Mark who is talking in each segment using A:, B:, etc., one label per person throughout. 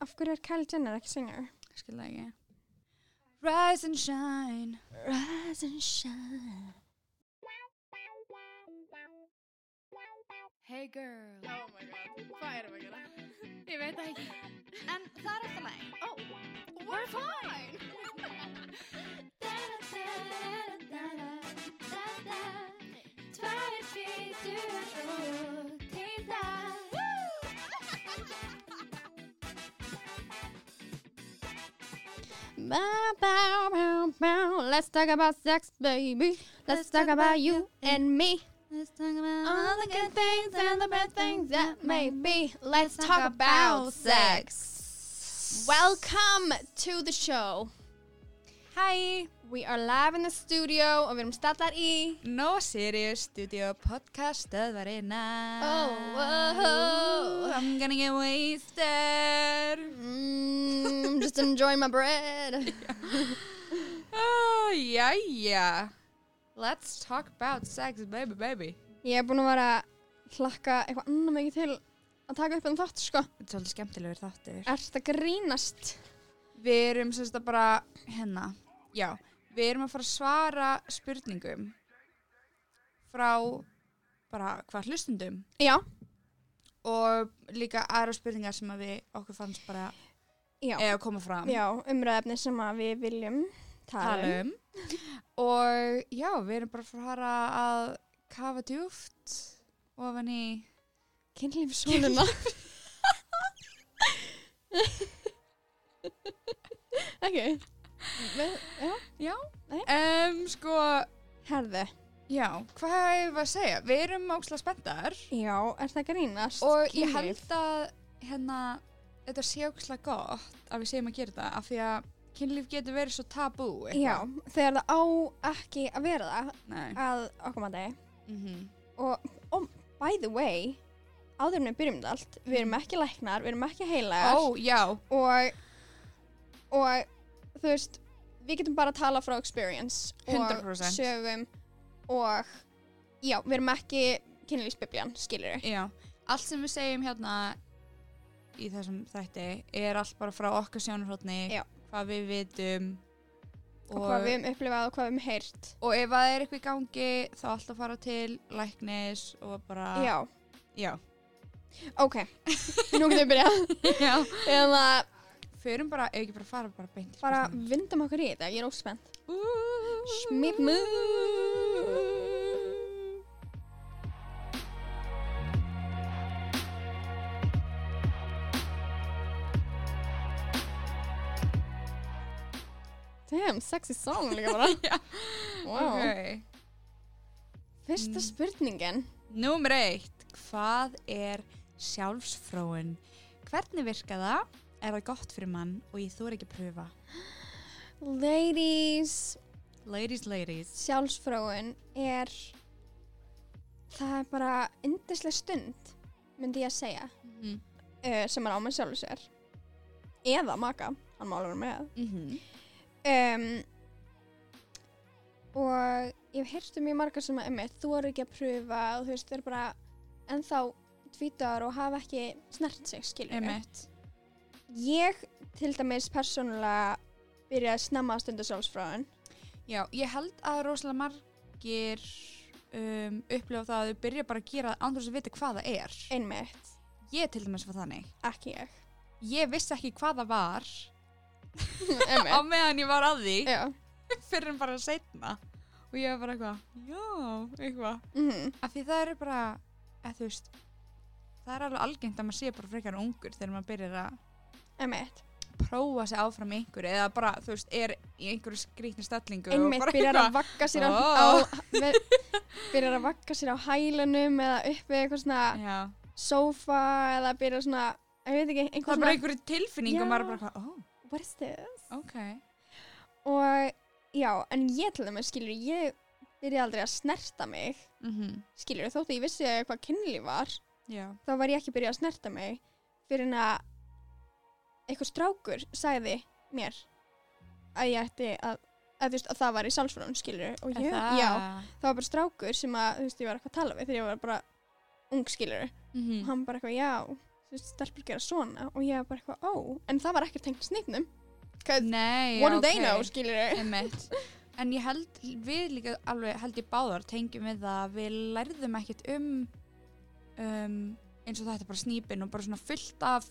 A: af hverju er Kylie Jenner ekki singer?
B: skil það ekki Rise and shine Rise and shine Hey girl
C: Oh my god, hvað erum við að gera?
B: Ég veit það ekki En það er alltaf læg
C: Oh, we're fine!
B: Tvær fýtur og til það Bá, bá, bá, bá Let's talk about sex, baby Let's talk about you and me Let's talk about all the good things and the bad things that may be Let's talk about sex
A: Welcome to the show Hi, we are live in the studio og við erum stallar í
B: No Serious Studio Podcast stöðvarina
A: Oh, whoa.
B: Ooh, Oh, I'm gonna get wasted
A: mm, Just enjoying my bread
B: oh, Jæja Let's talk about sex, baby, baby
A: Ég er búin að vera að hlakka eitthvað annað mikið til að taka upp um þátt sko
B: Þetta er svolítið skemmtilegur þáttur
A: Ert að grínast
B: Eh, Við erum sérst að bara, hérna Já, við erum að fara að svara spurningum frá bara hvað hlustundum
A: Já,
B: og líka aðra spurningar sem að við okkur fannst bara
A: já,
B: eða koma fram
A: já umræðefni sem að við viljum tala um
B: tala um og já, við erum bara að fara að kafa djúft ofan í
A: Kynlífsóluna Ok Við- Já,
B: já,
A: Nei.
B: um, sko
A: herðu
B: já, hvað hefur að segja við erum ákslega spenntar
A: Já, er það að grínast?
B: og ég
A: Kynlíf?
B: held að hérna, þetta sé ákslega gott að við segjum að gera þetta af því að kynlíf getur verið svo tabú
A: Já, þegar það á ekki að vera það
B: mm
A: að okkur maður degi
B: -hmm.
A: og, og by the way áður en við byrjum þetta allt, við erum ekki læknar við erum ekki heilagar
B: ó, já,
A: og, og þú veist, við getum bara að tala frá experience og
B: 100%.
A: sögum og já, við erum ekki kynlýsbibljan, skilur við
B: Já, allt sem við segjum hérna í þessum þætti er allt bara frá okkar sjónarhóttni
A: Já.
B: hvað við vitum
A: og hvað við hefum upplifað og hvað við hefum heyrt
B: og ef það er eitthvað í gangi þá alltaf fara til læknis og bara
A: Já,
B: Já.
A: ok nú getum við byrjað
B: Já.
A: eða
B: Förum bara, ef ekki bara fara bara beint í
A: bara
B: spurninguna.
A: vindum okkur í þetta, ég er óspennt
B: Smit
A: Smidmu Damn, sexy song líka bara
B: Já.
A: wow.
B: Ok.
A: Fyrsta
B: Mm.
A: spurningin
B: Númer eitt, hvað er sjálfsfróun? Hvernig virka það? Er það gott fyrir mann og ég þóra ekki að pröfa?
A: Ladies,
B: Ladies, ladies.
A: sjálfsfróun er það er bara yndislega stund myndi ég að segja
B: Mm
A: uh, sem er á með sjálfur sér eða maka, hann má alveg vera með
B: -hmm.
A: um, og ég hef heyrt um mjög margar sem að emmi, þú eru ekki að pröfa og þú veist, þau eru bara ennþá tvítar og hafa ekki snert sig, skilur
B: Emmett.
A: ég til dæmis persónulega byrjaði að snemma að stunda sjálfsfráin
B: Já, ég held að rosalega margir um, upplifa það að þau byrja bara að gera andur þess að vita hvað það er.
A: einmitt,
B: Ég til dæmis var þannig.
A: ekki ég
B: Ég vissi ekki hvað það var á
A: einmitt,
B: meðan ég var að því
A: já
B: fyrir en bara setna. Og ég var bara eitthvað, já, eitthvað.
A: mhm
B: Af því það eru bara, eða þú veist, það er alveg algengt að maður sé bara frekar ungur þegar maður byrjar að
A: Einmitt.
B: prófa sig áfram í einhverju eða bara, þú veist, er í einhverju skrýtni stellingu og
A: Einmitt
B: bara
A: byrjar að
B: eitthvað,
A: vakka sér á,
B: Ó.
A: á ver, byrjar að vakka sér á hælunum eða upp við eitthvað svona
B: Já.
A: sófa eða byrjar svona, ég veit ekki,
B: það
A: einhver
B: er bara
A: svona,
B: einhverju tilfinning
A: Já.
B: og maður er bara eitthvað, oh,
A: what is this?
B: ok
A: Og já, en ég til dæmis skilur, ég byrjaði aldrei að snerta mig,
B: mm
A: Mhm.
B: -hmm.
A: skilur, þótt að ég vissi hvað kynlíf var,
B: já,
A: þá var ég ekki byrjað að snerta mig fyrir en að einhver strákur sagði mér að ég ætti að, að, þú veist, að það var í sálsfrón, skilur, og ég, já, það var bara strákur sem að, þú veist, ég var eitthvað að tala við þegar ég var bara ung skilur
B: mm
A: og hann bara eitthvað, já, þú veist, stelpur gera svona og ég var bara eitthvað, ó, en það var ekkert tengt snýpnum. What
B: Nei,
A: do they know, skilur
B: Einmitt. En ég held, við líka alveg held ég báðar tengjum við það að við lærðum ekkert um, um eins og þetta bara snýpin og bara svona fullt af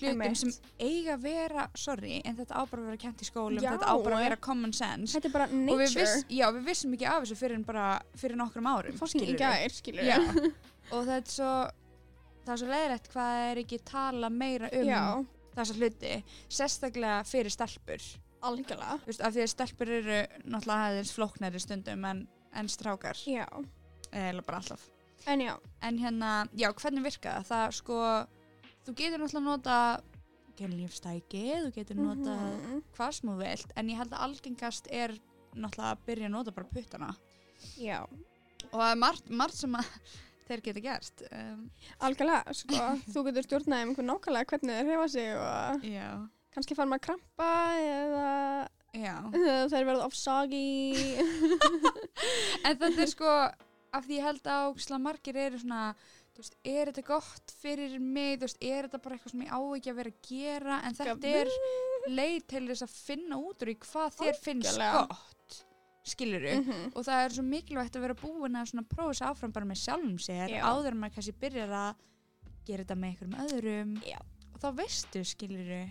B: hlutum
A: Einmitt.
B: sem eiga að vera, sorry, en þetta á bara að vera kent í skólum,
A: Já.
B: þetta á bara að vera common sense.
A: Þetta er bara
B: Og við,
A: nature.
B: viss, já, við vissum ekki af þessu fyrir en bara fyrir nokkrum árum.
A: Foskin í
B: skilurðu.
A: gær, skilur
B: Já. og það er svo, það er svo leiðrætt hvað það er ekki tala meira um
A: Já,
B: þessa hluti, sérstaklega fyrir stelpur.
A: algjörlega.
B: Þú veist, af því að stelpur eru náttúrulega aðeins flóknari stundum en, en strákar
A: Já,
B: eða bara alltaf.
A: en já,
B: En hérna, já, hvernig virka það? Það sko, þú getur náttúrulega nota kynlífstæki, þú getur nota
A: Mhm.
B: hvað sem þú vilt, en ég held að algengast er náttúrulega að byrja að nota bara puttana.
A: já,
B: Og það er margt, margt sem að þeir geta gert. Um,
A: algjörlega, sko, þú getur stjórnaði um einhvern nákvæmlega hvernig þeir hefa sig og
B: já.
A: kannski fara maður að krampa eða
B: Já.
A: eða þeir verða ofsagi.
B: En þetta er sko, af því ég held að ógislega margir eru svona, þú veist, er þetta gott fyrir mig, þú veist, er þetta bara eitthvað sem ég á ekki að vera að gera, en þetta er leið til þess að finna út úr í hvað þér finnst
A: Algjörlega.
B: gott, skilur du?
A: Mhm.
B: Og það er svo mikilvægt að vera búin að svona prófa þessu áfram bara með sjálfum sér,
A: Já.
B: áður en maður kannski byrjar að gera þetta með einhverjum öðrum.
A: Já.
B: Og þá veistu, skilur du,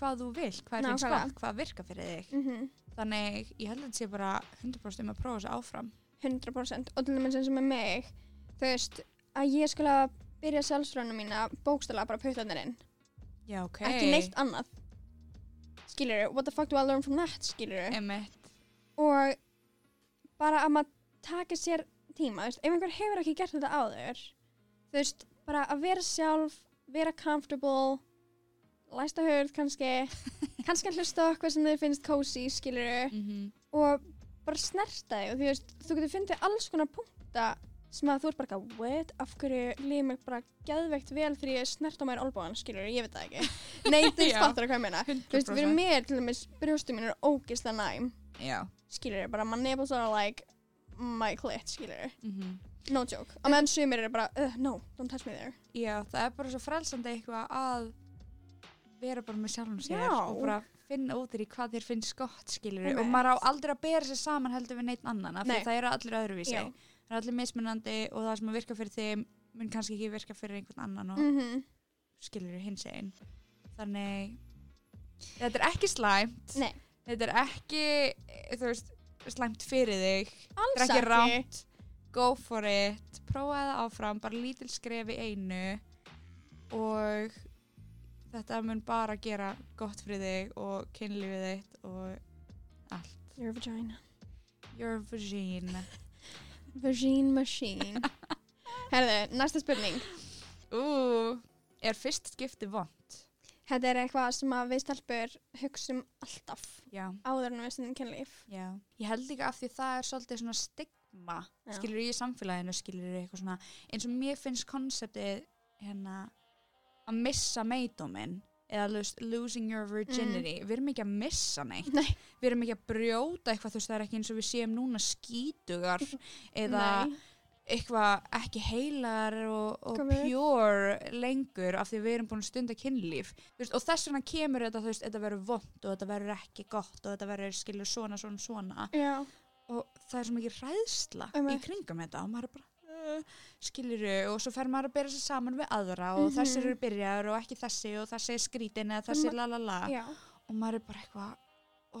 B: hvað þú vilt, hvað er finnst
A: Nákvæmlega.
B: gott, hvað virkar fyrir þig.
A: Mhm.
B: Þannig, ég held að þetta sé bara 100% um að prófa þessu áfram.
A: 100% og til dæmis eins og með mig þú veist að ég skulle að byrja sjálfsfránum mína bókstala bara puttanirinn inn,
B: Já, ok.
A: ekki neitt annað skilur what the fuck do I learn from that skilur
B: Einmitt.
A: og bara að maður taka sér tíma þú veist, ef einhver hefur ekki gert þetta áður þú veist bara að vera sjálf vera comfortable læsta hurð kannski kannski að hlusta á hvað sem þau finnst cozy skilur
B: Mm -hmm.
A: og bara snerta þig og þú veist, þú getur fundið alls konar punkta sem að þú ert bara eitthvað, what, af hverju líður mér bara geðveikt vel þegar ég snert á mér olbóðan, skilur, ég veit það ekki nei, þú veist,
B: Já.
A: fattur hvað ég meina þú veist, fyrir
B: 100%.
A: mér til dæmis, brjóstum mín er ógist að næm
B: Já.
A: skilur, bara my nipples are like my clit, skilur,
B: Mm
A: no joke og meðan sumir eru bara, uh, no, don't touch me there
B: Já, það er bara svo frelsandi eitthvað að vera bara með sjálfum sér
A: Já.
B: og bara finna út í hvað þér finnst gott skilur og
A: Einmitt.
B: maður á aldrei að bera sér saman heldur við neitt annan af því
A: Nei.
B: að það eru allir öðruvísi
A: Já.
B: það eru allir mismunandi og það sem virkar fyrir þeim mun kannski ekki virka fyrir einhvern annan og
A: mhm,
B: skilur hins einn þannig þetta er ekki slæmt
A: Nei.
B: þetta er ekki eh, þú veist, slæmt fyrir þig
A: alls
B: Það er ekki
A: ekki
B: rámt, go for it, prófa það áfram, bara lítil skref í einu og þetta mun bara gera gott fyrir þig og kynlífið þitt og
A: your vagina
B: your vagina.
A: vagina machine herðu, næsta spurning
B: Ú, er fyrst skipti vond?
A: þetta er eitthvað sem að við stelpur hugsum alltaf
B: Já.
A: áður en við stundum kynlíf
B: Já. Ég held líka af því það er svolítið svona stigma,
A: Já.
B: skilur í samfélaginu, skilur eitthvað svona, eins og mér finnst konseptið hérna að missa meidóminn eða þú veist, losing your virginity við erum ekki að missa neitt
A: Mm. Nei.
B: við erum ekki að brjóta eitthvað þú veist það er ekki eins og við séum núna skítugar eða
A: Nei.
B: eitthvað ekki heilar og, og
A: Hvað við-
B: pure lengur af því við erum búin að stunda kynlíf Þú veist, og þess vegna kemur þetta þú veist, þetta verður vond og þetta verður ekki gott og þetta verður skilur svona svona svona
A: Já,
B: og það er svo mikið ræðsla í
A: Einmitt.
B: kringum þetta og maður er bara uh, skiluru og svo fer maður að bera sig saman við aðra og
A: Mhm.
B: þessir eru byrjaður og ekki þessi og þessi er skrítin eða þessi
A: ma-
B: la la la
A: já,
B: og maður er bara eitthvað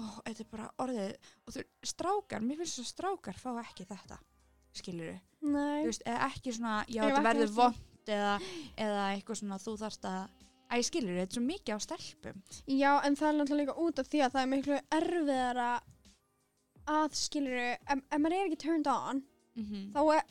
B: og þetta er bara orðið og þú strákar, mér finnst svo strákar fá ekki þetta skiluru
A: nei
B: þú veist, eða ekki svona, já,
A: Ég hef
B: þetta
A: ekki
B: verður
A: heyrt það.
B: vond eða, eða eitthvað svona, þú þarft að Æ, skilur, þetta er svo mikið á stelpum
A: Já, en það er náttúrulega líka út af því að það er miklu erfiðara að skiluru ef, ef maður er ekki turned on
B: mm -hmm.
A: þá er,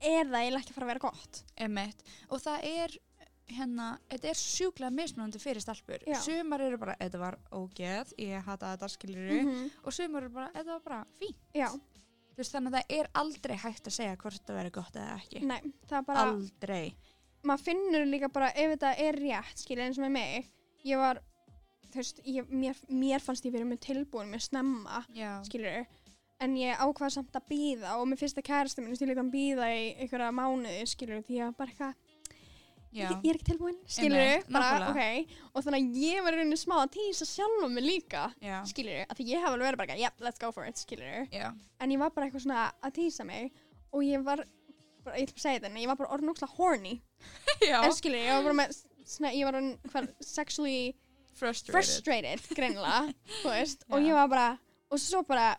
A: er það eiginlega ekki að fara að vera gott
B: og það er hérna, þetta er sjúklega mismunandi fyrir stelpur
A: Já.
B: sumar eru bara, þetta var ógeð ég hata þetta, skilur
A: -hmm.
B: og sumar eru bara, þetta var bara fín
A: Já,
B: Þú veist, þannig að það er aldrei hægt að segja hvort þetta verður gott eða ekki
A: nei, það er Mm, bara
B: aldrei
A: maður finnur líka bara ef þetta er rétt skilur eins og með mig ég var, þú veist, ég, mér, mér fannst ég verið með tilbúin með snemma
B: já,
A: skilur en ég ákvað samt að býða og mér fyrsta kærastu minn stíl eitthvað að býða í einhverja mánuði skilur því að bara eitthvað
B: já,
A: ég, ég er ekki tilbúin skilur
B: Einmitt,
A: bara,
B: nákvæmlega.
A: ok, og þannig að ég var í rauninni smá að týsa sjálf mig líka
B: já,
A: skilur, af því ég hef alveg verið bara, yep, let's go for it, skilur
B: já,
A: en ég var bara eitthvað svona að týsa mig og ég var, bara, ég ætla bara að segja þetta en ég var bara orðin ókslega horny
B: já.
A: en skilur, ég var bara með svona, ég var orðin hvað, sexually
B: frustrated.
A: frustrated, greinlega, þú veist og
B: Já.
A: ég var bara, og svo bara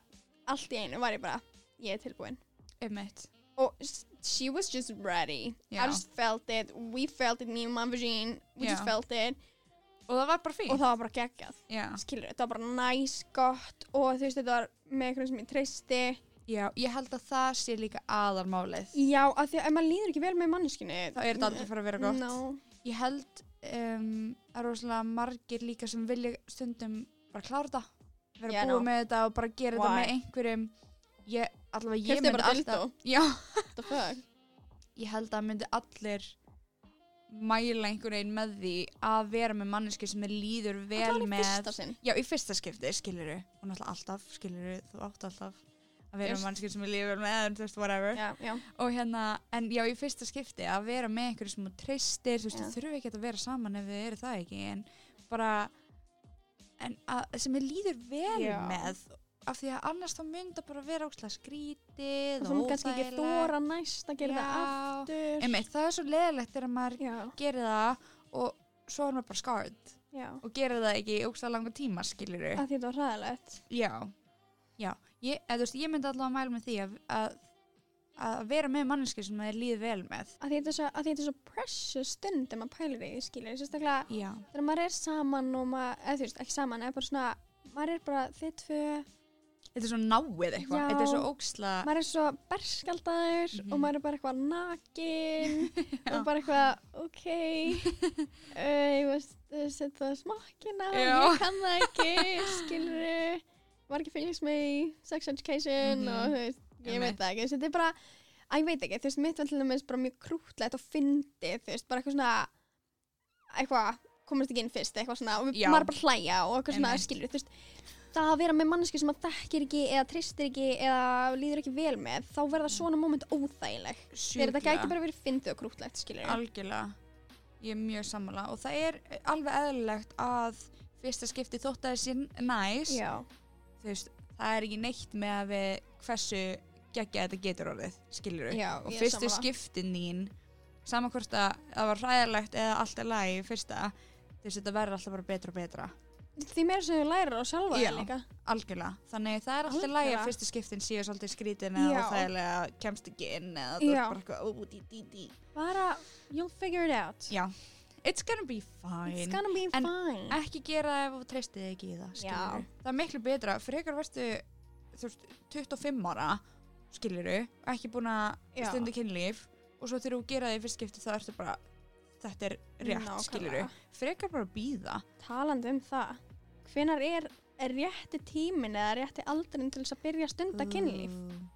A: allt í einu var ég bara, ég er tilbúin
B: Einmitt.
A: og s- she was just ready
B: Já.
A: I just felt it, we felt it, me and my vagine we just
B: Já.
A: felt it
B: og það var bara fín
A: og það var bara geggjað
B: já.
A: skilur, þetta var bara næs, gott og þú veist, þetta var með einhverjum sem ég treysti
B: já, ég held að það sé líka aðalmálið
A: já, af því að ef maður líður ekki vel með manneskinu
B: þá er þetta aldrei fara að vera gott
A: no.
B: ég held um, að rosalega margir líka sem vilja stundum bara klára þetta
A: Yeah,
B: vera yeah,
A: no.
B: búið með þetta og bara gera þetta
A: Why?
B: með einhverjum ég, allavega ég
A: Keyptu
B: myndi
A: bara
B: alltaf
A: dildo.
B: já,
A: what the fuck
B: ég held að myndi allir mæla einhvern veginn með því að vera með manneski sem er líður vel
A: Allavega í
B: með
A: fyrsta sinn.
B: já, í fyrsta skipti skiluru og náttúrulega alltaf skiluru þú átt alltaf að vera
A: Just.
B: með manneski sem er líður vel með en þú veist whatever
A: já, já,
B: og hérna, en já, í fyrsta skipti að vera með einhverju sem þú treystir þú veist,
A: Já.
B: þú þurfu ekki að vera saman ef þið eru það ekki en bara en að, sem ég líður vel
A: Já.
B: með af því að annars þá mynda bara vera ókslega skrítið
A: og þú mér kannski ekki þóra næst að gera
B: Já.
A: það aftur
B: Einmitt, það er svo leðilegt þegar maður
A: já,
B: gerir það og svo er maður bara skarð
A: já
B: og gerir það ekki í ókslega langa tíma skilur
A: að því þetta var hræðilegt
B: Já, já. Ég, eða, þú veist, ég myndi allavega að mæla með því að, að, að vera með manneski sem maður líður vel með
A: að því þetta er svo, að því þetta er svo precious stund ef maður pælir í því, skilur, sérstaklega
B: Já,
A: þegar maður er saman og maður, eða þú veist, ekki saman, eða bara svona maður er bara þitt fyrir,
B: Þetta er svo náið eitthvað,
A: Já.
B: þetta er svo óksla
A: maður er svo berskjaldaður
B: Mhm.
A: og maður er bara eitthvað nakin og bara eitthvað, ok uh, ég veist, uh, set það smakkina
B: Já.
A: ég kann það ekki, skilur var ekki að fylgjast með í sex education
B: Mhm.
A: og þú veist, ég veit
B: Einmitt.
A: það ekki þú veist, þetta er bara, að ég veit ekki, þú veist, mitt var til dæmis bara mjög krútlegt og fyndið, þú veist, bara eitthvað svona eitthvað, komast ekki inn fyrst eitthvað svona, og
B: Já.
A: maður er bara að hlæja og eitthvað svona,
B: Einmitt.
A: skilur, þú veist það að vera með mannesku sem maður þekkir ekki eða tristir ekki eða líður ekki vel með þá verða svona moment óþægileg þegar þetta gæti bara verið fyndið og krútlegt skilur
B: Algjörlega, ég er mjög sammála og það er alveg eðlilegt að fyrsta skipti þótt að það sé næs
A: já,
B: þú veist, það er ekki neitt með að við hversu geggja þetta getur orðið skilur
A: já,
B: og
A: ég er
B: fyrstu
A: sammála.
B: skiptin þín sama hvort að það var hræðilegt eða allt er lægi fyrsta þú veist, þetta verður alltaf bara betra og betra
A: því meira sem þú lærir á sjálfa
B: Já.
A: þér líka
B: algjörlega, þannig það er alltaf lægi
A: Algjörlega.
B: að fyrstu skiptin séu svolítið skrítin eða
A: Já.
B: óþægilega kemst ekki inn
A: Já.
B: eða þú veist bara eitthvað, ó, dí, dí, dí
A: bara, you'll figure it out
B: já, it's gonna be fine
A: it's gonna be
B: En-
A: fine
B: ekki gera það ef þú treystið ekki í það skilurðu. það er miklu betra, frekar verðstu þú veist, 25 ára skiluru, ekki búin að
A: Já.
B: stundu kynlíf og svo þegar þú gera það í fyrst skipti þá ertu bara, þetta er rétt
A: Nákvæmlega.
B: skiluru, frekar bara býða
A: talandi um það hvenar er er rétti tímin eða rétti aldurinn til þess að byrja að
B: Mm.
A: stunda kynlíf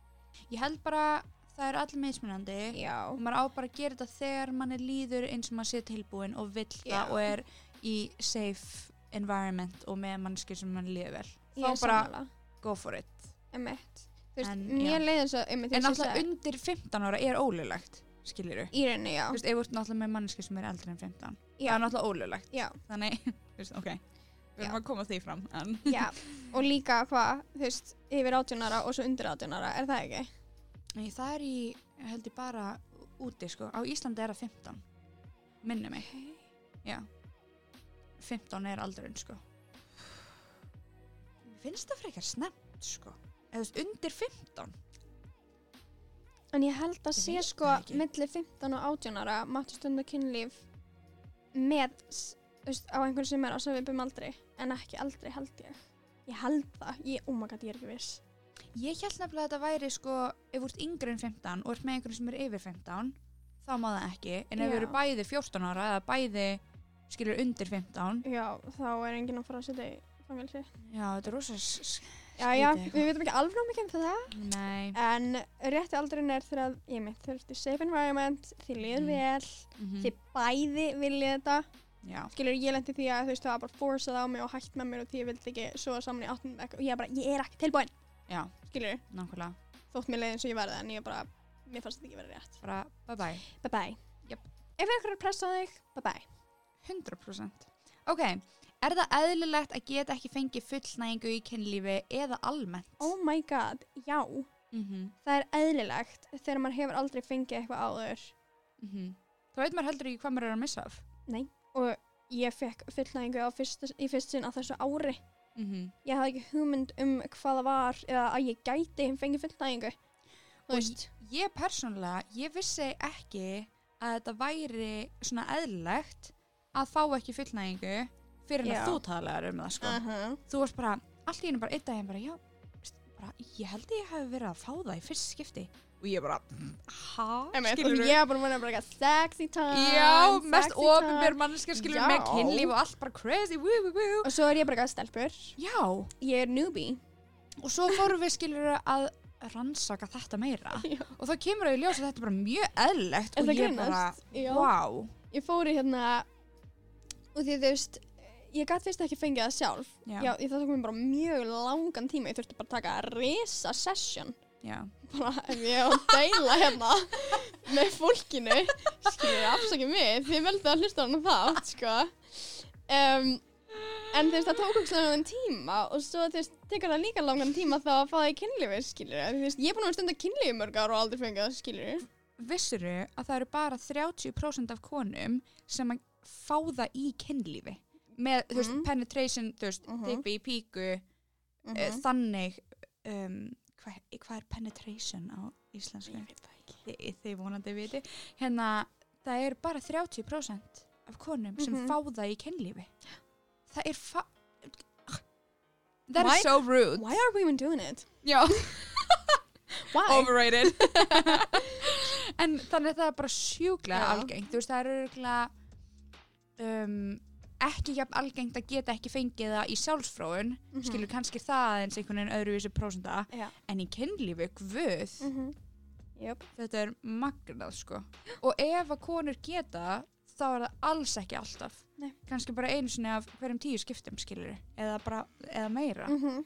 B: ég held bara, það er allir meðsmunandi
A: já,
B: og maður á bara að gera þetta þegar manni líður eins og maður sé tilbúin og vill
A: Já.
B: það og er í safe environment og með mannskir sem mann líður vel
A: ég er
B: þá bara
A: sammála
B: go for it
A: emitt, þú veist,
B: En,
A: mér
B: já.
A: leiði þess að einmitt,
B: En
A: þess
B: náttúrulega
A: að
B: undir 15 ára er ólulegt, skilur
A: í rauninni, já
B: Þú veist, ef þú ert náttúrulega með manneski sem er eldri en 15.
A: Já.
B: Það er náttúrulega ólulegt.
A: Já.
B: Þannig, þú veist, ok, við erum
A: Já.
B: að koma því fram. En,
A: Já, og líka hvað, þú veist, yfir 18 ára og svo undir 18 ára, er það ekki?
B: Nei, það er í, held ég bara úti, sko. Á Íslandi er það 15. Minni mig. Já. 15 er aldurinn, sko. Mér finnst það frekar snemmt, sko. Eða þú veist, undir 15.
A: En ég held að
B: Ég
A: sé
B: veit
A: sko,
B: það ekki.
A: milli 15 og 18 ára máttu stunda kynlíf með, s- þú veist, á einhverju sem er á svipum aldri, en ekki aldrei held ég. Ég held það, ég, oh my god, ég er ekki viss.
B: Ég held nefnilega að þetta væri, sko, ef þú ert yngri en 15 og ert með einhvern sem er yfir 15, þá má það ekki. En ef
A: Já.
B: þú eru bæði 14 ára eða bæði, skilur, undir 15,
A: Já, þá er enginn að fara að setja í fangelsi.
B: Já, þetta er rosa s- s-
A: Já, já,
B: skrítið
A: við veitum ekki alveg námið ekki um það.
B: eitthvað. Nei.
A: En rétti aldurinn er þegar, ég mitt, þú ert í safe environment, þið liður
B: Mm.
A: vel, þið bæði viljið þetta.
B: Já,
A: skilur ég lendi því að þú veist það var bara forsað á mig og hægt með mér og því ég vildi ekki svo saman í 18 vekk og ég bara, ég er ekki tilbúin
B: já,
A: skilur,
B: nákvæmlega.
A: þótt mér leið eins og ég verði en ég bara, mér fannst þetta ekki verið rétt
B: Bara, bye bye.
A: bye bye
B: Jöp.
A: ef einhver er að pressa á þig, bye bye
B: 100% Ok, er það eðlilegt að geta ekki fengið fullnægingu í kynlífi eða almennt?
A: oh my god, já,
B: Mm -hmm.
A: það er eðlilegt þegar maður hefur aldrei fengið eitthvað áður
B: mhm. Þá veit maður heldur ekki hvað maður er að missa af
A: og ég fekk fullnæðingu á fyrst, í fyrst sinn á þessu ári
B: mm
A: ég hafði ekki hugmynd um hvað það var eða að ég gæti fengið fullnæðingu
B: Og
A: þú veist,
B: Ég persónulega, ég vissi ekki að þetta væri svona eðlilegt að fá ekki fullnægingu fyrir en
A: Já.
B: að þú talaðar um það sko.
A: uh -huh.
B: Þú varst bara, allt í einu bara einn daginn bara, já, veist, bara, ég held ég hafi verið að fá það í fyrst skipti og ég bara, ha,
A: og ég var bara að vera bara eitthvað sexy time
B: Já, mest
A: sexy time.
B: ofinbjör manneskja skilur
A: Já.
B: með kynlíf og allt bara crazy, woo, woo, woo.
A: og svo er ég bara eitthvað stelpur
B: Já, og
A: ég er newbie
B: svo fórum við skilur að rannsaka þetta meira
A: Já.
B: og þá kemur að ég ljósa að þetta er bara mjög eðlegt
A: Er
B: og
A: það
B: ég bara,
A: grínast? Já.
B: wow.
A: ég fór í hérna og því þú veist ég gæti fyrst ekki fengið það sjálf
B: Já.
A: Já, ég það tók mér bara mjög langan tíma ég þurfti bara að taka risa session
B: Já.
A: bara hérna, ef ég á að deila hérna með fólkinu skilur afsakið mig því ég veldi að hlusta á hann þátt sko um, en þú veist það tók okkur langan tíma og svo þú veist tekur það líka langan tíma þá að fá það í kynlífi skilur þú veist ég er búin að vera stunda kynlífi í mörg ára og aldrei fengið það skilur
B: Vissuru að það eru bara 30% af konum sem að fá það í kynlífi með, þú veist,
A: Mhm.
B: penetration, þú veist,
A: Mhm.
B: dippi í píku,
A: uh
B: uh, þannig um, hvað hva er penetration á íslensku? Ég veit það ekki. Þi, þið vonandi viti. Hérna, það er bara 30% af konum
A: Mhm.
B: sem fá það í kynlífi. Það er fa... That
A: Why-
B: is so rude.
A: why are women doing it?
B: Já,
A: why?
B: overrated. en þannig að það er bara sjúklega
A: Já.
B: algengt. Þú veist, það er örgulega um, ekki jafn algengt að geta ekki fengið það í sjálfsfróun
A: Mhm.
B: skilur kannski það aðeins einhvern veginn öðruvísi prósenda
A: Já.
B: en í kynlífi, guð,
A: Mhm. Jöp.
B: þetta er magnað sko. Og ef að konur geta, þá er það alls ekki alltaf.
A: Nei.
B: Kannski bara einu sinni af hverjum tíu skiptum skilur, eða, bara, eða meira.
A: Mhm.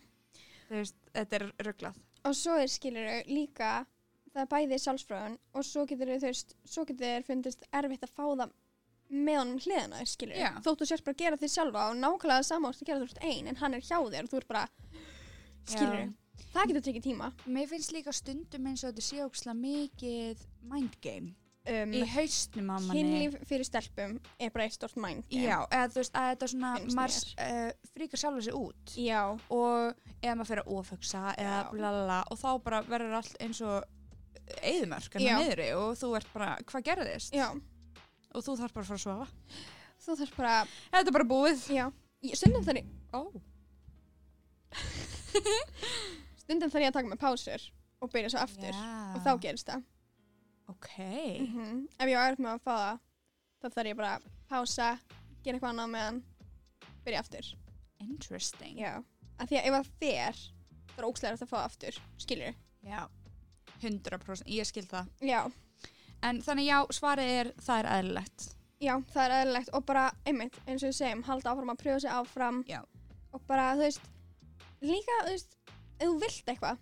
B: Þú veist, þetta er rugglað.
A: og svo er skilur líka það er bæði sjálfsfröðun og svo getur þau þú veist, svo getur þau fundist erfitt að fá það með honum hliðina þér, skilur
B: Já.
A: þóttu sérst bara að gera þig sjálfa og nákvæmlega samást að gera þú ert ein en hann er hjá þér og þú ert bara skilur það getur tekið tíma
B: Mér finnst líka stundum eins og þetta sé óksla mikið mindgame
A: um,
B: í haustnum á manni.
A: kynlíf fyrir stelpum er bara eitt stort mind game.
B: Já, eða þú veist að þetta svona,
A: Finnst
B: maður uh, fríkar sjálfur sig út.
A: já,
B: og eða maður fyrir að ofugsa eða
A: Já.
B: blalala og þá bara verður allt eins og eðumörk
A: Já.
B: en niðri og þú ert bara, hvað gerðist?
A: já,
B: Og þú þarf bara að fara að sofa.
A: þú þarf bara
B: Þetta er bara búið.
A: já, Ég- stundum þarf ég,
B: Ó.
A: stundum þarf ég að taka með pásur og byrja svo aftur og þá gerist það
B: Ok.
A: -hmm. Ef ég á erfitt með að fá það, þá þarf ég bara að pása, gera eitthvað annað meðan, byrja aftur.
B: Interesting.
A: Já. Af því að ef það fer, þá er ókslega eftir að fá það aftur, skilur.
B: Já. 100%. Ég skil það.
A: Já,
B: En þannig já, svarið er, það er eðlilegt.
A: já, það er aðeinlegt og bara, einmitt, eins og við segjum, halda áfram að prjóða sig áfram.
B: Já.
A: Og bara, þú veist, líka, þú veist, ef þú vilt eitthvað,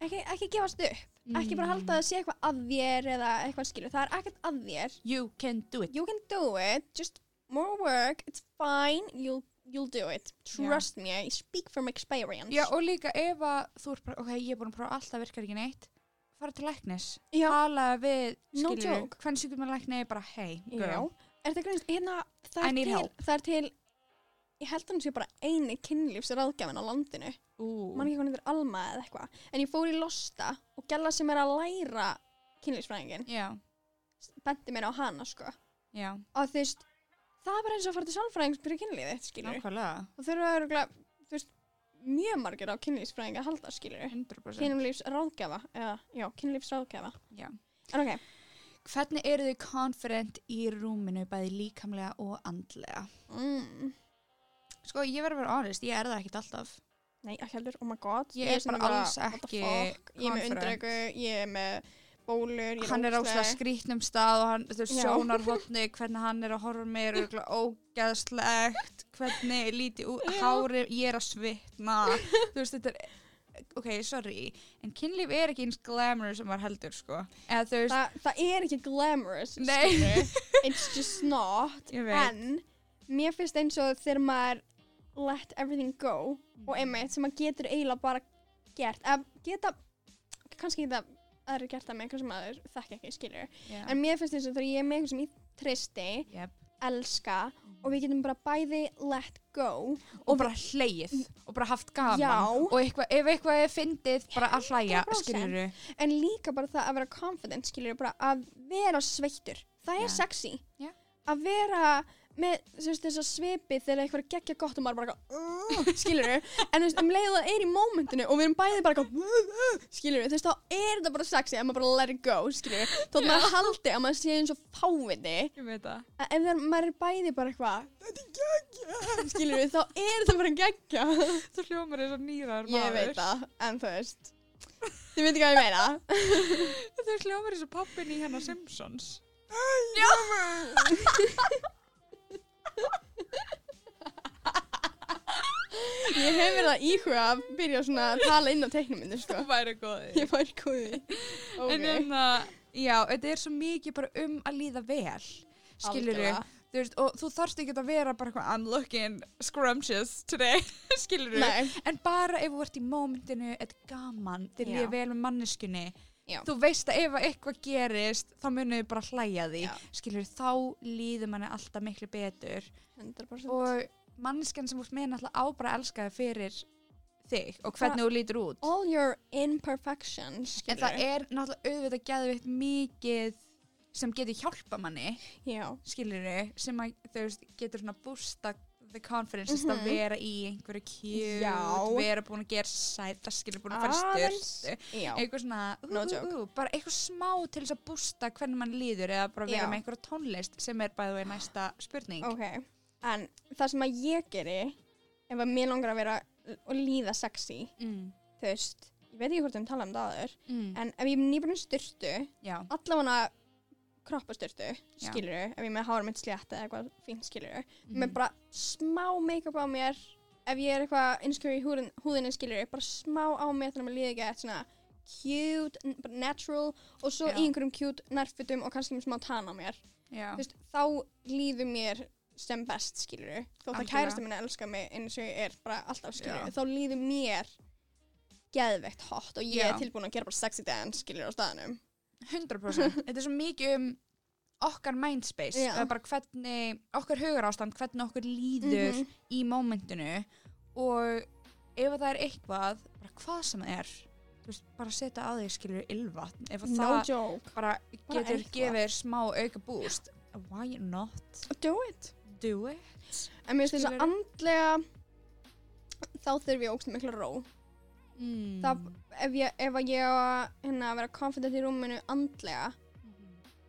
A: ekki, ekki gefast upp. Ekki
B: Mm.
A: bara halda að það sé eitthvað að þér eða eitthvað skilur. Það er ekkert að þér.
B: You can do it.
A: You can do it, just more work, it's fine, you'll, you'll do it.
B: Já.
A: Trust me, I speak from experience.
B: Já, og líka ef að þú ert bara, ok, ég er búin að prófa alltaf virkar ekki neitt, fara til læknis.
A: Já.
B: Tala við,
A: No
B: skilur,
A: joke.
B: hvernig sýkjum að lækni er bara, hey, girl.
A: Já. Er þetta grunst, hérna,
B: I
A: það er,
B: need
A: til,
B: help.
A: það er til, ég held hann sé bara eini kynlífsraðgjafin á landinu.
B: Ú,
A: Man ekki hvað hann er Alma eða eitthvað. En ég fór í Losta og gæla sem er að læra kynlífsfræðingin,
B: já,
A: benti mér á hana, sko.
B: já,
A: Og þú veist, það er bara eins og að fara til sálfræðings fyrir kynlífið, skilur.
B: nákvæmlega,
A: Og þurfa að vera, þú veist, mjög margir á kynlífsfræðing að halda, skilur.
B: 100%.
A: kynlífsráðgjafa eða, já, kynlífsráðgjafa
B: Já.
A: en ok,
B: Hvernig eru þið confident í rúminu bæði líkamlega og andlega?
A: mm.
B: Sko, ég verður að vera honest, ég er það ekkert alltaf.
A: nei, ekki heldur, oh my god
B: Ég er
A: stundum
B: bara alls
A: what the
B: ekki
A: fuck, ég er með
B: confident.
A: undregu, ég er með bólur, ég er
B: Hann er áslega
A: ógeðsleg.
B: skrítnum stað og hann, þú veist,
A: Já.
B: sjónarhotni, hvernig hann er að horfa á mig er örugglega ógeðslegt, hvernig lítið út, hári, ég er að svitna, þú veist, þetta er ok, sorry en kynlíf er ekki eins glamour sem var heldur sko, eða þú veist
A: Þa, það er ekki glamorous
B: Nei.
A: skilurðu. it's just not
B: ég veit,
A: en mér finnst eins og þegar maður let everything go og einmitt sem maður getur eiginlega bara gert að geta, kannski geta aðri gert það með eitthvað sem maður þekki ekki skilur
B: yeah.
A: en mér finnst eins og þegar ég er með eitthvað sem ég tristi
B: Yep.
A: elska
B: Mhm.
A: og við getum bara bæði let go
B: og bara hleið og bara haft gaman
A: Já.
B: og eitthva, ef eitthvað er fyndið bara að hlæja,
A: 100%.
B: skilur
A: en líka bara það að vera confident skilur bara að vera sveittur það er
B: Já.
A: sexy
B: Já.
A: að vera með þú veist, þessa svipi þegar eitthvað er að gegja gott og maður bara uh, skilur en þú veist, um leiðu það er í mómentinu og við erum bæði bara uh, uh, skilur þú veist þá er þetta bara sexy að maður bara let it go skilur þótt maður haldi að maður sé eins og fáviti
B: ég veit það
A: að ef það, maður er bæði bara eitthvað þetta er geggja skilur þá er það bara geggja
B: þú hljómar eins og nýrar
A: ég veit það en þú veist þið veit ekki hvað ég meina
B: þú hljómar eins og pappin í hennar Simpsons
A: Ég hef verið að íhuga að byrja svona að tala inn á teiknumindu, sko.
B: það væri góðið
A: Ég fær góði.
B: en
A: Ok.
B: þannig að, já, þetta er svo mikið bara um að líða vel skilur
A: Algjörlega.
B: þú veist, og þú þarfst ekki að vera bara eitthvað I'm looking scrumptious today skilur
A: Nei,
B: en bara ef þú ert í mómentinu þetta er gaman, þið
A: Já.
B: líður vel með manneskunni
A: Já.
B: þú veist að ef að eitthvað gerist þá munið þið bara hlæja því
A: Já.
B: skilur þá líður manni alltaf miklu betur
A: 100%.
B: og manneskan sem úr með náttúrulega á bara að elska þig fyrir þig og hvernig þú lítur út
A: all your imperfections,
B: en
A: skilur.
B: það er náttúrulega auðvitað geðvitt mikið sem getur hjálpa manni
A: Já,
B: skilur sem að þú veist getur svona bústa the confidence mm
A: Mhm.
B: að vera í einhverju cute
A: Já.
B: vera búin að gera sæta skilur búin að fara í
A: Aðeins.
B: styrstu
A: já.
B: eitthvað svona ú,
A: No
B: ú,
A: joke.
B: ú, bara eitthvað smá til þess að bústa hvernig mann líður eða bara vera
A: Já.
B: með einhverja tónlist sem er bæðið í næsta spurning
A: Ok. En það sem að ég geri, ef að mér langar að vera og líða sexy,
B: mm.
A: þú veist, ég veit ekki hvort um tala um það aður,
B: Mm.
A: en ef ég er nýbúin styrtu,
B: já,
A: allavega kroppastyrtu,
B: Já.
A: skilur, ef ég er með hárum mitt slétt eða eitthvað fínt, skilur, með
B: Mhm.
A: bara smá make-up á mér ef ég er eitthvað innskjöru í húrin, húðinni skilur bara smá á mér þannig að maður líði ekki eitt svona cute, n- bara natural og svo
B: Já.
A: í einhverjum cute nærfutum og kannski með smá tan á mér
B: já.
A: Þú veist, þá líður mér sem best skilur þó það
B: Algjörlega.
A: kærasta minna elska mig eins og ég er bara alltaf skilur
B: Já.
A: þá líður mér geðveikt hot og ég
B: Já.
A: er tilbúin að gera bara sexy dance skilur á staðanum
B: 100% þetta er svo mikið um okkar mindspace
A: Já.
B: eða bara hvernig okkar hugar ástand hvernig okkur líður
A: Mhm.
B: í momentinu og ef að það er eitthvað bara hvað sem það er þú veist, bara setja að þig skilur ylvatn ef að
A: no
B: það
A: joke,
B: bara
A: Bara
B: getur
A: eitthvað.
B: gefið þér smá auka búst why not
A: do it
B: do it
A: en mér finnst þess að
B: Skilurðu?
A: andlega þá þurfum ég ógst miklu ró
B: mm.
A: það, ef ég, ef að ég á að, hérna, vera confident í rúminu andlega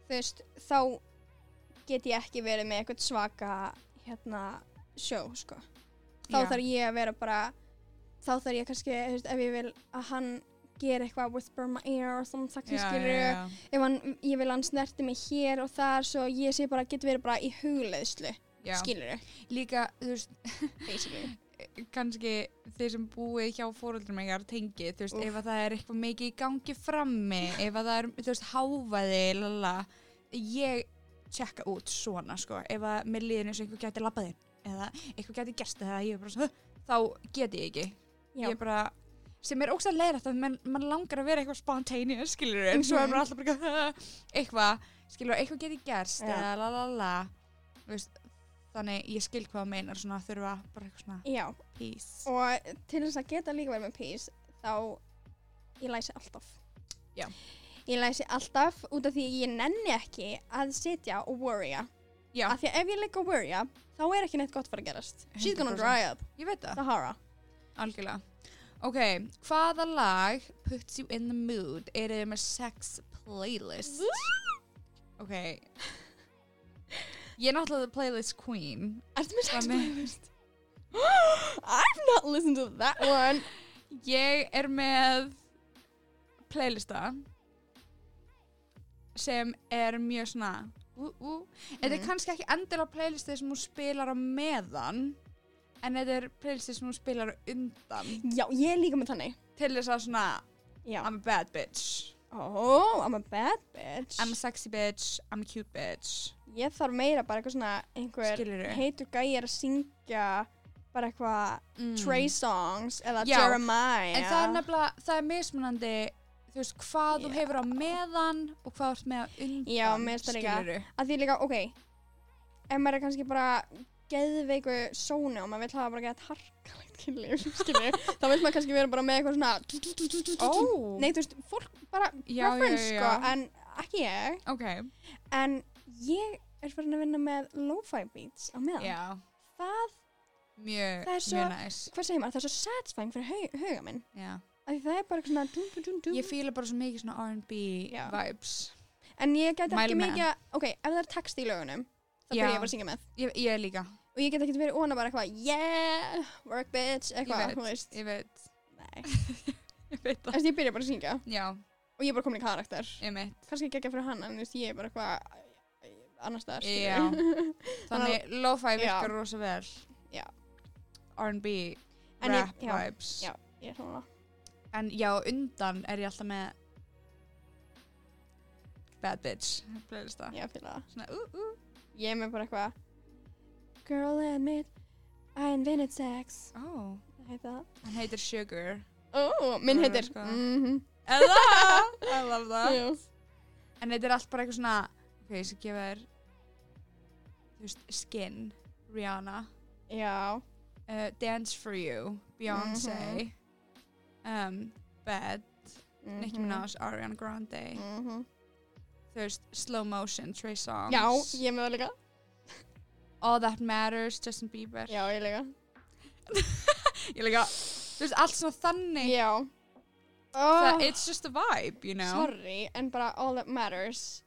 A: þú veist, þá get ég ekki verið með eitthvað svaka hérna, sjó sko. þá
B: Já.
A: þarf ég að vera bara þá þarf ég kannski, þú veist, ef ég vil að hann gera eitthvað whisper in my ear og þannig takk sem skilur ef hann, ég vil að hann snerti mig hér og þar svo ég sé bara, get verið bara í hugleðslu
B: já.
A: skilur
B: líka, þú veist,
A: basically
B: kannski þeir sem búið hjá fóröldrum eitthvað tengi, þú veist,
A: Úff.
B: ef að það er eitthvað mikið í gangi frammi, ef að það er þú veist, háfaði, lala ég tjekka út svona sko, ef að mér líður eins og einhver gæti labbaði eða einhver gæti gerst eða ég er bara svo, þá get ég ekki
A: Já.
B: ég er bara sem er ógst að leira þetta, menn mann langar að vera eitthvað spontaneous, skilur, en svo er
A: Mhm.
B: maður alltaf bara eitthvað, eitthvað, skilur, eitthvað geti gerst,
A: Já.
B: eða la la la, þú veist, þannig ég skil hvað þú meinar svona að þurfa bara eitthvað svona
A: já,
B: peace.
A: og til þess að geta líka verið með peace þá ég læsi alltaf
B: Já.
A: ég læsi alltaf út af því ég nenni ekki að sitja og worrya
B: Já,
A: af því að ef ég ligg og worrya þá er ekki neitt gott fara að gerast she's gonna
B: 100%.
A: dry up
B: ég veit það,
A: Sahara
B: algjörlega. Ok, hvaða lag puts you in the mood? Eru þið með sex playlist? Ok. Ég er náttúrulega the playlist queen.
A: ertu með sex
B: Hvað með-
A: playlist I've not listened to that one
B: Ég er með playlista sem er mjög svona ú, ú. Þetta er
A: Mm.
B: Mhm. kannski ekki endilega playlistið sem hún spilar á meðan en þetta er playlistið sem hún spilar á undan
A: Já, ég er líka með þannig.
B: til þess að svona
A: Já.
B: I'm a bad bitch,
A: Oh, I'm a bad bitch.
B: I'm a sexy bitch, I'm a cute bitch
A: Ég þarf meira bara eitthvað svona einhver
B: skilur
A: heitur gæi er að syngja bara eitthvað
B: Mm.
A: Trey songs eða
B: Já,
A: Jeremiah.
B: En það er nefnilega, það er mismunandi þú veist, hvað þú
A: Já.
B: hefur á meðan og hvað þú ert með á undan
A: Já, mér finnst það líka.
B: skilurðu.
A: Að því líka, ok, ef maður er kannski bara geðveiku sóni og maður vill hafa bara gett harkalegt kynlíf, skilur, þá vill maður kannski vera bara með eitthvað svona
B: Ó,
A: Nei, þú veist, fólk bara
B: Já,
A: preference,
B: já, já.
A: sko, en ekki ég
B: ok,
A: en ég er farin að vinna með lo-fi beats á meðan
B: já,
A: það,
B: mjög,
A: Það er svo-
B: mjög næs.
A: hvað segir maður, það er svo satisfying fyrir hau, huga minn,
B: Já.
A: af því það er bara eitthvað svona dum, dum, dum, dum.
B: Ég fíla bara svo mikið svona R&B
A: Já.
B: vibes.
A: en ég get
B: Mæli
A: ekki
B: með.
A: mikið að, ok, ef það er text í lögunum þá
B: Já.
A: byrja ég bara að syngja með
B: Ég, ég líka,
A: og ég get ekki verið óna bara eitthvað yeah, work bitch, eitthvað,
B: veit.
A: þú veist
B: ég veit,
A: nei,
B: ég veit það.
A: þess ég byrja bara að syngja
B: Já,
A: og ég er bara komin í karakter,
B: ég mitt.
A: kannski ekki ekki fyrir hann en þú veist, ég er bara eitthvað annars staðar,
B: Já.
A: skilurðu.
B: Þannig lo-fi
A: Já.
B: virkar rosa vel.
A: Já.
B: R&B,
A: En ég-
B: rap
A: já.
B: vibes.
A: Já. ég er svona
B: En já, undan er ég alltaf með Bad Bitch playlista.
A: Ég fíla það.
B: Svona, ú, ú.
A: Ég er með bara eitthvað Girl admit I invented sex
B: Ó,
A: Það heitir það
B: hann heitir Sugar.
A: Ó, minn
B: Girl,
A: heitir
B: sko.
A: Mhm.
B: Eða, I love that.
A: Jú.
B: En þetta er allt bara eitthvað svona, ok, ég skal gefa þér, þú veist, Skin, Rihanna,
A: Já
B: uh, Dance For You, Beyoncé, um, Bad, Nicki
A: mhm,
B: Minaj, Ariana Grande,
A: mhm.
B: þú veist, Slow Motion, Trey Songz.
A: Já, ég er með það líka
B: All That Matters, Justin Bieber.
A: Já, ég líka
B: Ég líka, þú veist, allt svona þannig.
A: Já
B: Það,
A: oh,
B: it's just a vibe, you know.
A: Sorry, en bara all that matters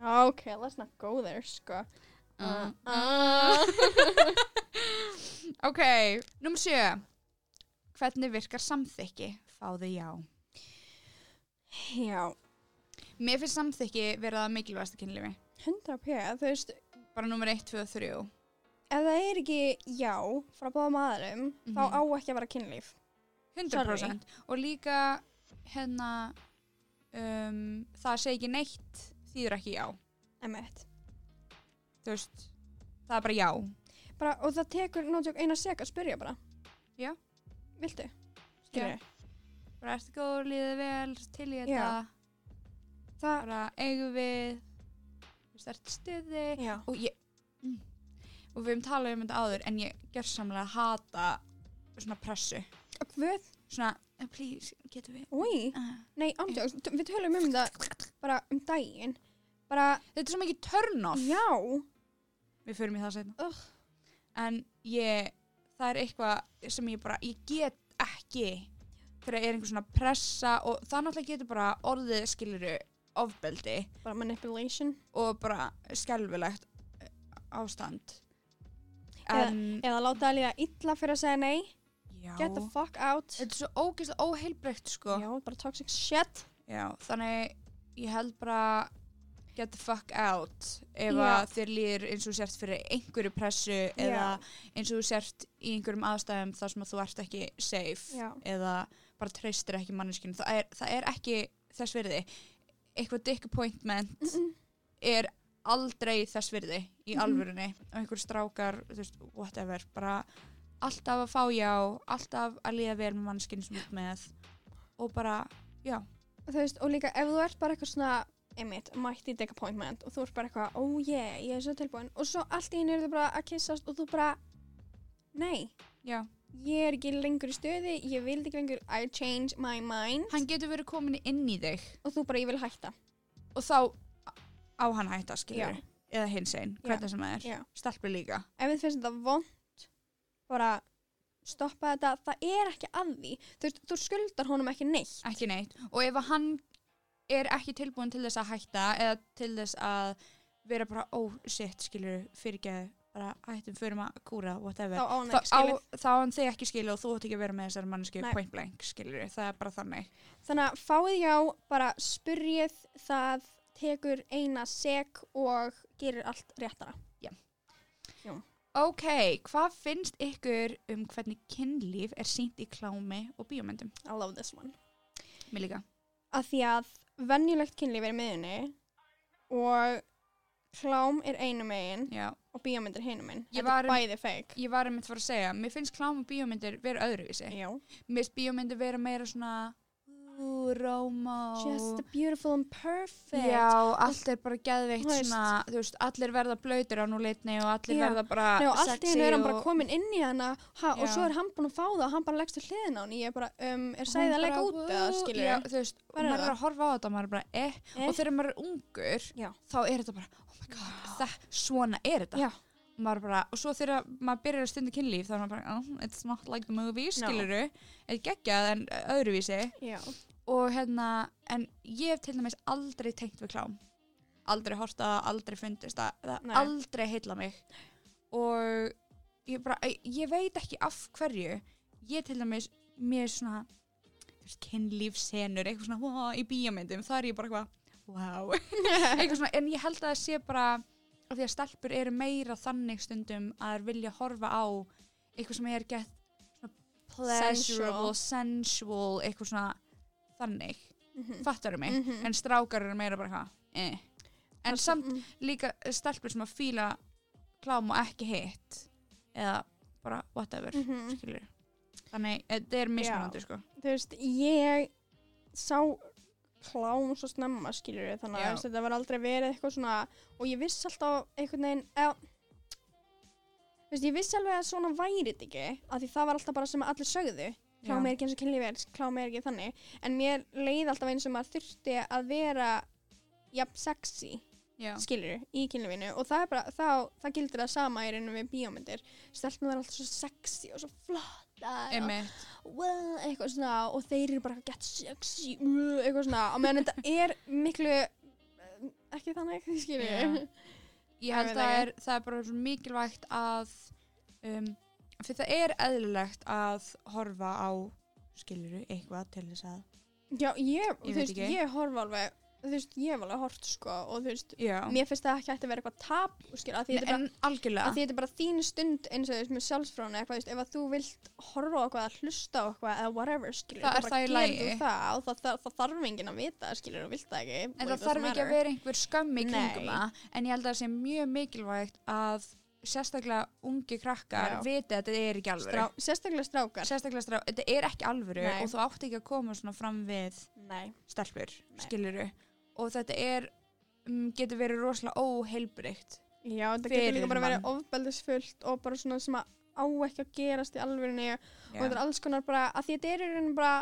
A: Ok, let's not go there, sko
B: Uh.
A: uh.
B: Ok, nummer sjö. Hvernig virkar samþykki? Fáði já.
A: Já,
B: Mér finnst samþykki vera það mikilvægasta kynlífi.
A: 100 p Þú veist,
B: Bara nummer 1, 2 og 3.
A: ef það er ekki já frá báðum aðurum þá
B: Mhm.
A: á ekki að vera kynlíf
B: 100%. Og líka, hérna, um, það segi ekki neitt, þýður ekki já.
A: Emmett
B: Þú veist, það er bara já.
A: bara, og það tekur náttúrulega eina sek að spyrja bara
B: Já.
A: viltu?
B: Já.
A: Skilurðu?
B: Bara ertu góð, líðið vel, til í þetta.
A: Já. það
B: Bara eigum við, þú veist, ertu stuði.
A: já.
B: og ég mm, og við höfum talað um þetta áður en ég gerðsamlega hata svona pressu
A: og hvað,
B: svona eh, please getum við
A: úi,
B: Ah.
A: nei andjóks við tölum um það bara um daginn bara,
B: þetta er svo mikið turn off
A: já
B: við förum í það setna
A: Ugh.
B: en ég það er eitthvað sem ég bara ég get ekki þegar er einhver svona pressa og það náttúrulega getur bara orðið skiluru ofbeldi
A: bara manipulation
B: og bara skelfilegt eh, ástand
A: Eða-
B: en
A: eða láta það líða illa fyrir að segja nei
B: já
A: get the fuck out
B: þetta er svo ógeðslega óheilbreykt sko
A: já, bara toxic shit
B: Já, þannig ég held bara get the fuck out ef
A: Já.
B: að þér líður eins og þú sért fyrir einhverju pressu eða
A: Já.
B: eins og þú sért í einhverjum aðstæðum þar sem að þú ert ekki safe
A: Já.
B: eða bara treystir ekki manneskinu það er, það er ekki þess virði eitthvað dick appointment er aldrei þess virði í
A: Mhm.
B: alvörunni og einhver strákar, þú veist, whatever bara alltaf að fá já alltaf að líða vel með manneskinu sem þú ert með og bara, já
A: þú veist, og líka ef þú ert bara eitthvað svona einmitt, mighty dick appointment og þú ert bara eitthvað, oh yeah, ég er svo tilbúin og svo allt í einu eru þau bara að kyssast og þú bara nei,
B: já
A: ég er ekki lengur í stöði, ég vil ekki lengur I change my mind
B: hann getur verið komin inn í þig
A: og þú bara, ég vil hætta
B: og þá á hann að hætta skilur
A: Já.
B: eða hins einn,
A: Já.
B: hvernig sem það er
A: Já.
B: stelpur líka,
A: ef þið finnst þetta vond bara stoppa þetta, það er ekki að því þú, veist, þú skuldar honum ekki neitt
B: ekki neitt og ef að hann er ekki tilbúin til þess að hætta eða til þess að vera bara, ó, oh, shit, skilur fyrirgeðu, bara hættum, förum að kúra whatever,
A: þá á hann ekki
B: þá
A: skilið
B: á- þá á hann þig ekki skilur og þú ætti ekki að vera með þessar mannsku
A: Nei.
B: point blank, skilur, það er bara þannig
A: þannig að fáið já, bara spyrjið það tekur eina sek og gerir allt réttara
B: Ok, hvað finnst ykkur um hvernig kynlíf er sínt í klámi og bíómyndum?
A: I love this one.
B: Mér líka.
A: Að því að venjulegt kynlíf er í miðunni og klám er einu megin
B: Já.
A: og bíómynd er hinu megin.
B: Ég
A: Þetta
B: var
A: er
B: um-
A: bæði feik.
B: Ég var einmitt fór að segja, mér finnst klám og bíómyndir vera öðruvísi.
A: Já.
B: Mér finnst bíómyndir vera meira svona ú, rómó.
A: Just the beautiful and perfect.
B: Já, allt er bara geðveikt
A: Þú veist.
B: svona, þú veist, allir verða blöytir á núleitni og allir
A: Já.
B: verða bara
A: Nei, og allt í
B: sexy
A: hennu er hann bara
B: og-
A: komin inn í hana ha, og
B: Já.
A: svo er hann búinn að fá það og hann bara leggst til hliðin á hann ég er bara, um, er
B: Hún
A: sæðið að
B: bara,
A: leggja út eða
B: "Wow",
A: skilur
B: já,
A: ég
B: þú veist, og
A: Hvar er
B: maður er
A: það?
B: að horfa á þetta og maður er bara, eh,
A: Eh.
B: og þegar maður er ungur
A: Já.
B: þá er þetta bara, oh my god, það, svona er þetta
A: Já.
B: Og maður bara, og svo þegar maður byrjar að stunda kynlíf þá er maður bara, oh, it's not like the movie
A: No.
B: skiluru, eða geggjað en öðruvísi
A: Já.
B: og hérna, en ég hef til dæmis aldrei tengt við klám aldrei horft á það, aldrei fundist það, það
A: Nei.
B: aldrei heilla mig og ég bara, ég- ég veit ekki af hverju ég til dæmis, mér er svona þú veist, kynlífsenur, eitthvað svona wow, í bíómyndum, það er ég bara eitthvað wow, eitthvað svona, en ég held að það sé bara, af því að stelpur eru meira þannig stundum að þær vilja horfa á eitthvað sem er gett svona pleasurable, sensual, eitthvað svona þannig,
A: Mhm.
B: fattarum mig
A: Mhm.
B: en strákar eru meira bara eitthvað eh. en
A: Það-
B: samt
A: mm.
B: líka stelpur sem að fíla klám og ekki hitt eða bara whatever mm.
A: Mhm.
B: skilur þannig þetta er mismunandi sko
A: þú veist, ég sá klám svo snemma skilur ég þannig að
B: Já.
A: þú veist, þetta var aldrei verið eitthvað svona og ég vissi alltaf einhvern veginn eða, þú veist, ég vissi alveg að svona væri þetta ekki af því það var alltaf bara sem allir sögðu klám er ekki eins og kynlíf er, klám er ekki þannig en mér leið alltaf eins og maður þurfti að vera jafn sexy
B: já.
A: skilur í kynlífinu og það er bara, þá, það gildir það sama í rauninu við bíómyndir stelpnum er alltaf svo sexy og svo flotta og,
B: Einmitt.
A: well, eitthvað svona og þeir eru bara eitthvað get sexy uh, eitthvað svona, á meðan þetta er miklu eh, ekki þannig, skilur
B: Já. ég held
A: Ég
B: að
A: veit
B: það
A: ekki.
B: er, það er bara svo mikilvægt að um, fyrir það er eðlilegt að horfa á skiluru eitthvað til þess að
A: Já, ég,
B: Ég
A: þú
B: veit
A: veist,
B: ekki.
A: ég horf alveg þú veist, ég hef alveg hort sko og þú veist,
B: já,
A: mér finnst það ekki hægt að vera eitthvað tap, skilur, að því þetta er bara
B: en algjörlega
A: að því þetta er bara þín stund eins og þú veist með sjálfsfrónu eitthvað, þú veist, ef að þú vilt horfa á eitthvað, hlusta á eitthvað eða whatever, skilur,
B: Það er
A: bara
B: það í
A: gerir
B: lagi.
A: þú það og það, það, það þarf enginn að vita, skilur, og vilt það ekki
B: En
A: what
B: það
A: does
B: þarf ekki
A: matter?
B: að vera einhver skömmi
A: Nei.
B: kringum það, en ég held að það sé mjög mikilvægt að sérstaklega ungi
A: Já.
B: krakkar viti að þetta er ekki alvöru.
A: Strá, sérstaklega strákar
B: Sérstaklega strá, þetta er ekki alvöru
A: Nei.
B: og þú átt ekki að koma svona fram við
A: Nei,
B: stelpur,
A: Nei.
B: skiluru. Og þetta er, um, getur verið rosalega óheilbrygt.
A: já, það
B: Fyrir
A: getur líka bara að vera
B: mann.
A: ofbeldisfullt og bara svona sem að á ekki að gerast í alvörinni og þetta
B: Já.
A: er alls konar bara, að því þetta er í rauninni bara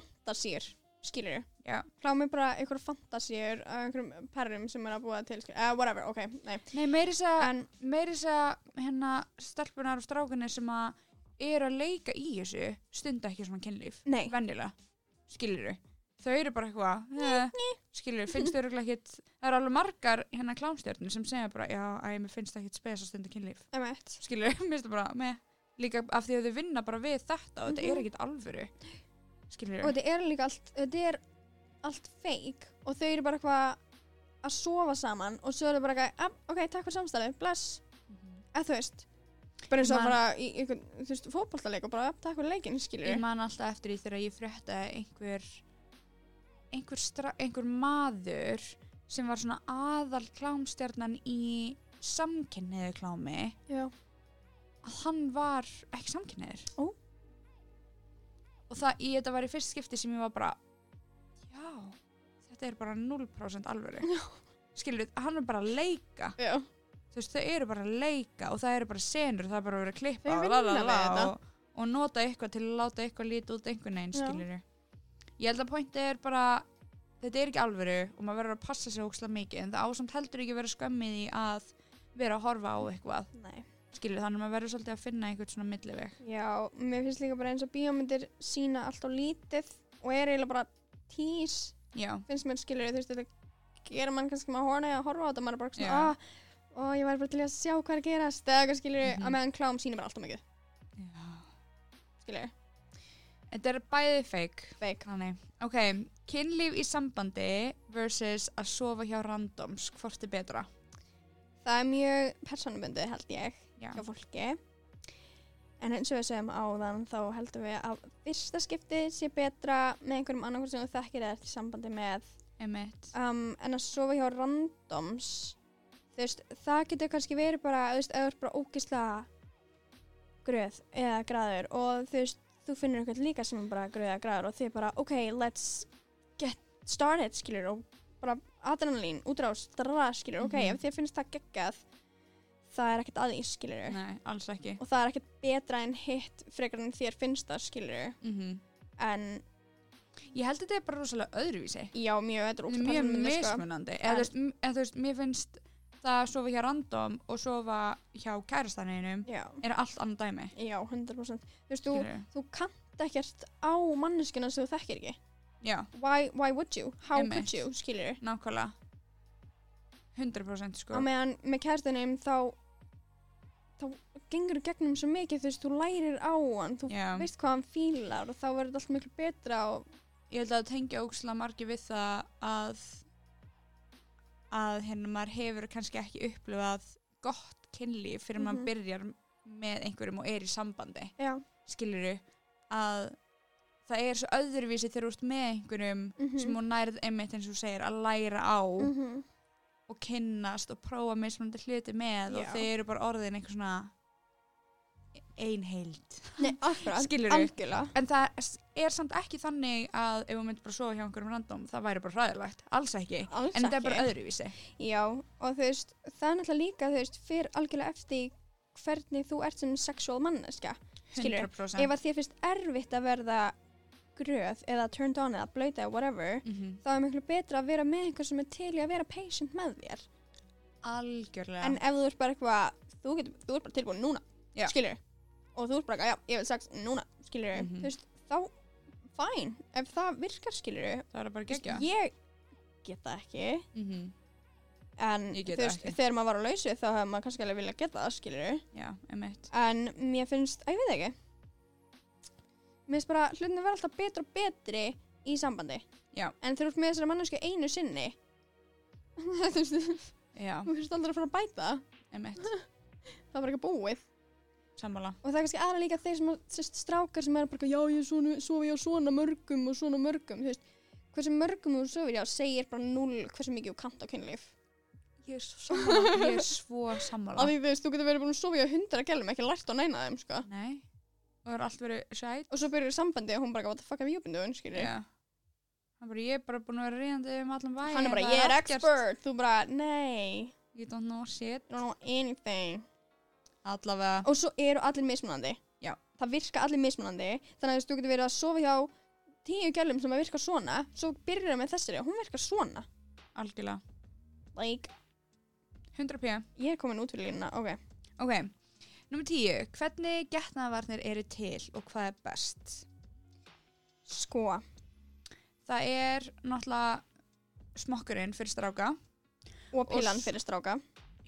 A: fantasíur, skilur
B: Já.
A: Frá mig bara einhverjum fantasíur af einhverjum perrum sem er að búa til, skilur, uh, whatever, ok, nei.
B: Nei, meiri þess að,
A: En,
B: meiri þess að hérna stelpunar og strákunir sem að eru að leika í þessu stunda ekki svona kynlíf.
A: nei.
B: venjulega, skilur þau eru bara eitthvað eh, skilur, finnst þau örugglega ekkit það eru alveg margar hérna klámstjörnum sem segja bara já, æ, mér finnst það ekkit spes að stunda kynlíf
A: Emmett.
B: skilur, mér finnst það bara með líka af því að þau vinna bara við þetta og þetta er
A: Mhm.
B: ekkit alvöru skilur,
A: Og þetta er líka allt, þetta er allt feik og þau eru bara eitthvað að sofa saman og svo eru bara eitthvað, ah, ok, takk fyrir samstæðu, bless, eða þú veist. Bara eins og
B: Man-
A: bara í einhvern, þú veist, fótballtaleik og bara, ah, takk fyrir leikinn, skilur
B: ég man alltaf eftir því þegar ég fréttaði einhver einhver, stra, einhver maður sem var svona aðal klámstjarnan í samkynniðu klámi
A: Já.
B: að hann var ekki samkynniður
A: Ó.
B: og það í þetta var í fyrst skipti sem ég var bara já, þetta er bara 0% alvöru skilur við, hann er bara að leika
A: Já.
B: þú veist, þau eru bara að leika og það eru bara senur, það er bara að vera að klippa
A: Þau
B: og,
A: vinna
B: la, la,
A: við
B: la,
A: þetta.
B: og, og nota eitthvað til að láta eitthvað lítið út einhvern veginn,
A: Já.
B: skilur við ég held að pointi er bara þetta er ekki alvöru og maður verður að passa sig ókslega mikið en það ásamt heldur ekki að vera skömmið í að vera að horfa á eitthvað
A: Nei.
B: skilur þannig að maður verður svolítið að finna einhvern svona milliveg
A: Já, mér finnst líka bara eins og bíómyndir sína allt á lítið og er eiginlega bara tís,
B: já,
A: finnst mér skilur, þú veist, þetta gera mann kannski maður horna að horfa á þetta, maður er bara svona,
B: Já.
A: ah, og ég var bara til í að sjá hvað er að gerast, eða eitthvað skilur, mm
B: Mhm.
A: að meðan klám sína bara allt á mikið, skilur.
B: þetta er bæðið feik
A: Feik.
B: þannig, ok, kynlíf í sambandi versus að sofa hjá randoms, hvort er betra
A: Það er mjög persónubundið held ég.
B: Já.
A: hjá fólki en eins og við segjum áðan þá heldum við að fyrsta skipti sé betra með einhverjum annarkvæm sem þú þekkir eða ert í sambandi með
B: Emmett.
A: um, en að sofa hjá randoms þú veist, það getur kannski verið bara, þú veist, eða þú ert bara ógislega gröð eða graður og þú veist, þú finnur eitthvað líka sem er bara gröð eða graður og þið bara, ok, let's get started, skilur og bara adrenalín, útrás, drara, skilur ok,
B: Mhm.
A: ef þið finnst það geggjað það er ekkert aðeins, skilur
B: Nei, alls ekki.
A: og það er ekkert betra en hitt frekar en þér finnst það, skilur en
B: Mhm. Ég held að þetta er bara rosalega öðruvísi.
A: já, mjög, þetta er
B: Þetta er
A: ógeðslega
B: mjög
A: persónubundið, sko.
B: mismunandi. Eða, þú veist, m- eða þú veist, mér finnst það að sofa hjá random og sofa hjá kærastaninum
A: já,
B: er allt annað dæmi.
A: já, 100% þú veist, þú,
B: skilurðu.
A: þú kannt ekkert á manneskina sem þú þekkir ekki
B: Já,
A: why, why would you, how
B: Einmitt.
A: could you skilur
B: nákvæmlega. 100%
A: á
B: sko.
A: meðan með kærstunum þá þá gengur þú gegnum svo mikið þú veist, þú lærir á hann þú
B: Já.
A: veist hvað hann fílar og þá verður þetta allt miklu betra og
B: Ég held að það tengja ógslag margir við það að að hérna maður hefur kannski ekki upplifað gott kynlíf fyrir
A: Mhm.
B: maður byrjar með einhverjum og er í sambandi.
A: já,
B: skiluru að það er svo öðruvísi þegar þú ert með einhverjum
A: mhm,
B: sem hún nærið einmitt eins og þú segir að læra á
A: mhm,
B: og kynnast og prófa mismunandi hluti með og
A: Já.
B: þeir eru bara orðin einhver svona einheild
A: nei, akkurat
B: Skilurðu?
A: algjörlega,
B: en það er samt ekki þannig að ef þú myndir bara sofa hjá einhverjum random það væri bara hræðilegt, alls ekki
A: alls
B: en
A: ekki
B: það er bara öðruvísi
A: já, og þú veist, það er náttúrulega líka þú veist, fyrir algjörlega eftir því hvernig þú ert sem sexual manneska Skilurðu?
B: 100%
A: ef að þér finnst erfitt að verða gröð eða turned on eða blöyta eða whatever
B: Mhm.
A: þá er miklu betra að vera með einhver sem er til í að vera patient með þér
B: algjörlega
A: en ef þú ert bara eitthvað þú, getur, þú ert bara tilbúin núna,
B: Já.
A: skilur og þú ert bara, eitthvað, já, ég vil sex núna, skilur
B: Mhm.
A: þú veist, þá, fæn ef það virkar, skilur
B: það er bara geggja
A: ég get það ekki
B: mm -hmm.
A: en
B: Ég get
A: þú
B: það
A: veist,
B: ekki.
A: þegar maður var á lausu þá hefði maður kannski alveg viljað geta það, skilur
B: já, einmitt
A: en mér finnst, að ég veit ekki mér finnst bara hlutinu vera alltaf betra og betri í sambandi
B: Já.
A: en þegar þú ert með þessari mannesku einu sinni þú veist,
B: já,
A: þú veist aldrei að fara að bæta það.
B: einmitt,
A: það var ekki búið
B: sammála
A: og það er kannski aðra líka þeir sem sérst, strákar sem er bara eitthvað, já ég svona, sofi á svona mörgum og svona mörgum þú veist, hversu mörgum þú sofir já segir bara null hversu mikið þú kanta á kynlíf
B: ég er svo sammála, ég er svo sammála
A: af því þú veist þú getur verið búin að sofi á hundra gælum ekki lært á neina af þeim sko
B: Nei, og er allt verið sæt
A: og svo byrjar sambandi og hún bara what the fuck have you been doing skilur
B: Já Hann bara, ég er bara búin að vera reyðandi um allan væg
A: hann er bara ég er expert þú bara nei
B: You don't know shit
A: I don't know anything
B: Allavega
A: og svo eru allir mismunandi
B: Já.
A: það virka allir mismunandi þannig að þú veist, þú getur verið að sofa hjá tíu gælum sem að virka svona svo byrjar það með þessari og hún virkar svona
B: Algjörlega
A: like
B: 100 p
A: ég er komin út fyrir línuna ok
B: Ok, nummer 10 Hvernig getnaðvarnir eru til og hvað er best?
A: sko
B: Það er náttúrulega smokkurinn fyrir stráka
A: og pílan
B: s-
A: fyrir stráka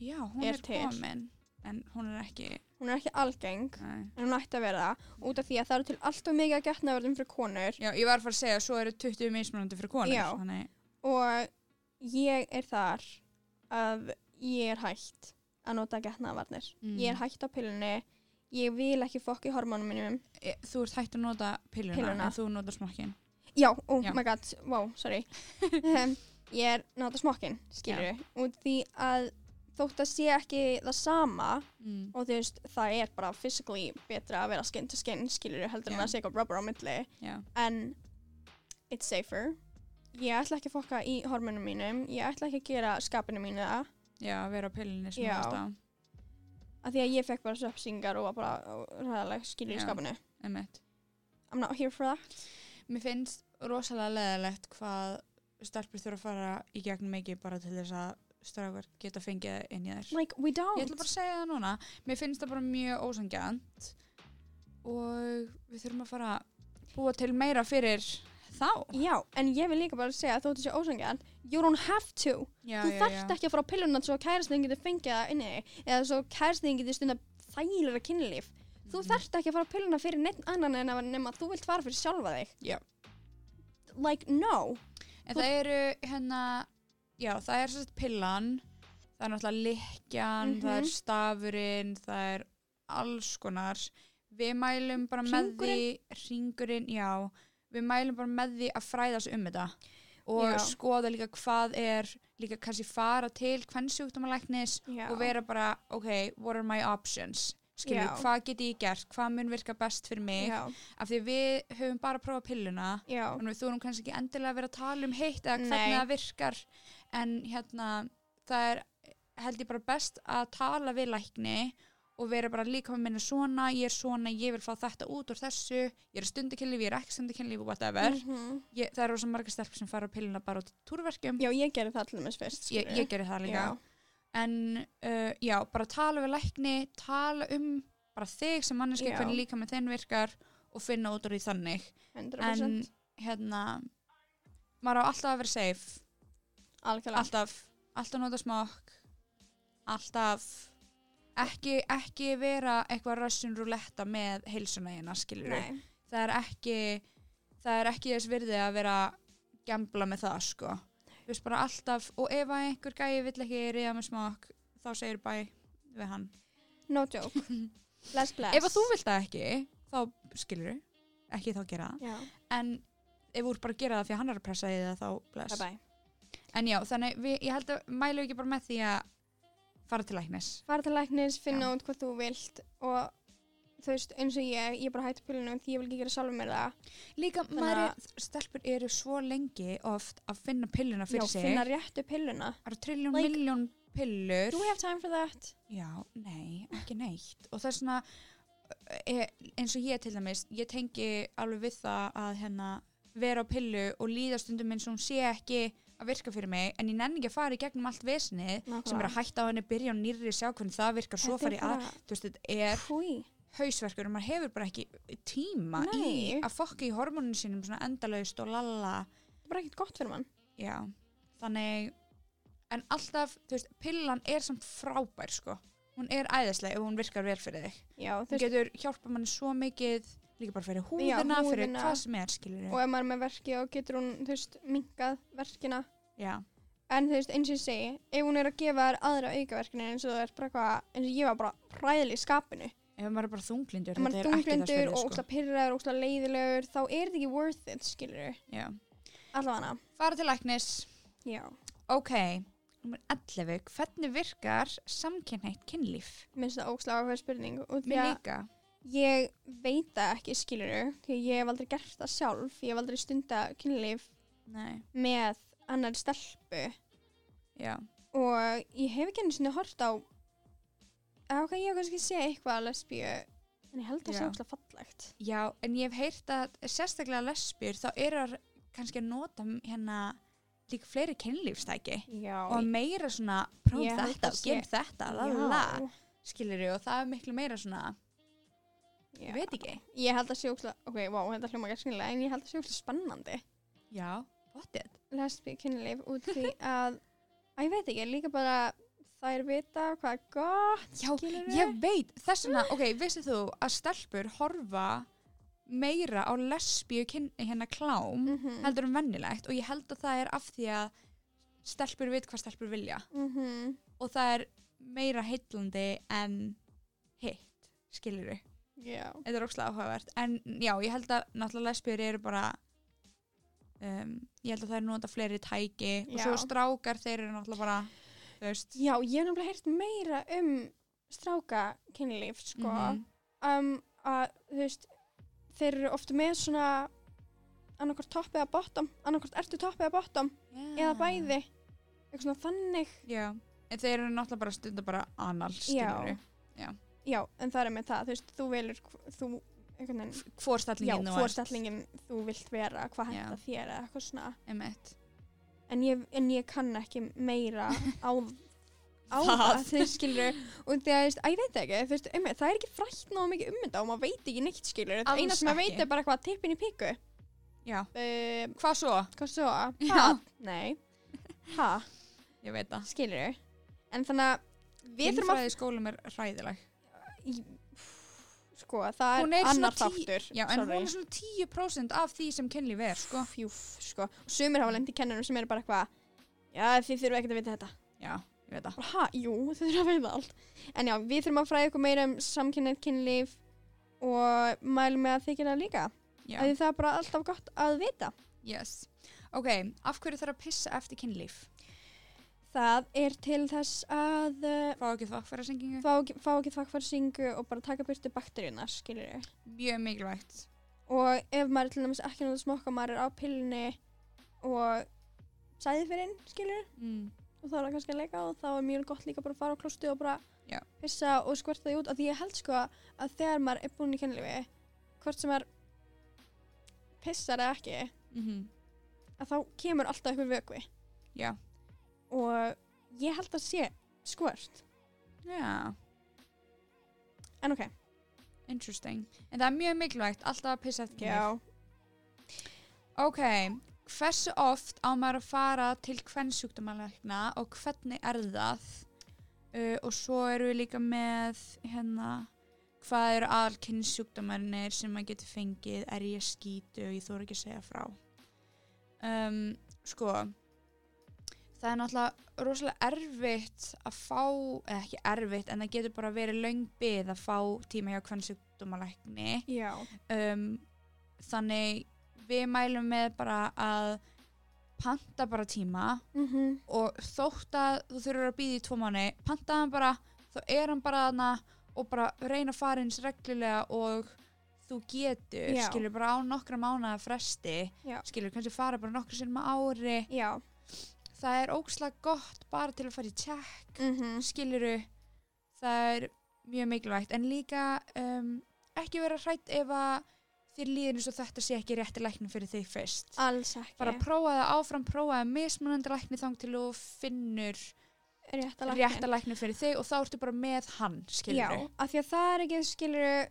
B: Já, hún
A: Er
B: er,
A: til.
B: komin En hún er ekki
A: hún er ekki algeng
B: Nei.
A: en hún ætti að vera það út af því að það eru til alltaf mikið að getna fyrir konur
B: Já, ég var að fara að segja að Svo eru 20 mismunandi fyrir konur
A: Já.
B: Þannig,
A: og ég er þar að ég er hægt að nota getnaðvarnir
B: Mm.
A: ég er hægt á pillunni ég vil ekki fokk í hormónum mínum
B: e, þú ert hægt að nota pilluna,
A: Pilluna.
B: En þú notar smokkin
A: já, oh
B: Já.
A: my god, wow, sorry um, ég er að nota smokkin skilur, út því að þótt að sé ekki það sama
B: mm.
A: og þú veist, það er bara physically betra að vera skin to skin skilur heldur en
B: Já.
A: að sé eitthvað rubber á milli
B: Já,
A: en it's safer ég ætla ekki að fokka í hormonum mínum ég ætla ekki að gera skapinu mínu það
B: já, að vera á pillinni sem
A: Já.
B: það stá
A: af því að ég fekk bara söpsingar og var bara ræðalega skilur í
B: Já.
A: skapinu
B: Einmitt.
A: I'm not here for that
B: Mér finnst rosalega leðilegt hvað stelpur þurfa að fara í gegnum mikið bara til þess að strafgar geta fengið það inn í þær.
A: like we
B: Ég ætla
A: don't
B: bara að segja það núna. Mér finnst það bara mjög ósangjant og við þurfum að fara að búa til meira fyrir þá.
A: já, en ég vil líka bara segja að þóttu sé ósangjarn you don't have to
B: Já,
A: þú þarft ekki að fara á pilluna svo að kærastin getur fengið það inni í þig, eða svo kærastin getur stunda þægilega kynlíf þú
B: Mhm.
A: þarft ekki að fara á pilluna fyrir neitt annan en að nema þú vilt fara fyrir sjálfa þig
B: Já.
A: like no
B: En það eru hérna, já, það er svolítið pillan, það er náttúrulega lykkjan,
A: Mhm.
B: það er stafurinn, það er alls konar. Við mælum bara með því, ringurinn, já, við mælum bara með því að fræðast um þetta og
A: Já.
B: skoða líka hvað er, líka kannski fara til kvennsjúkdómalæknis
A: Já.
B: og vera bara, ok, what are my options? Skilju,
A: Já.
B: hvað get ég gert? Hvað mun virka best fyrir mig?
A: Já,
B: Af því við höfum bara prófað pilluna
A: já,
B: þannig við þurfum kannski ekki endilega að vera að tala um heitt eða hvernig
A: Nei.
B: það virkar en hérna það er held ég bara best að tala við lækni og vera bara líka með minna svona, ég er svona, ég vil fá þetta út úr þessu, ég er stundakynlíf, ég er ekki stundakynlíf, whatever.
A: Mhm.
B: Ég, það eru svo margar stelpur sem fara á pilluna bara út túrverkjum,
A: já, ég gerði það allir með fyrst
B: ég,
A: skilurðu.
B: ég gerir það líka.
A: Já.
B: En uh, já, bara tala við lækni, tala um bara þig sem manneski,
A: Já.
B: hvernig líka með þenn virkar og finna út úr því þannig
A: 100%
B: en hérna maður á alltaf að vera safe
A: algjörlega,
B: alltaf, alltaf nota smokk alltaf ekki, ekki vera eitthvað rössun rúletta með heilsuna hérna skilur
A: nei,
B: það er ekki það er ekki þess virði að vera gembla með það sko þú veist bara alltaf og ef að einhver gæi vill ekki reyða með smokk þá segir bæ við hann
A: no joke bless bless
B: ef að þú vilt það ekki þá skilur ekki þá gera það
A: já,
B: en ef þú ert bara að gera það því að hann er að pressa því það þá
A: bye
B: bless
A: bye
B: en já, þannig við, ég held að mælu ekki bara með því að fara til læknis
A: fara til læknis, finna út hvað þú vilt og þú veist, eins og ég ég er bara hætti pillinu því ég vil ekki gera sjálfur mér það
B: líka,
A: Þannig maður er-
B: stelpur eru svo lengi oft að finna pilluna
A: já,
B: fyrir sig
A: finna réttu pilluna
B: það eru trilljón,
A: Like-
B: milljón pillur
A: do we have time for that?
B: já, nei, ekki neitt og það er svona eh, eins og ég til dæmis, ég tengi alveg við það að hérna vera á pillu og líða stundum eins og hún sé ekki að virka fyrir mig, en ég nenni ekki að fara í gegnum allt vesnið sem er að hætta á henni, byrja á nýrri, sjá hvernig það virkar, svo fara í að, þú veist, þetta er
A: húi
B: hausverkur og maður hefur bara ekki tíma í
A: Nei.
B: að fokka í hormóninu sínum svona endalaust og lalla,
A: það er bara ekkert gott fyrir mann
B: já, þannig, en alltaf, þú veist, pillan er samt frábær, sko, hún er æðislega og hún virkar vel fyrir þig,
A: já, þú
B: þú
A: veist,
B: getur hjálpa manni svo mikið, líka bara fyrir húðina, fyrir
A: húðina.
B: hvað sem er, skilur
A: og ef maður er með verki og getur hún, þú veist, minkað verkina
B: já,
A: en þú veist, eins og ég segi, ef hún er að gefa þér aðra aukaverkina eins og það er bara hvað eins og ég var bara hræðileg í skapinu
B: ef maður er bara þunglindur,
A: ef maður er
B: þetta er ekki þess
A: dunglindur
B: fyrir,
A: og
B: sko,
A: óksla pyrraður, óksla leiðilegur þá er þetta ekki worth it, skilur við
B: já,
A: allavega,
B: fara til læknis,
A: já,
B: ok, nummer 11, hvernig virkar samkynhætt kynlíf?
A: minnst það óksla áhuga spurning og því
B: Mér
A: að
B: líka.
A: Ég veit það ekki, skilur því að ég hef aldrei gert það sjálf, ég hef aldrei stunda kynlíf
B: Nei,
A: með annar stelpu
B: já.
A: og ég hef ekki einu sinni hort á eða ok, ég hef kannski séð eitthvað að lesbíu, en ég held það
B: Já.
A: sé óslega fallegt.
B: Já, en ég hef heyrt að sérstaklega lesbjur þá eru þær kannski að nota m- hérna líka fleiri kynlífstæki
A: Já.
B: og meira svona próf
A: Ég held
B: þetta
A: að
B: og
A: sé-
B: gem þetta, la la la skilur og það er miklu meira svona
A: Já.
B: ég veit ekki.
A: Ég held það sé óslega, ok, wow, þetta hljóma ekki skilnilega, en ég held það sé óslega spennandi
B: Já, what it?
A: lesbíu kynlíf út því að, að ég veit ekki, líka bara þær vita hvað er gott,
B: Já,
A: skilur
B: ég veit, þess vegna, ok, vissið þú að stelpur horfa meira á lesbíu kyn, hérna klám
A: Mhm. Mm.
B: heldur en vennilegt og ég held að það er af því að stelpur veit hvað stelpur vilja
A: Mhm.
B: og það er meira heitlandi en hitt, skilur við.
A: Já.
B: Þetta er ókslega áhugavert. En já, ég held að náttúrulega lesbíur eru bara, um, ég held að það er nota fleiri tæki og
A: Já.
B: svo strákar þeir eru náttúrulega bara, þú veist.
A: Já, ég hef nefnilega heyrt meira um stráka kynlíf, sko.
B: mhm,
A: um, að, þú veist, þeir eru oft með svona annarkvort topp eða bottom, annarkvort ertu topp eða bottom,
B: Ah.
A: eða bæði. Eitthvað svona þannig.
B: Já, en þeir eru náttúrulega bara stundar bara anal, skilur
A: Já.
B: við.
A: Já, en það er með það, þú veist, þú velur, hv- þú, einhvern veginn, já,
B: Hvorstallingin
A: fórstallingin þú vilt vera, hvað
B: Já.
A: henda þér eða eitthvað svona.
B: Emmett.
A: En ég, en ég kann ekki meira á á
B: Það.
A: það, þau skilur og því að, þú veist, að ég veit það ekki, þú veist, um, það er ekki frætt náðu mikið um þetta og maður veit ekki neitt skilur það
B: Alls
A: eina sem maður
B: ekki.
A: veit er bara eitthvað tippin í píku
B: Já.
A: um,
B: Hvað svo?
A: hvað svo, ha,
B: Já.
A: nei ha,
B: Ég veit það.
A: skilur en þannig að við þurfum að
B: Kynfræði í skólum er hræðileg.
A: sko, það
B: Hún
A: er,
B: er svona
A: annar
B: tí-
A: þáttur
B: Já, en
A: sorry.
B: hún er svona 10% af því sem kynlíf er, sko.
A: fjúf, sko, og sumir hafa lendi kennarum sem eru bara eitthvað já, þið þurfum ekkert að vita þetta
B: Já, ég veit það
A: Ha, jú, þau þurfa að veiða allt. En já, við þurfum að fræða ykkur meira um samkynnið kynlíf og mælum með að þykja það líka.
B: Já.
A: Af Því það er bara alltaf gott að vita.
B: Yes. Ok, af hverju þarf að pissa eftir kynlíf?
A: Það er til þess að uh,
B: Fá ekki það fyrir sengingu?
A: fá, ekki- fá ekki þakkfarsingu og bara taka byrtu bakteríunar, skilur ég.
B: Mjög mikilvægt.
A: Og ef maður er til dæmis ekki náttúrulega smokka, maður er á pillinni og sæði fyrir inn, skilur
B: Mm.
A: og þá er það kannski að leika og þá er mjög gott líka bara að fara á klostu og bara
B: Já.
A: pissa og skverta því út af því ég held sko að þegar maður er búinn í kynlífi hvort sem maður pissar eða ekki
B: Mm
A: að þá kemur alltaf eitthvað vökvi
B: Já.
A: og ég held að sé skvört
B: Já,
A: en ok
B: interesting. En það er mjög mikilvægt alltaf að pissa eftir kynlíf. Ok, hversu oft á maður að fara til kvennsjúkdómalækna og hvernig er það? Uh, og svo erum við líka með hérna, hvað eru aðal kynnsjúkdómarinnir sem maður getur fengið, er ég skítu og ég þóra ekki að segja frá. Um, sko, það er náttúrulega rosalega erfitt að fá, eða ekki erfitt, en það getur bara verið löng bið að fá tíma hjá kvennsjúkdómalækni
A: já,
B: um, þannig við mælum með bara að panta bara tíma
A: mm
B: og þótt að þú þurfur að býða í tvo mánu panta hann bara, þá er hann bara þarna og bara reyna að fara eins reglulega og þú getur
A: Já.
B: skilur bara á nokkra mánuða fresti
A: Já.
B: skilur kannski fara bara nokkra sinnum á ári
A: já
B: það er ókslega gott bara til að fara í tjekk
A: mm -hmm.
B: skiluru það er mjög mikilvægt en líka um, ekki vera hrætt ef að þér líður eins og þetta sé ekki rétti læknum fyrir þig fyrst
A: alls ekki
B: bara prófa það áfram, prófa það mismunandi lækni þang til þú finnur
A: rétt að
B: rétta læknum fyrir þig og þá ertu bara með hann skiluru
A: Já, af því að það er ekki, skilur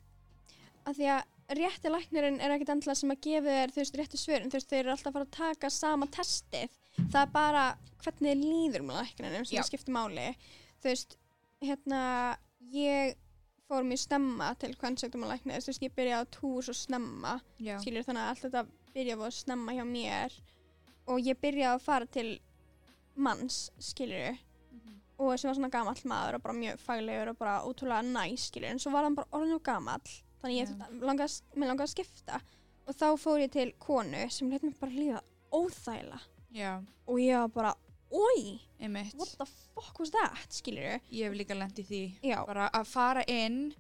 A: af því að rétti læknirinn er ekkit endilega sem að gefa þér, þú veist, réttu svörin þú veist, þeir eru alltaf að fara að taka sama testið það er bara hvernig þér líður með lækninum sem
B: Já.
A: Já. skiptir máli þú veist, hérna ég fór mjög snemma til kvennsöktum að læknir, þú veist, ég byrjaði á túr svo snemma,
B: Já.
A: skilur þannig að allt þetta byrjaði að snemma hjá mér og ég byrjaði að fara til manns, skilur
B: Mhm.
A: og sem var svona gamall maður og bara mjög faglegur og bara ótrúlega næs skilur en svo var hann bara orðin og gamall þannig
B: Já.
A: ég yeah. langað, mér langaði að skipta og þá fór ég til konu sem lét mér bara líða óþæla
B: Já,
A: og ég var bara, oi, what
B: einmitt
A: the fuck was that skilur
B: ég hef líka lent í því
A: já,
B: bara að fara inn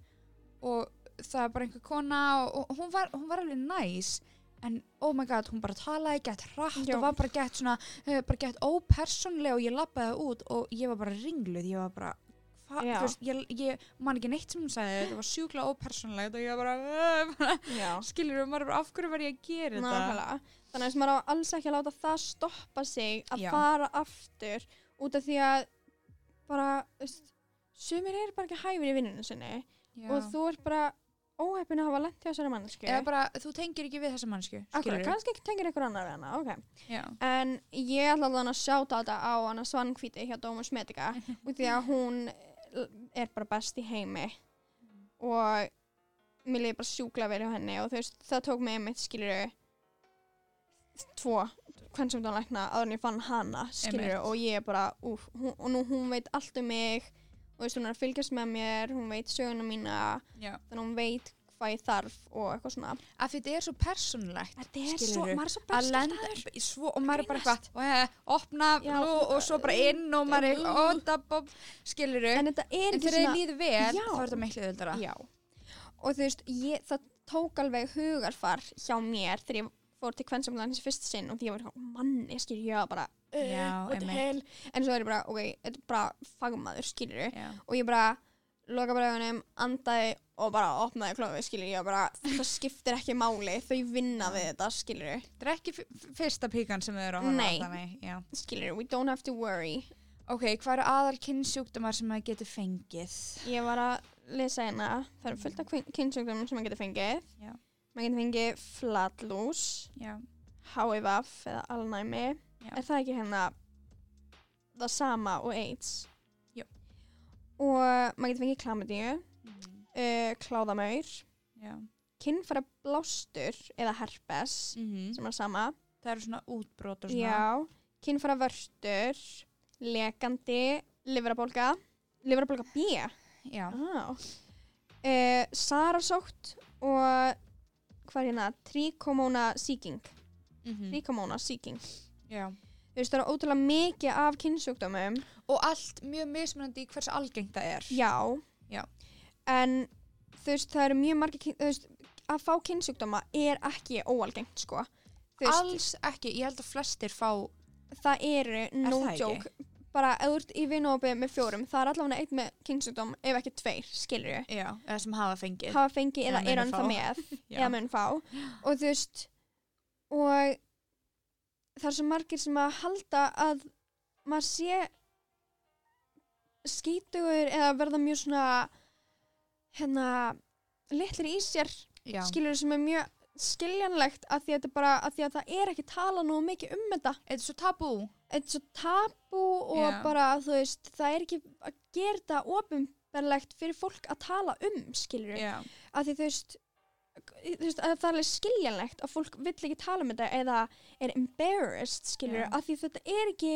B: og það er bara einhver kona og, og hún, var, hún var alveg næs en oh my god, hún bara talaði gett hratt
A: Já.
B: og var bara gett svona eh, bara gett ópersonlega og ég lappaði út og ég var bara ringluð, ég var bara hva-
A: Já.
B: þú veist, ég, ég man ekki neitt sem hún sagði þetta var sjúklega ópersonlegt og ég var bara, eh, bara
A: já
B: skilur maður bara af hverju var ég að gera þetta
A: Nákvæmlega. Þannig að maður á alls ekki að láta það stoppa sig að
B: Já.
A: fara aftur út af því að bara, þú veist, sumir eru bara ekki hæfir í vinnunum sinni og þú ert bara óheppin að hafa lent hjá þessari mannsku
B: eða bara, þú tengir ekki við þessa mannsku
A: Akkurat,
B: skilurðu?
A: kannski tengir ykkur annar við hana, ok.
B: Já.
A: En ég ætla alveg að sjáta þetta á hana svankvíti hjá Dómus Medica út því að hún er bara best í heimi og mér liði bara sjúkla vel hjá henni og þú veist, það tók mig einmitt, skilur tvo, hvern sem það lækna áður en ég fann hana, skilur
B: Einmitt.
A: og ég er bara, úf, hún, og nú hún veit allt um mig og þú veist, hún er að fylgjast með mér hún veit söguna mína,
B: Já.
A: þannig að hún veit hvað ég þarf og eitthvað svona
B: að þetta er svo persónlegt
A: Þetta er svo,
B: skilurðu?
A: maður er svo
B: að
A: best
B: lenda í svo, og maður er bara
A: grínast.
B: eitthvað og ég, opna
A: Já,
B: nú, og svo bara inn og maður er eitthvað ó, dabob, skilur en,
A: en þetta er
B: en
A: ekki
B: þegar þið
A: svona
B: líður vel
A: Já.
B: þá er þetta miklu öðuldara
A: já. og þú veist, ég, það tók alveg hugarfar hjá mér þegar ég fór til kvensamlæðins fyrst sinn og því ég var eitthvað, manni, skilur ég var bara "Eh,
B: Já,
A: what the
B: einmitt.
A: hell?" en svo er ég bara, ok, þetta er bara fagmaður, skilur
B: Já.
A: og ég bara loka bara augunum, andaði og bara opnaði klófið, skilur ég og bara, það skiptir ekki máli, þau vinna við þetta, skilur
B: þetta er ekki f- f- fyrsta píkan sem þið eru að horfa á,
A: Nei.
B: þannig, já.
A: skilur, we don't have to worry
B: ok, hvað eru aðal kynnsjúkdómar sem maður getur fengið
A: Ég var að lesa hérna, það eru fullt af kynnsjúkdómum sem maður getur fengið.
B: Já.
A: Maður getur fengið flatlús,
B: já,
A: HIV eða alnæmi.
B: Já.
A: Er það ekki hérna það sama og AIDS?
B: Jú.
A: Og maður getur fengið klamidíu,
B: mm.
A: uh, kláðamaur,
B: já.
A: kynfæra blástur eða herpes
B: Mhm.
A: sem er sama.
B: það eru svona útbrot og svona
A: Já, kynfæra vörtur, lekandi Liverabólga. Liverabólga B.
B: Já.
A: Á. Eh, Sarasótt og hvað er hérna? Trikomóna sýking.
B: Mhm.
A: Trikomóna sýking.
B: Já.
A: Þú veist, það er ótrúlega mikið af kynnsjúkdómum.
B: Og allt mjög mismunandi í hversu algengt það er.
A: Já.
B: Já.
A: En þú veist, það eru mjög margir, kyn- þú veist, að fá kynnsjúkdóma er ekki óalgengt, sko. Þú veist,
B: Alls ekki, ég held að flestir fá
A: það eru, no
B: það ekki?
A: joke, bara ef þú ert í vinópið með fjórum, það er allavega einn með kynnsjúkdóm, ef ekki tveir, skilur ég.
B: Já. eða sem hafa fengið.
A: Hafa fengið
B: Eða
A: eða eru
B: munu
A: ennþá
B: fá.
A: með,
B: Já.
A: eða mun fá. Og þú veist, og það er svo margir sem að halda að maður sé skítugur eða verða mjög svona, hérna, litlir í sér
B: Já.
A: skilur sem er mjög skiljanlegt að því að, þetta er bara, að, því að það er ekki tala nú mikið um þetta
B: Þetta er svo tabú.
A: þetta er svo tabu og
B: Já.
A: bara þú veist það er ekki að gera þetta ofinberlegt fyrir fólk að tala um skilur
B: Já.
A: að því þú veist þú veist, að það er alveg skiljanlegt að fólk vill ekki tala um þetta eða er embarrassed skilur
B: Já.
A: að því þetta er ekki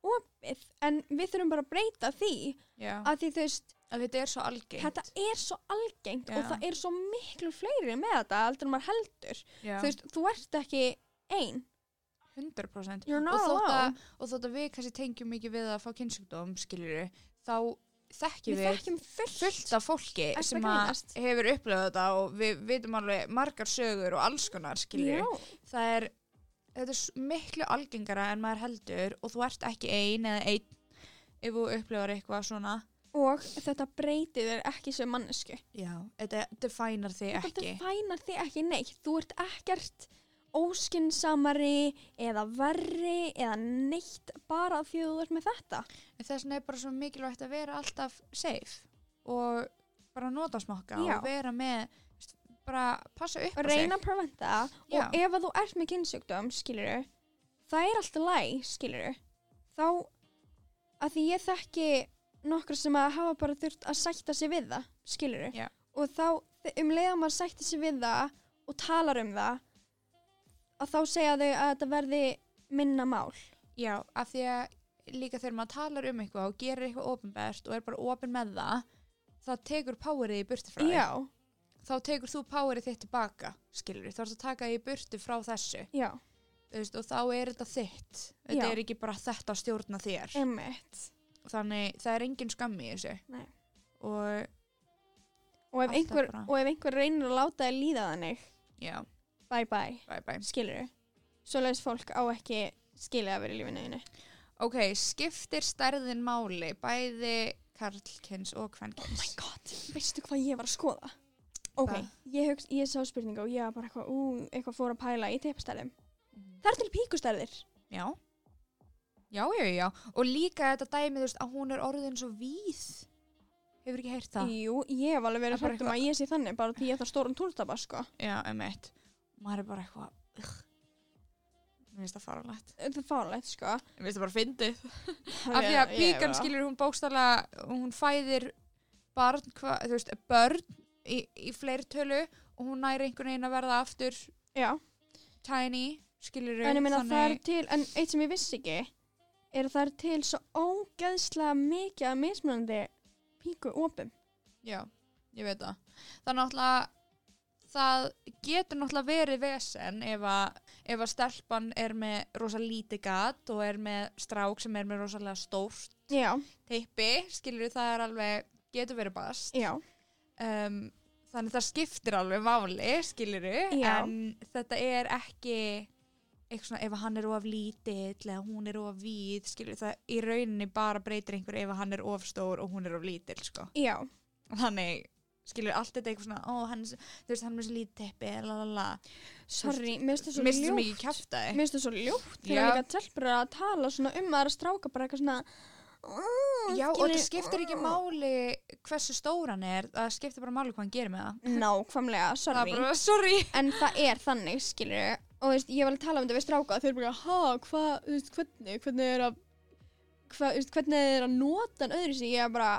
A: opið en við þurfum bara að breyta því
B: Já.
A: að því þú veist
B: Að þetta er svo algengt.
A: þetta er svo algengt
B: Já.
A: og það er svo miklu fleiri með þetta heldur en maður heldur
B: Já.
A: þú veist, þú ert ekki ein
B: 100%.
A: you're
B: og
A: not
B: þótt,
A: alone
B: að, og þótt að við kannski tengjum mikið við að fá kynnsjúkdóm, skilur þá
A: við
B: þekkjum við,
A: þekkjum fullt,
B: fullt af fólki
A: Ertu að
B: sem að
A: grínast?
B: hefur upplöðað þetta og við vitum alveg margar sögur og alls konar, skilur
A: Já,
B: það er, þetta er s- miklu algengara en maður heldur og þú ert ekki ein eða einn ef þú upplöðar eitthvað svona
A: og þetta breytir þér ekki sem mannesku
B: já, þetta definar þig
A: þetta
B: ekki
A: fænar þig ekki neitt þú ert ekkert óskinsamari eða verri eða neitt bara af því að þú ert með þetta
B: En þess vegna er bara svo mikilvægt að vera alltaf safe og bara nota smokka
A: Já.
B: og vera með veist, bara passa upp
A: og reyna að preventa
B: Já.
A: og ef að þú ert með kynnsjúkdóm skilur það er alltaf læg skilur þá að því ég þekki nokkra sem að hafa bara þurft að sætta sig við það skilur
B: Já.
A: og þá um leiða maður sætti sig við það og talar um það að þá segja þau að þetta verði minna mál
B: sig já, af því að líka þegar maður talar um eitthvað og gerir eitthvað ofinbært og er bara ofin með það þá tekur powerið í burti frá
A: já,
B: þá tekur þú powerið þitt tilbaka skilur, þá ertu að taka því í burti frá þessu
A: já,
B: þú veist, og þá er þetta þitt þetta
A: Já.
B: er ekki bara þetta að stjórna þér
A: emmitt
B: þannig það er engin skammi í þessu
A: Nei.
B: og
A: og ef,
B: Alltaf
A: einhver,
B: bara.
A: og ef einhver reynir að láta þið líða þannig
B: já,
A: bye bye,
B: bye bye
A: skilur svoleiðis fólk á ekki skilja að vera í lífinu einu
B: Ok, skiptir stærðin máli bæði karlkins og kvennkins?
A: god, veistu hvað ég var að skoða? Ok,
B: Hvað?
A: ég, hugst, ég sá spurningu og ég var bara eitthvað, ú, eitthvað fór að pæla í teipastærðum.
B: Mhm.
A: Það er til píkustærðir.
B: já. Já, já, já. Og líka þetta dæmið, þú veist, að hún er orðin svo víð. Hefur ekki heyrt það?
A: Jú, ég hef alveg
B: Það
A: verið
B: er bara
A: hrætt um að ég sé þannig, bara því ég þarf stóran túltaba, sko.
B: Já, um eitt. Maður er bara eitthvað, ugh. Mér finnst það farulegt.
A: Það er fárlegt, sko.
B: Mér finnst það bara fyndið. Af því að píkan skilur hún bókstala, hún fæðir barn, hva, þú veist, börn í, í fleirtölu og hún næri einhvern veginn að verða aftur
A: Já,
B: tiny, skilur
A: en ég meina það er til, en eitt sem ég vissi ekki, er að það er til svo ógeðslega mikið að mismunandi píku opum.
B: Já, ég veit það. Það er náttúrulega, það getur náttúrulega verið vesen ef að, ef að stelpan er með rosa lítið gat og er með strák sem er með rosalega stórt
A: Já,
B: teipi, skilur við það er alveg, getur verið bast.
A: já,
B: Um, þannig það skiptir alveg máli, skilur við,
A: Já.
B: en þetta er ekki eitthvað svona ef að hann er of lítill eða hún er of víð, skilur við, það í rauninni bara breytir einhver ef að hann er of stór og hún er of lítill, sko
A: já,
B: þannig skilur allt þetta eitthvað svona ó, hann, er s- þú veist, hann er með svo lítið teppi lalala,
A: sorry, minnst það svo
B: mistu svo
A: ljótt.
B: mikið kjaftaði
A: Mér finnst það svo ljótt
B: Já.
A: þegar líka telpur eru að tala svona um aðra stráka bara eitthvað svona "Mm,
B: já, og það
A: skilur-
B: skiptir ekki máli hversu stór hann er, það skiptir bara máli hvað hann gerir með það
A: Nákvæmlega,
B: það er
A: sorry
B: bara, sorry
A: En það er þannig, skilur Og þú veist, ég var að tala um þetta við stráka og Þau eru bara, ha, hvað, þú veist, hvernig Hvernig er að hvað, þú veist, Hvernig er að nota hann öðru sig Ég er bara,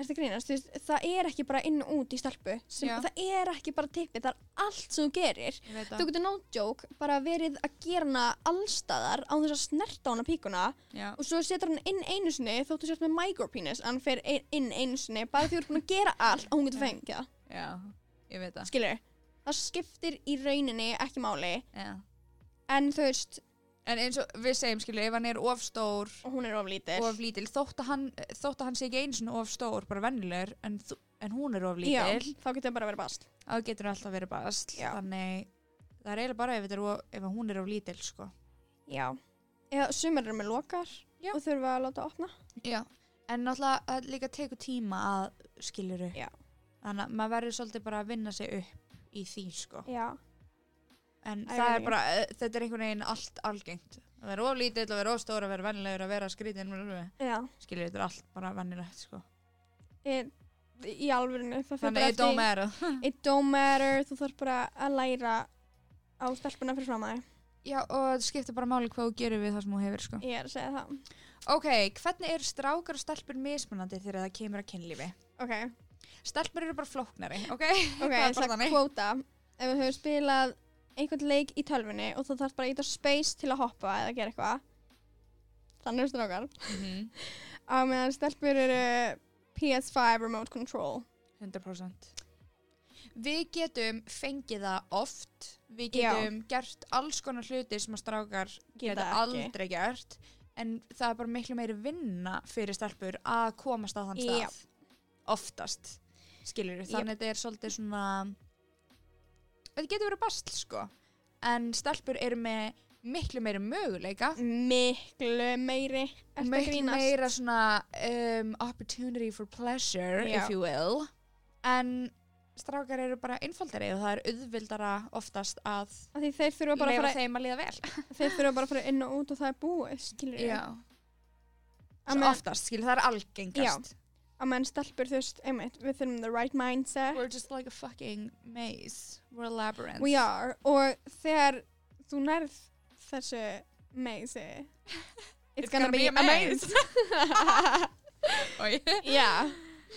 A: Er það grínast? Þú veist, það er ekki bara inn og út í stelpu. Sem,
B: Já.
A: það er ekki bara tippið, það er allt sem þú gerir.
B: ég veit
A: Þú getur no joke bara verið að gera hana allstaðar á þess að snerta hana píkuna
B: Já,
A: og svo setur hann inn einu sinni þóttu sért með micropenis, hann fer ein- inn einu sinni bara því þú ert búin að gera allt og hún getur fengið það.
B: já, ég veit það
A: Skilur? Það skiptir í rauninni ekki máli
B: já.
A: en þú veist,
B: En eins og við segjum, skilur, ef hann er of stór
A: hún er of lítil.
B: of lítil, þótt að hann, þótt að hann sé ekki einu svona of stór, bara vennilegur en, þú- en hún er of
A: Já,
B: lítil
A: þá getur það bara að vera bast.
B: þá getur hann alltaf verið basl
A: Já.
B: þannig, það er eiginlega bara ef, þetta er of, ef hún er of lítil, sko
A: Já. Eða sumar eru með lokar
B: Já.
A: og þurfa að láta opna.
B: Já, en náttúrulega það líka tekur tíma að skiluru.
A: Já.
B: Þannig að maður verður svolítið bara að vinna sig upp í því, sko.
A: Já.
B: En
A: I
B: það er
A: agree.
B: bara, eh, þetta er einhvern veginn allt algengt. Að vera oflítill, að vera ofstóra, að vera vennilegur, að vera skrítinn,
A: Já.
B: skilur þetta er allt bara vennilegt, sko.
A: Í, í alvörinu, það fyrir
B: Þannig að ég dóma er
A: It don't matter, þú þarf bara að læra á stelpuna fyrir fram að
B: Já, og það skiptir bara máli hvað þú gerir við það sem þú hefur, sko.
A: þig. Ég er að segja það.
B: Ok, hvernig eru strákar og stelpur mismunandi þegar það kemur að kynlífi?
A: Ok,
B: Stelpur eru bara flóknari, ok?
A: ok,
B: er bara
A: það er
B: þannig.
A: kvóta. Ef þú hefur spilað einhvern leik í tölvunni og þú þarf bara að íta space til að hoppa eða gera eitthvað. Þannig er strákar.
B: Mm
A: Á meðan stelpur eru PS5 remote control.
B: 100% Við getum fengið það oft Við
A: Já.
B: getum gert alls konar hluti sem að strákar
A: Geta
B: geta
A: ekki.
B: aldrei gert en það er bara miklu meiri vinna fyrir stelpur að komast á þann stað
A: Já.
B: oftast skilur við, þannig að þetta er svolítið svona þetta getur verið basl sko en stelpur eru með miklu meiri möguleika
A: Miklu meiri. Ertu að
B: miklu
A: grínast?
B: meira svona um, opportunity for pleasure
A: Já.
B: if you will en strákar eru bara einfaldari og það er auðvildara oftast að
A: Af Því þeir þurfa bara að
B: leifa
A: fara,
B: þeim að líða vel
A: þeir þurfa bara að fara inn og út og það er búið, skilur við. Á
B: Svo
A: meðan-
B: oftast, skil, það er algengast
A: á meðan stelpur, þú veist, einmitt, við þurfum the right mindset.
B: we're just like a fucking maze we're a labyrinth
A: We are. Og þegar þú nærð þessu meiði, it's, gonna, be, a maze.
B: Oj.
A: Já.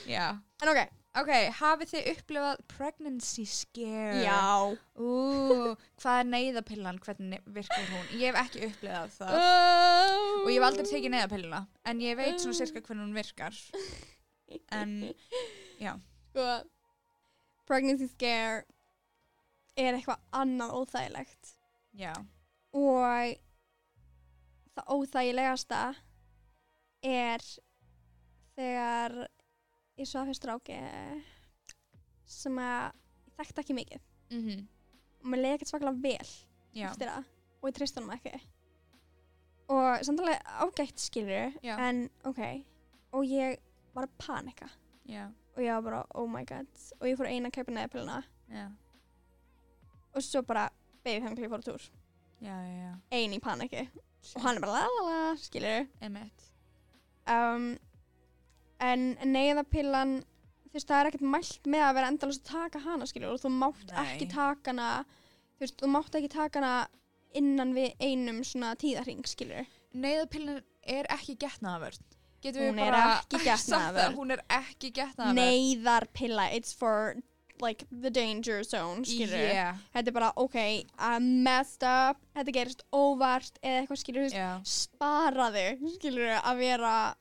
B: já
A: En ok.
B: Ok, hafið þið upplifað pregnancy scare?
A: Já.
B: Ú, hvað er neyðapillan, hvernig virkar hún? Ég hef ekki upplifað það.
A: og
B: og ég hef aldrei tekið neðapilluna en ég veit svona cirka hvernig hún virkar en
A: Sko, pregnancy scare er eitthvað annað óþægilegt.
B: já,
A: Og það óþægilegasta er þegar ég svo að fyrir stráki sem að ég þekkti ekki mikið.
B: mm
A: Mhm. og mér leiði ekkert svaklega vel
B: já,
A: eftir það og ég treyst honum ekki og samtalið ágætt skilur
B: Já.
A: en ok og ég var að panika
B: já,
A: og ég var bara oh my god og ég fór eina að kaupa neðapiluna
B: já,
A: og svo bara baby family fór á túr
B: já, já, já.
A: ein í paniki og hann er bara la la la skilur
B: emitt
A: um, en neyðapillan þú veist það er ekkert mælt með að vera endalast að taka hana skilur og þú mátt
B: Nei.
A: ekki taka hana þú veist þú mátt ekki taka hana innan við einum svona tíðarring skilur
B: neyðapillan er ekki getnaðavörn getum
A: Hún
B: við
A: er
B: bara
A: ekki
B: sagt það?
A: getnaðarvörn.
B: hún er ekki getnaðavörn
A: neyðarpilla it's for like the danger zone skilur
B: yeah.
A: þetta er bara ok I messed up þetta gerist óvart eða eitthvað skilur yeah.
B: já,
A: sparaðu skilur að vera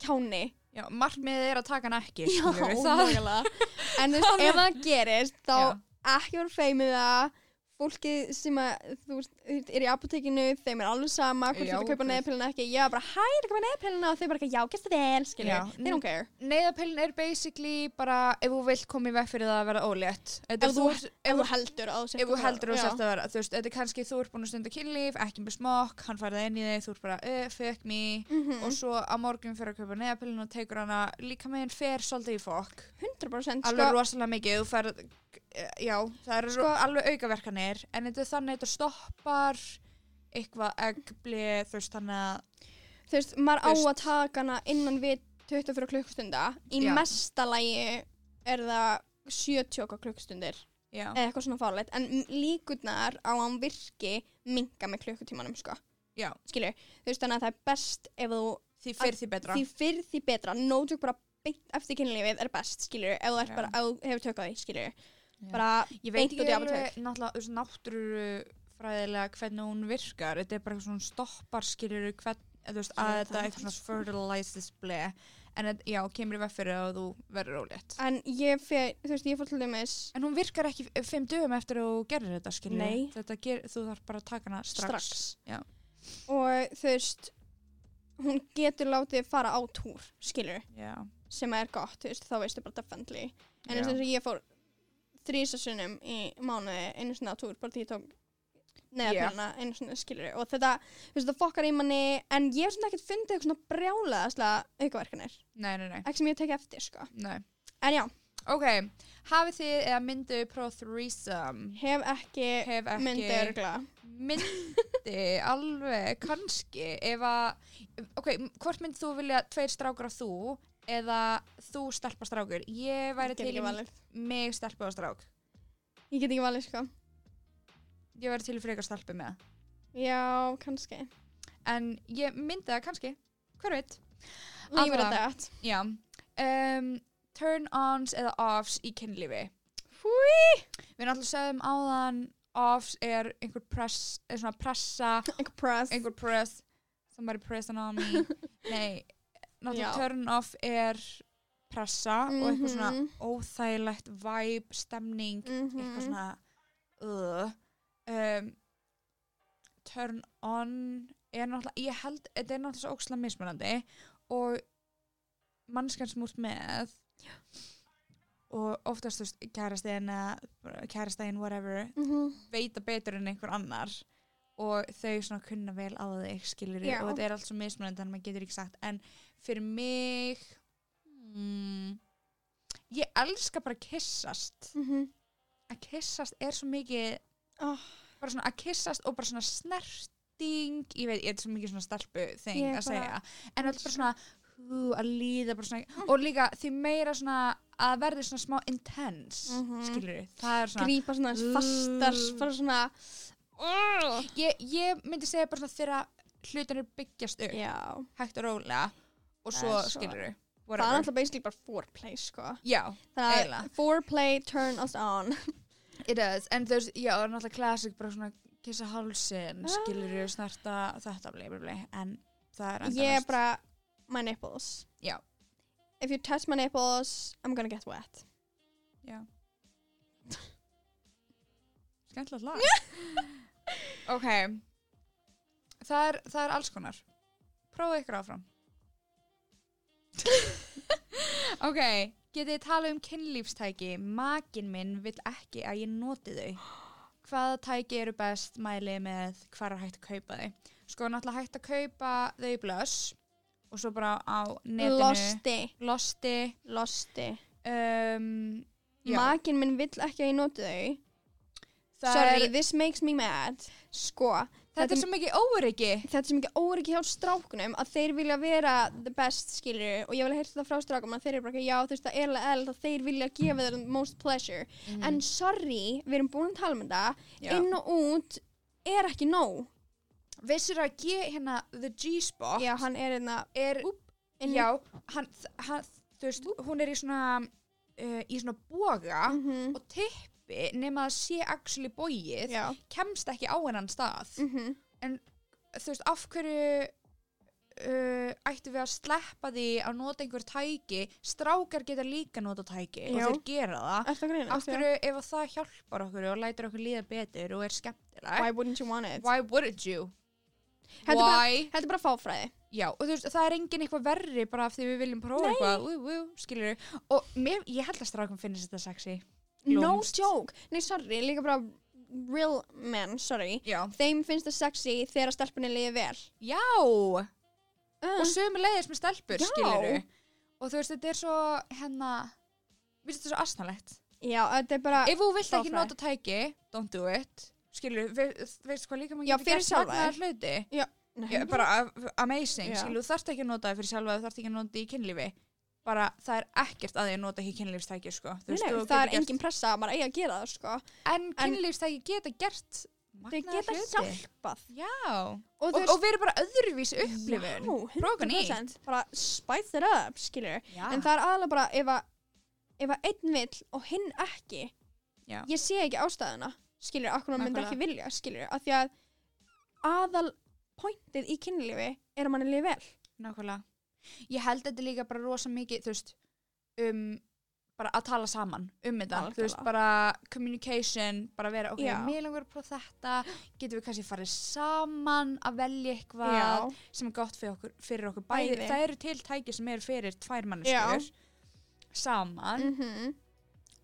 A: kjáni
B: já, markmiðið er að taka hann ekki
A: Já,
B: skilurðu, það,
A: nákvæmlega. en þú veist, ef það gerist þá
B: Já.
A: ekki vera feimið það fólkið sem að þú veist, er í apotekinu, þeim er alveg sama hvort
B: Já,
A: þú ert að kaupa
B: þú-
A: neðpilina ekki, já bara hæ, er að kaupa neðpilina og þau bara ekki, já, gerst það vel, skilur
B: Já. mm.
A: they don't care
B: neyðapillan er basically bara ef þú vilt koma í veg fyrir það að vera ólétt Þetta er
A: Ef þú-
B: ert-
A: ef þú heldur að þú sért
B: ef þú
A: að fara-
B: heldur
A: Já.
B: að þú sért að vera þú veist, þetta er kannski þú ert búin að stunda kynlíf ekki með smokk, hann færði inn í þig þú ert bara, uh, fuck me
A: Mhm.
B: og svo á morgun fyrir að kaupa neðapillin og tekur hana líka meginn fer svolítið í fokk
A: 100%
B: alveg
A: sko,
B: rosalega mikið, þú færð eh, já, það eru
A: Sko-
B: sko, alveg aukaverkanir en þetta er þannig að þetta stoppar eitthvað eggli þú veist þannig að
A: þú veist, maður á
B: Þú
A: að taka hana innan við 24 klukkstunda í
B: Já.
A: mesta lagi er það 70 okkar klukkstundir
B: já,
A: eða eitthvað svona fárlegt en m- líkurnar á að hún virki minga með klukkutímanum sko
B: Já.
A: skilur, þú veist þannig að það er best ef þú
B: því fyrr því betra
A: því fyrr því betra, no joke bara beint eftir kynlífið er best, skilur, ef þú ert
B: Já.
A: bara á, hefur tök á því, skilur,
B: Já.
A: bara,
B: Ég
A: Beint
B: veit
A: út í
B: ekki alveg
A: apótek.
B: náttúrulega náttúrufræðilega hvernig hún virkar. Þetta er bara eitthvað svona stoppar skilur hvern, eða þú veist, að
D: Ég veit
B: þetta
D: það,
B: eitthvað svona fertilizes blei. En þetta- já, kemur í veg fyrir að þú verður ólétt.
A: en ég fer, þú veist, ég fór til dæmis
B: En hún virkar ekki f- fimm dögum eftir að þú gerir þetta skilur.
A: Nei.
B: Þetta ger, þú þarf bara að taka hana strax. Já.
A: og þú veist, hún getur látið fara á túr, skilur,
B: Já.
A: sem er gott, þú veist, þá veistu bara definitely, en
B: Já.
A: eins og þess að ég fór þrísasunum í mánuði, einu sinna á túr, bara því ég tók neðapilna, yeah. einu sinna, skilur, og þetta, þú veist, það fokkar í manni, en ég hef svona ekkert fundið eitthvað svona brjálega aukaverkanir,
B: Nei, nei, nei.
A: ekki sem ég hef tekið eftir, sko,
B: Nei.
A: en já,
B: Ok, hafið þið eða myndu próf threesome?
A: hef ekki
B: Hef ekki...
A: myndi örgla
B: myndi alveg kannski ef að ok, m- hvort myndi þú vilja tveir strákur og þú eða þú stelpa strákur ég væri til í
A: valið
B: mig stelpa og strák
A: ég get ekki valið sko
B: ég væri til í frekar stelpu með það.
A: já, kannski
B: en ég myndi það kannski, hver veit
A: lífur að
B: Allavega.
A: dætt
B: já um, turn ons eða offs í kynlífi við náttúrulega sögum áðan offs er einhver press, er svona pressa
A: einhver press
B: einhver press somebody pressing on me nei,
A: Já.
B: náttúrulega turn off er pressa og eitthvað svona
A: Mhm.
B: óþægilegt vibe, stemning eitthvað
A: Mhm.
B: svona uh, um, turn on er náttúrulega, ég held þetta er náttúrulega svo ókslega mismunandi og mannskan sem úr með og oftast þú veist kærastæðin eða kærastæðin whatever
A: Mhm.
B: veita betur en einhver annar og þau svona kunna vel á þig skilur
A: Já.
B: og þetta er allt svo mismunandi en maður getur ekki sagt en fyrir mig mm, ég elska bara að kyssast
A: Mhm.
B: að kyssast er svo mikið
A: Oh.
B: bara svona að kyssast og bara svona snerting ég veit, ég er svo mikið svona stelpu þing
A: Ég
B: að
A: bara Mm.
B: segja en alltaf bara svona hú, að líða bara svona og líka því meira svona að verði svona smá intense mm
A: Mhm.
B: það er svona
A: grípa svona aðeins fastar
B: Uh.
A: bara svona
B: ég, ég myndi segja bara svona þegar hlutinir byggjast upp
A: já
B: hægt og rólega og
A: Það
B: svo
A: er svo- það
B: skilur
A: er
B: við
A: alltaf basically bara foreplay sko
B: já,
A: það
B: Eiginlega.
A: er foreplay turn us on
B: it is en þú veist, já, það er náttúrulega classic bara svona kissa hálsin,
A: Ah.
B: skilur við snerta þetta blei, blei, blei, en það er
A: ég er
B: endalaust.
A: bara my nipples
B: Já.
A: if you touch my nipples I'm gonna get wet
B: skemmtilegt lag ok það er, það er alls konar prófið ykkur áfram ok getið þið talað um kynlífstæki makin minn vill ekki að ég noti þau hvaða tæki eru best mæli með hvar er hægt að kaupa þau sko náttúrulega hægt að kaupa þau í blöss og svo bara á netinu
A: losti
B: losti
A: losti
B: um, já,
A: makin minn vill ekki að ég noti þau
B: það
A: Sorry,
B: er,
A: this makes me mad. Sko,
B: þetta er svo mikið óryggi
A: þetta er sem ekki óryggi hjá strákunum að þeir vilja vera the best, skilur, og ég vil heyrta það frá strákum að þeir eru bara, ekki, já, þú veist, það er alveg eld að þeir vilja gefa þeir most pleasure. En sorry, við erum búin að tala um þetta,
B: Mhm. Já.
A: inn og út er ekki nóg.
B: vissir að G, hérna, the G-spot
A: Já, hann er hérna einna,
B: er,
A: inn
B: já, hann, hann, þú veist, hún er í svona, uh, í svona boga
A: Mhm,
B: og tippi nema að sé actually bóið,
A: já,
B: kemst ekki á hennan stað.
A: mhm,
B: Þú veist, af hverju uh, ættum við að sleppa því að nota einhver tæki, strákar geta líka nota tæki
A: Já.
B: og þeir gera það.
A: eftir að greina.
B: Af hverju ef að það hjálpar okkur og lætir okkur líða betur og er skemmtilegt,
A: Why wouldn't you want it?
B: why wouldn't you?
A: Þetta er bara-
B: Why?
A: Þetta er bara fáfræði.
B: Já, og þú veist, það er engin eitthvað verri bara af því við viljum prófa eitthvað, ú, ú, skilur við. Og mér, ég held að strákum finnist þetta sexy.
A: No
B: Lúmskt.
A: joke. Nei, sorry, líka bara real men, sorry.
B: Já.
A: þeim finnst það sexy þegar stelpunni liði vel
B: Já,
A: uh.
B: og sömu leiðis með stelpur,
A: Já.
B: skilur við. Og þú veist, þetta er svo, hérna, við þetta er svo asnalegt.
A: já, þetta er bara
B: Ef þú vilt ekki
A: fráfræði.
B: nota tæki, don't do it, skilur við, veistu hvað líka maður
A: Já, fyrir sjálfa
B: magnaða hluti. Já, bara a- amazing,
A: Já.
B: skilur, þú þarft ekki að nota það fyrir sjálfa, þú þarft ekki að nota það í kynlífi. Bara, það er ekkert að því að nota ekki kynlífstæki, sko. Þú
A: Nei,
B: veist,
A: nei,
B: þú
A: það
B: getur
A: er
B: gert-
A: engin pressa að maður eigi að gera það sko.
B: En kynlífstæki geta gert
A: Þau geta hjálpað.
B: Já, og,
A: Og,
B: og,
A: þú veist-
B: og verið bara öðruvís upplifun.
A: Já,
B: Prófa eitthvað
A: 100%. Bara spice it up, skilur.
B: Já.
A: En það er aðalega bara ef að, ef að einn vill og hinn ekki.
B: Já.
A: Ég sé ekki ástæðuna, skilur, akkur maður myndi
B: Nákvæmlega.
A: ekki vilja, skilur. Af því að aðal pointið í kynlífi er að manni lífi vel.
B: Nákvæmlega. Ég held þetta líka bara rosa mikið, þú veist, um bara að tala saman um þetta, þú veist,
A: Algjörlega.
B: bara communication, bara vera, ok,
A: Já.
B: mér langar að prófa þetta, getum við kannski farið saman að velja eitthvað sem er gott fyrir okkur, fyrir okkur bæði.
A: Bæði.
B: Það eru til tæki sem eru fyrir tvær manneskjur saman
A: Mm -hmm.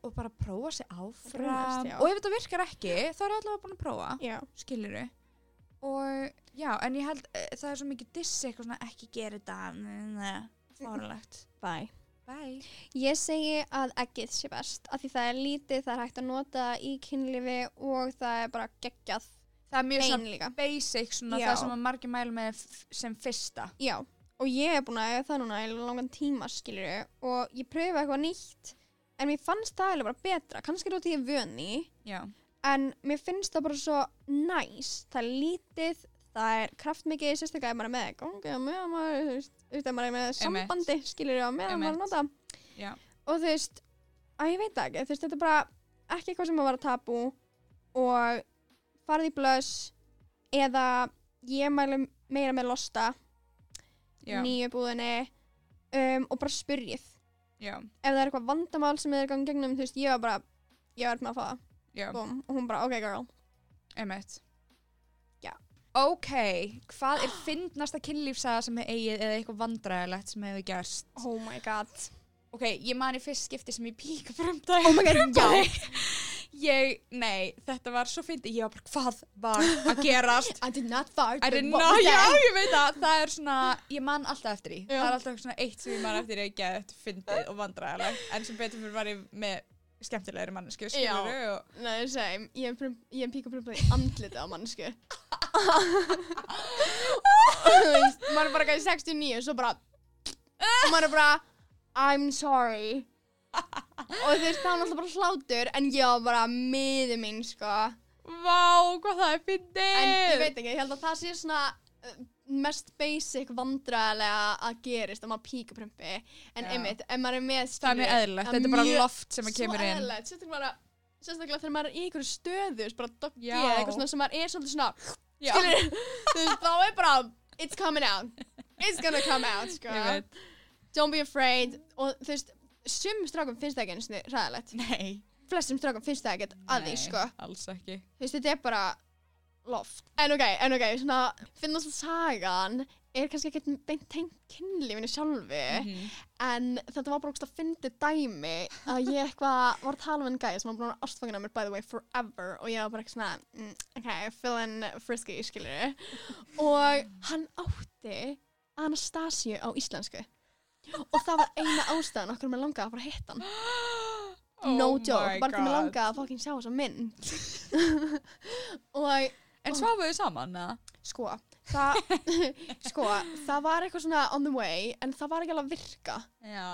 B: og bara prófa sig áfram
A: Rúnast, já.
B: og ef þetta virkar ekki, þá er allavega búin að prófa
A: Já.
B: skilur og já, en ég held eh, það er svo mikið diss eitthvað svona ekki gera þetta fórulegt
A: Bye.
B: bye
A: Ég segi að eggið sé best af því það er lítið, það er hægt að nota í kynlífi og það er bara geggjað
B: það er mjög
A: bein
B: svona
A: líka.
B: basic svona
A: Já.
B: það sem að margir mælu með f- sem fyrsta
A: Já, og ég er búin að eiga það núna í langan tíma skilur og ég pröfa eitthvað nýtt en mér fannst það eiginlega bara betra, kannski er það út í ég er vön í
B: já,
A: en mér finnst það bara svo næs, það er lítið, það er kraftmikið, sérstaklega ef maður er með gangi og meðan maður, þú veist, þú veist, ef maður er með
B: Einmitt.
A: sambandi skilur og meðan maður er að
B: Einmitt.
A: nota
B: já,
A: og þú veist, að ég veit það ekki, þú veist, þetta er bara ekki eitthvað sem að vara tabú og farið í blöss eða ég mælu meira með losta
B: já,
A: nýju búðinni um, og bara spyrjið ef
B: já,
A: það er eitthvað vandamál sem er gangið gegnum, þú veist, ég var bara ég var með að fá það,
B: já,
A: búm, og hún bara, ok girl
B: emitt
A: Já.
B: ok, hvað er fyndnasta kynlífsaga sem hefur eigið eða eitthvað vandræðilegt sem hefur gerst
A: oh my god
B: ok, ég man í fyrst skipti sem ég píka fremdæg
A: oh my god, já
B: ég, nei, þetta var svo fyndið, ég var bara, hvað var að gerast?
A: I did not fart,
B: I didn't know, já, ég veit það, það er svona, ég man alltaf eftir því,
A: Já.
B: það er alltaf svona eitt sem ég man eftir því að geða þetta fyndið og vandræðilegt, en sem betur fyrir var ég með skemmtilegri mannesku, skilur og
A: Nei, same, ég er, prum- ég er píka prumpaði andlitið á mannsku maður er bara gæði 69 svo bara og maður er bara I'm sorry og þú veist það var náttúrulega bara hlátur en ég var bara miður mín sko
B: Vá, hvað það er fyndið!
A: en ég veit ekki, ég held að það sé svona uh, mest basic vandræðilega að gerist að maður píka prumpi en
B: Já.
A: einmitt, ef maður er með skilur,
B: Það er eðlilegt, þetta er bara loft sem að kemur
A: svo
B: inn.
A: eðlilegt, sérstaklega bara- sérstaklega þegar maður er í einhverju stöðu bara doggi
B: Já.
A: eða eitthvað svona sem maður er svolítið svona
B: Já.
A: skilur, þú veist, þá er bara it's coming out, it's gonna come out sko.
B: Ég veit,
A: don't be afraid og þú veist, sum strákum finnst það ekki eins og ræðilegt,
B: nei.
A: flestum strákum finnst það ekkert að því
B: Nei,
A: sko,
B: Alls ekki.
A: þú veist, þetta er bara loft, en ok, en ok svona, finnast að sagan er kannski ekkert beint tengt kynlífinu sjálfu
B: Mhm.
A: en þetta var bara ógst að fyndi dæmi að ég eitthvað var að tala um enn gæja sem var búin að vera ástfangin að mér by the way forever og ég var bara eitthvað svona mm, ok, feeling frisky, skilur og hann átti Anastasíu á íslensku og það var eina ástæðan okkur með langaði að fara að hitta hann no
B: Oh
A: joke,
B: my
A: bara okkur með
B: God.
A: langaði að fucking sjá þessa mynd og
B: En svafuðu saman, eða?
A: sko, það sko, það var eitthvað svona on the way en það var ekki alveg að virka
B: Já.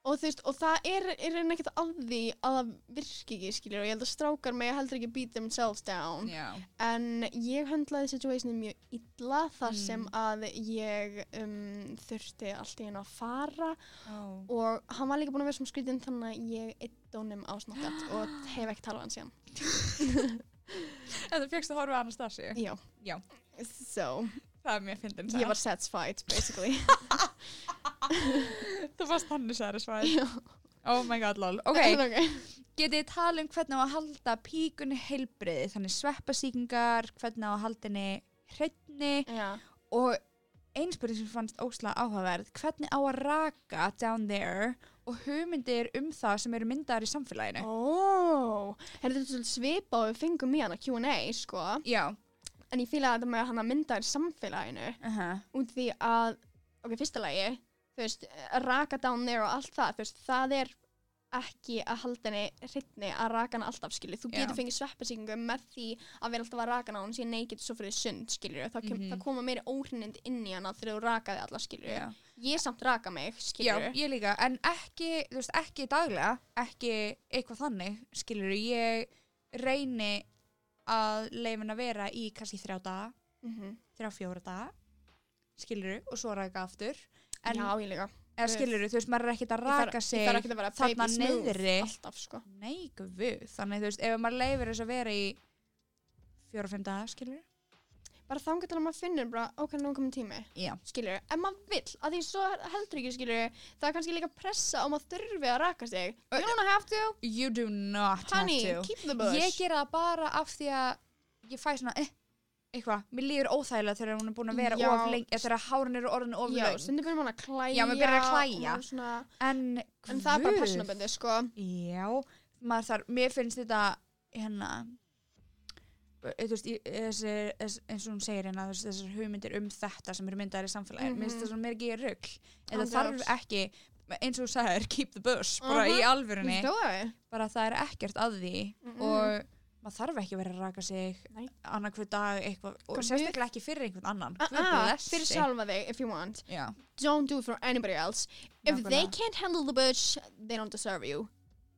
A: og þú veist, og það er, er einn ekkert að því að það virki ekki, skilur, og ég held að strákar mig heldur ekki beat themselves down
B: Já.
A: en ég höndlaði situationi mjög illa þar
B: Mm.
A: sem að ég um, þurfti allt í hennu að fara
B: Oh.
A: og hann var líka búinn að vera svona skrítinn þannig að ég eitt honum á snakkat og hef ekki talað hann síðan
B: En þú fegst að horfa Anastasíu?
A: já,
B: Já.
A: so,
B: Það er mjög fyndin
A: ég var satisfied basically
B: Þú varst þannig særi svæð.
A: Já.
B: Oh my god, lol. Ok,
A: En ok,
B: getið þið talað um hvernig á að halda píkunni heilbriði, þannig sveppasíkingar, hvernig á að halda henni hreinni
A: já
B: og einspyrir sem fannst óslega áhugaverð, hvernig á að raka down there og hugmyndir um það sem eru myndaðar í samfélaginu.
A: Oh. Ó, er þetta svolítið svipa og við fengum í hana Q&A, sko
B: Já.
A: en ég fýla þetta með að hann að mynda í samfélaginu
B: Uh -huh.
A: út því að, ok, fyrsta lagi þú veist, raka down there og allt það þú veist, það er ekki að halda henni hrytni að raka hana alltaf skilju, þú
B: Já.
A: getur fengið sveppasíkingu með því að vera alltaf að raka hana og hún sé neikit svo fyrir sund skilju, það, kem,
B: Mhm.
A: það koma meiri óhrinnend inn í hana þegar þú rakaði alla skilju ég samt raka mig,
B: Já,
A: skilju
B: ég líka, en ekki, þú veist, ekki daglega, ekki eitthvað þannig, skilur ég reyni að leifin að vera í kannski þrjá daga,
A: Mhm.
B: þrjá fjóra daga skilur og svo raka aftur en,
A: Já, ég líka.
B: eða
A: guð.
B: skilur þú veist, maður er ekkert
A: Ég
B: að
A: þarf-
B: raka
A: Ég þarf
B: sig
A: ekki að vera
B: þarna
A: baby smooth
B: niðri.
A: Alltaf, sko.
B: nei, guð, þannig þú veist, ef maður leifir þess að vera í fjóra og fimm daga, skilur
A: Bara þá getur maður finnur bara, ok, nú er komin tími.
B: já,
A: skilur, en maður vill að því svo heldur ekki, skilur, það er kannski líka pressa og maður þurfi að raka sig you don't have to,
B: you do not
A: honey,
B: have Uh, to
A: keep the bush
B: Ég gera það bara af því að ég fæ svona, eh, eitthvað, mér líður óþægilega þegar hún er búin að vera
A: Já.
B: of lengi, eða þegar hárin eru orðin of
A: já,
B: löng.
A: stundum byrjum hann að klæja
B: Já, maður byrjar að
A: og
B: klæja.
A: maður svona,
B: En,
A: en það er bara
B: guð,
A: personabundi, sko
B: Já, maður þar, mér finnst þetta, hérna, eh, þú veist, í- þessi, þess- eins og hún segir hérna, þess- þessar hugmyndir um þetta sem eru myndaðar í samfélagi,
A: Mhm. Oh
B: mér finnst þetta svona meir ekki í rugl. En það
A: Andjáls.
B: þarf ekki, eins og þú sagðir, keep the bush, bara
A: Mhm.
B: í alvörunni,
A: stóði
B: bara það er ekkert að því. og maður þarf ekki að vera að raka sig
A: Nei.
B: annar hver dag eitthvað og
A: Guð.
B: sérstaklega ekki fyrir einhvern annan
A: Uh
B: Guð
A: -uh,
B: blessi.
A: fyrir sjálfa þig if you want
B: Já,
A: don't do it for anybody else if they
B: nákvæmlega.
A: can't handle the bush they don't deserve you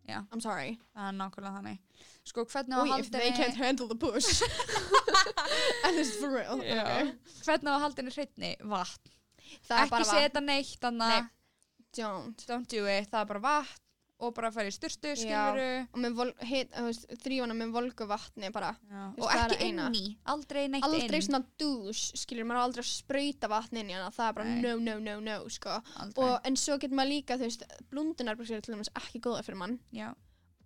B: Já.
A: I'm sorry
B: það er nákvæmlega þannig sko hvernig á
A: Új,
B: að
A: if they can't
B: haldinni
A: handle the bush and this is for real
B: Já.
A: okay.
B: hvernig á að haldinni hreitni vatn
A: það er bara
B: ekki
A: vatn.
B: setja neitt annað
A: Nei. don't
B: don't do it, það er bara vatn og bara fara í styrtu
A: Já.
B: skiluru
A: og með vol- hit- þú veist, þrífana með volgu vatni bara
B: og
A: það er
B: ekki
A: eina.
B: inn í, aldrei neitt
A: aldrei
B: inn
A: svona dús, skilur maður á aldrei að sprauta vatni inn í hana, það er bara
B: Nei.
A: no, no, no, no, sko
B: aldrei.
A: og, en svo getur maður líka, þú veist, blundunar til dæmis ekki góða fyrir mann
B: Já.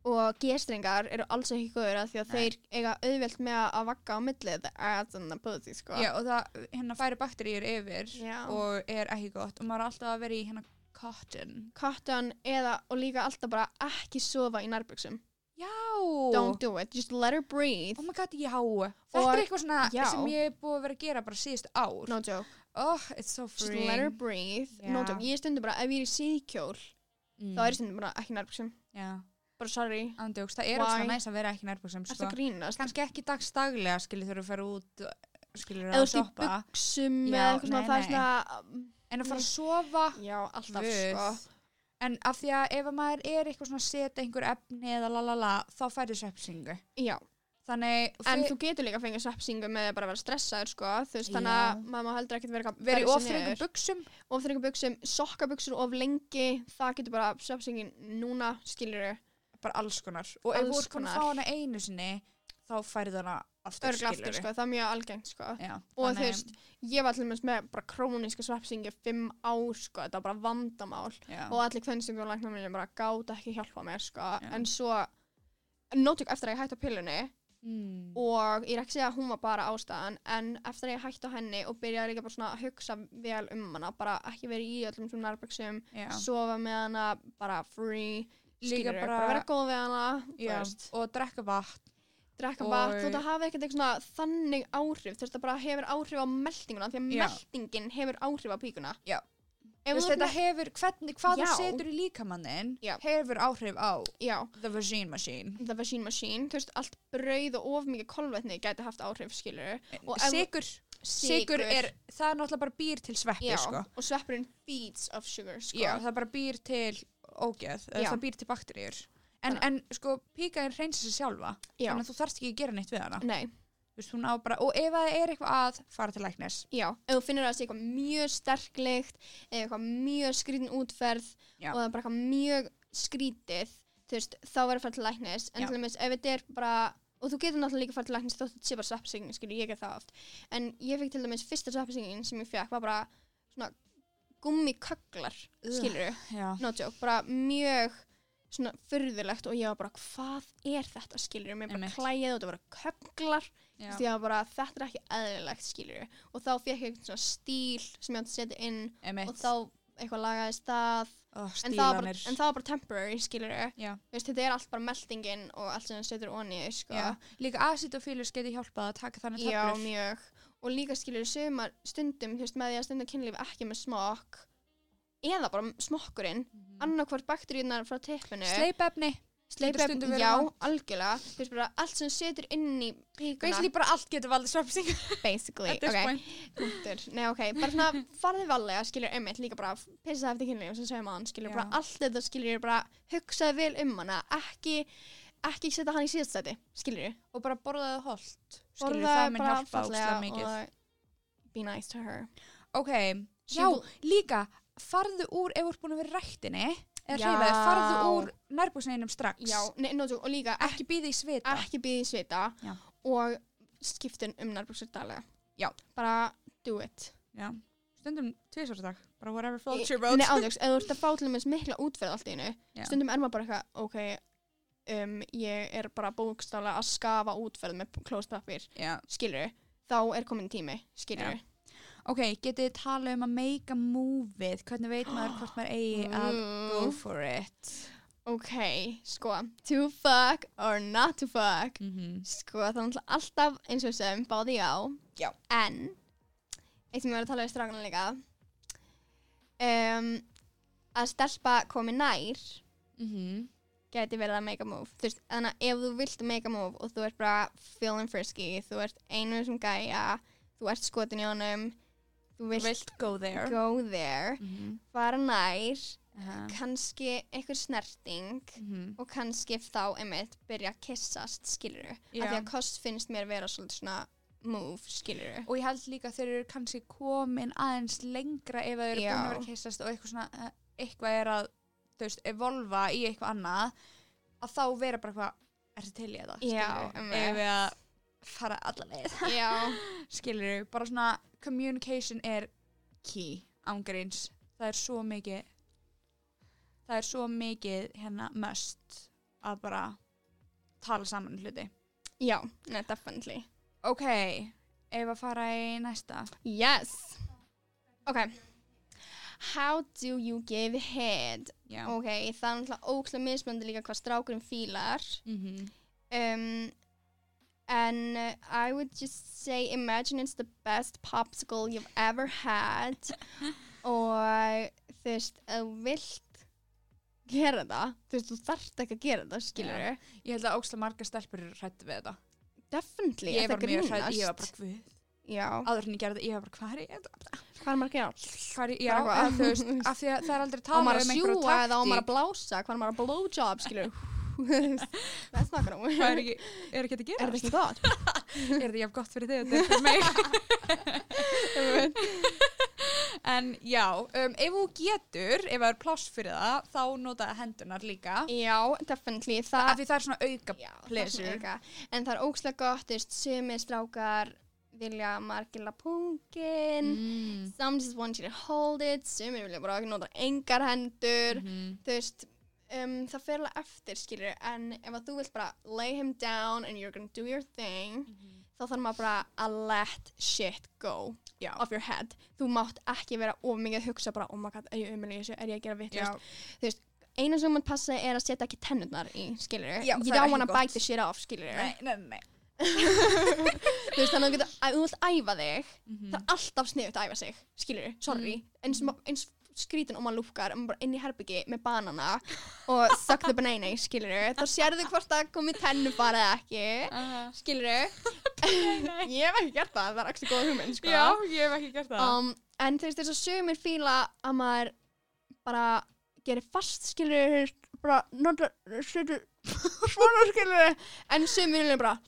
A: og gestringar eru alls ekki góður af því að
B: Nei.
A: þeir eiga auðvelt með að vagga á millið að þannig að búði, sko
B: Já, og það hérna færi bakteríur yfir
A: Já.
B: og er ekki gott og maður er alltaf að vera í hérna cotton
A: Cotton eða, og líka alltaf bara ekki sofa í nærbuxum
B: já,
A: Don't do it, just let her breathe
B: Oh my god, já. Þetta er eitthvað svona
A: já.
B: sem ég er búið að vera að gera bara síðustu ár.
A: No joke,
B: Oh, it's so
A: just
B: free.
A: let her breathe No
B: Já.
A: joke, ég stundur bara, ef ég er í síðkjól
B: Mm.
A: þá er ég stundum bara ekki í nærbuxum
B: Já,
A: bara sorry,
B: andjóks, það er
A: Why?
B: ógst næs að vera ekki nærbúksum,
A: ertu
B: sko.
A: að grínast
B: Kannski ekki dagstaglega, skilur þurfa að fara út, skilur
A: eða
B: að
A: þú ert í
B: stoppa.
A: buksum
B: Já,
A: eða eitthvað svona
B: nei,
A: það er
B: nei.
A: svona
B: En að fara að sofa,
A: já, alltaf sko
B: guð. En af því að ef að maður er eitthvað svona að setja einhver efni eða lalala, þá færðu sveppsingu.
A: já,
B: Þannig,
A: en
B: fyr-
A: þú getur líka að fengja sveppsingu með að bara vera stressaður sko þú veist,
B: Já.
A: þannig að maður má heldur ekkert vera eitthvað að
B: verið
A: berja sig
B: ofrengum
A: niður.
B: buksum.
A: of þrengum buksum, sokkabuksur of lengi það getur bara sveppsingin núna skilur þau,
B: Bara alls konar. Og ef þú
A: Alls
B: ert konar að
A: konar.
B: fá hana einu sinni, þá færðu hana aftur,
A: örgla aftur sko, það er mjög algengt sko
B: Já,
A: og
B: þannig-
A: þú veist, ég var allir með bara króníska sveppsingi fimm ár sko, þetta var bara vandamál
B: Já.
A: og allir kvensingum og læknar minni bara gáta ekki hjálpa mér sko,
B: Já.
A: en svo nótök eftir að ég hætti á pillunni
B: Mm.
A: og ég er ekki að segja að hún var bara ástæðan en eftir að ég hætti á henni og byrjaði líka bara svona að hugsa vel um hana bara ekki verið í öllum svona nærböksum
B: Já.
A: sofa með hana, bara free
B: Líka
A: skilur, bara,
B: bara-
A: vera góð við hana þú
B: Já,
A: veist,
B: og drekka vatn
A: drekka
B: Og-
A: vatn, þú veist að hafa ekkert eitthvað svona þannig áhrif, þú veist það bara hefur áhrif á meltinguna, því að
B: Já.
A: meltingin hefur áhrif á píkuna
B: Já.
A: Ef
B: Vist,
A: þú ert
B: þetta
A: með-
B: hefur, hvernig, hvað þú
A: Já.
B: setur í líkamannin
A: Já.
B: hefur áhrif á
A: Já,
B: the vagine machine
A: the machine machine, þú veist, allt brauð og of mikið kolvetni gæti haft áhrif, skilur Og ef-
B: sigur, sigur er það er náttúrulega bara býr til sveppi
A: Já,
B: sko.
A: og sveppurinn feeds of sugar, sko
B: Já, það bara býr til ógeð eða
A: Já.
B: það býr til bakteríur en,
A: Þannig-
B: en sko píkaðin reynsa sig sjálfa
A: Já. Mm.
B: þannig að þú þarft ekki að gera neitt við hana
A: Nei,
B: Vist, bara, og ef það er eitthvað að fara til læknis
A: já, ef þú finnur að það sé eitthvað mjög sterk lykt eða eitthvað mjög skrítin útferð
B: Já.
A: og það er bara eitthvað mjög skrítið þú veist, þá verður að fara til læknis en
B: Já.
A: til dæmis, ef þetta er bara og þú getur náttúrulega líka að fara til læknis þótt þetta sé bara sveppsingin, skilur, ég get það oft en ég fekk til dæmis fyrsta sveppsingin sem ég fekk var bara svona gummikögglar,
B: Ugh.
A: skilur
B: Já.
A: no joke, bara mjög svona furðulegt og ég var bara hvað er þetta, skilur, mér bara
B: Einmitt.
A: klæjaði og þetta voru kögglar
B: Já.
A: því að bara þetta er ekki eðlilegt skilur og þá fekk ég einhvern svona stíl sem ég átti að setja inn
B: Einmitt.
A: og þá eitthvað lagaðist það
B: Ó,
A: en það, var bara,
B: stílanir.
A: en það var bara temporary skilur
B: Já.
A: Veist, þetta er allt bara meltingin og allt sem það setur onni sko.
B: Já. líka acidofilus getur hjálpað að taka þannig
A: já,
B: töflur
A: mjög og líka skilur sumar stundum þú veist, með því að stunda kynlíf ekki með smokk eða bara smokkurinn
B: Mhm.
A: annarkvort bakteríunar frá teppinu
B: sleipefni
A: sleipefni-
B: getur stundum verið
A: já,
B: vont.
A: algjörlega þú veist bara allt sem setur inn í píkuna
B: Basically bara allt getur valdið svefnsing
A: basically, punktur, nei ok, bara svona farðið valega, skilur einmitt líka bara pissa eftir kynlíf sem segja maður, skilur
B: Já.
A: bara allt þetta skilur bara hugsaði vel um hana, ekki ekki setja hann í síðastæti, skilur við?
B: og bara borðaðu holt skilur það mun hjálpa óslega mikið
A: be nice to her.
B: ok, já, líka farðu úr ef þú ert búin að vera í ræktinni eða
A: Já.
B: hreyfaði, farðu úr nærbúsneginum strax
A: Já, nei, no, og líka ekki,
B: ekki býði í svita
A: ekki býði í svita
B: Já.
A: og skiptun um nærbúsur daglega.
B: Já.
A: Bara do it.
B: já. stundum tvisvar á dag bara whatever
A: Í-
B: floats your boat
A: Nei, ándjóks, ef þú ert að fá til þess mikla útferð allt í einu,
B: Já.
A: stundum er maður bara eitthvað, ok, um, ég er bara bókstálega að skafa útferð með klóspapir,
B: Já.
A: skilur þá er komin tími, skilur
B: ok, getið þið talað um að make a move-ið hvernig veit maður hvort maður eigi að go for it
A: Mm, Ok, sko, to fuck or not to fuck,
B: mm -hmm.
A: sko, það er náttúrulega alltaf eins og sem báði já,
B: Já.
A: en, eitt sem ég var að tala við strákana líka, um, að stelpa komi nær,
B: Mm -hmm.
A: gæti verið að make a move þú veist, þannig að ef þú vilt make a move og þú ert bara feeling frisky þú ert einu sem gæja þú ert skotin í honum þú vilt,
B: vilt go there
A: go there
B: mm -hmm.
A: fara nær,
B: Uh
A: kannski einhver snerting
B: Mhm.
A: og kannski þá einmitt byrja að kissast skiluru, af því að kost finnst mér vera svolítið svona move skiluru
B: og ég held líka þeir eru kannski komin aðeins lengra ef þeir eru
A: Já.
B: búin að vera að kissast og eitthvað svona eh, eitthvað er að, þú veist, evolva í eitthvað annað að þá vera bara eitthvað, er þetta til í þetta
A: Já,
B: skilurðu?
A: emmitt.
B: eigum við að fara alla leið
A: já,
B: skilur við, bara svona communication er key ángríns, það er svo mikið það er svo mikið hérna must að bara tala saman um hluti
A: já, ne, definitely
B: ok, ef að fara í næsta
A: yes ok how do you give head
B: já,
A: Ok, það er náttúrulega ókslega mismöndi líka hvað strákurinn fílar.
B: mm -hmm.
A: Um, and uh, I would just say imagine it's the best popsicle you've ever had. og þú veist, ef þú vilt gera það, þú veist, þú þarft ekki að gera það, skilur þau.
B: Ég held að ókslega margar stelpur eru hrættu við þetta.
A: Definitely,
B: Ég
A: er það
B: var mjög hrætt,
A: grínast?
B: ég var bara hvud.
A: Já,
B: Áður en ég gerði þetta, ég var bara hvað er ég? þetta?
A: hvað er maður að gera?
B: Hvað er ég? Já,
A: Bara hvað?
B: eða þú veist, af því að það er aldrei
A: Á
B: talað
A: maður að
B: um
A: sjúa
B: einhverja
A: eða á maður að
B: taktík.
A: blása, hvað er maður að blowjob, skilur þau. That's not gonna work.
B: Hvað er ekki, er
A: Er
B: ekki að
A: þetta
B: gera?
A: ekki gott?
B: Er þetta jafn gott fyrir þig, þetta er fyrir mig. en já, um, ef þú getur, ef það er pláss fyrir það, þá notaði hendunar líka.
A: Já, definitely. Það
B: Af því það er svona auka.
A: Já, það
B: pleasure.
A: sem auka. En það er ógslag gott, þú veist, sumir strákar vilja margila pungin,
B: Mm.
A: some just want you to hold it, sumir vilja bara ekki nota engar hendur,
B: Mhm.
A: þú veist, um, það fer alveg eftir, skilur, en ef að þú vilt bara lay him down and you're gonna do your thing,
B: Mhm.
A: þá þarf maður bara að let shit go
B: Já.
A: off your head. Þú mátt ekki vera of mikið að hugsa bara, oh my god, er ég umil í þessu, er ég að gera
B: Já,
A: vittlust, eina sem maður passa er að setja ekki tennurnar í, skilur
B: Já,
A: you
B: það er
A: don't
B: ekki
A: wanna
B: gott.
A: bite the shit off, skilur
B: nei, nei, nei.
A: þú veist þannig að þú getur, að þú vilt æfa þig
B: Mm
A: það er alltaf sniðut að æfa sig, skilur sorry,
B: Mhm.
A: eins, ma- eins skrítin og maður lúfkar, maður bara inn í herbyggi með banana og suck the banana, skilur þá sérðu hvort það komið tennu bara eða ekki, skilur ég hef ekki gert það, það er ekki góð hugmynd, sko
B: Já, ég hef ekki gert það.
A: um, en þú veist þess að sögumir fíla að maður bara gerir fast, skilur bara, nota, setur svona, skilur en sögumir vilja bara,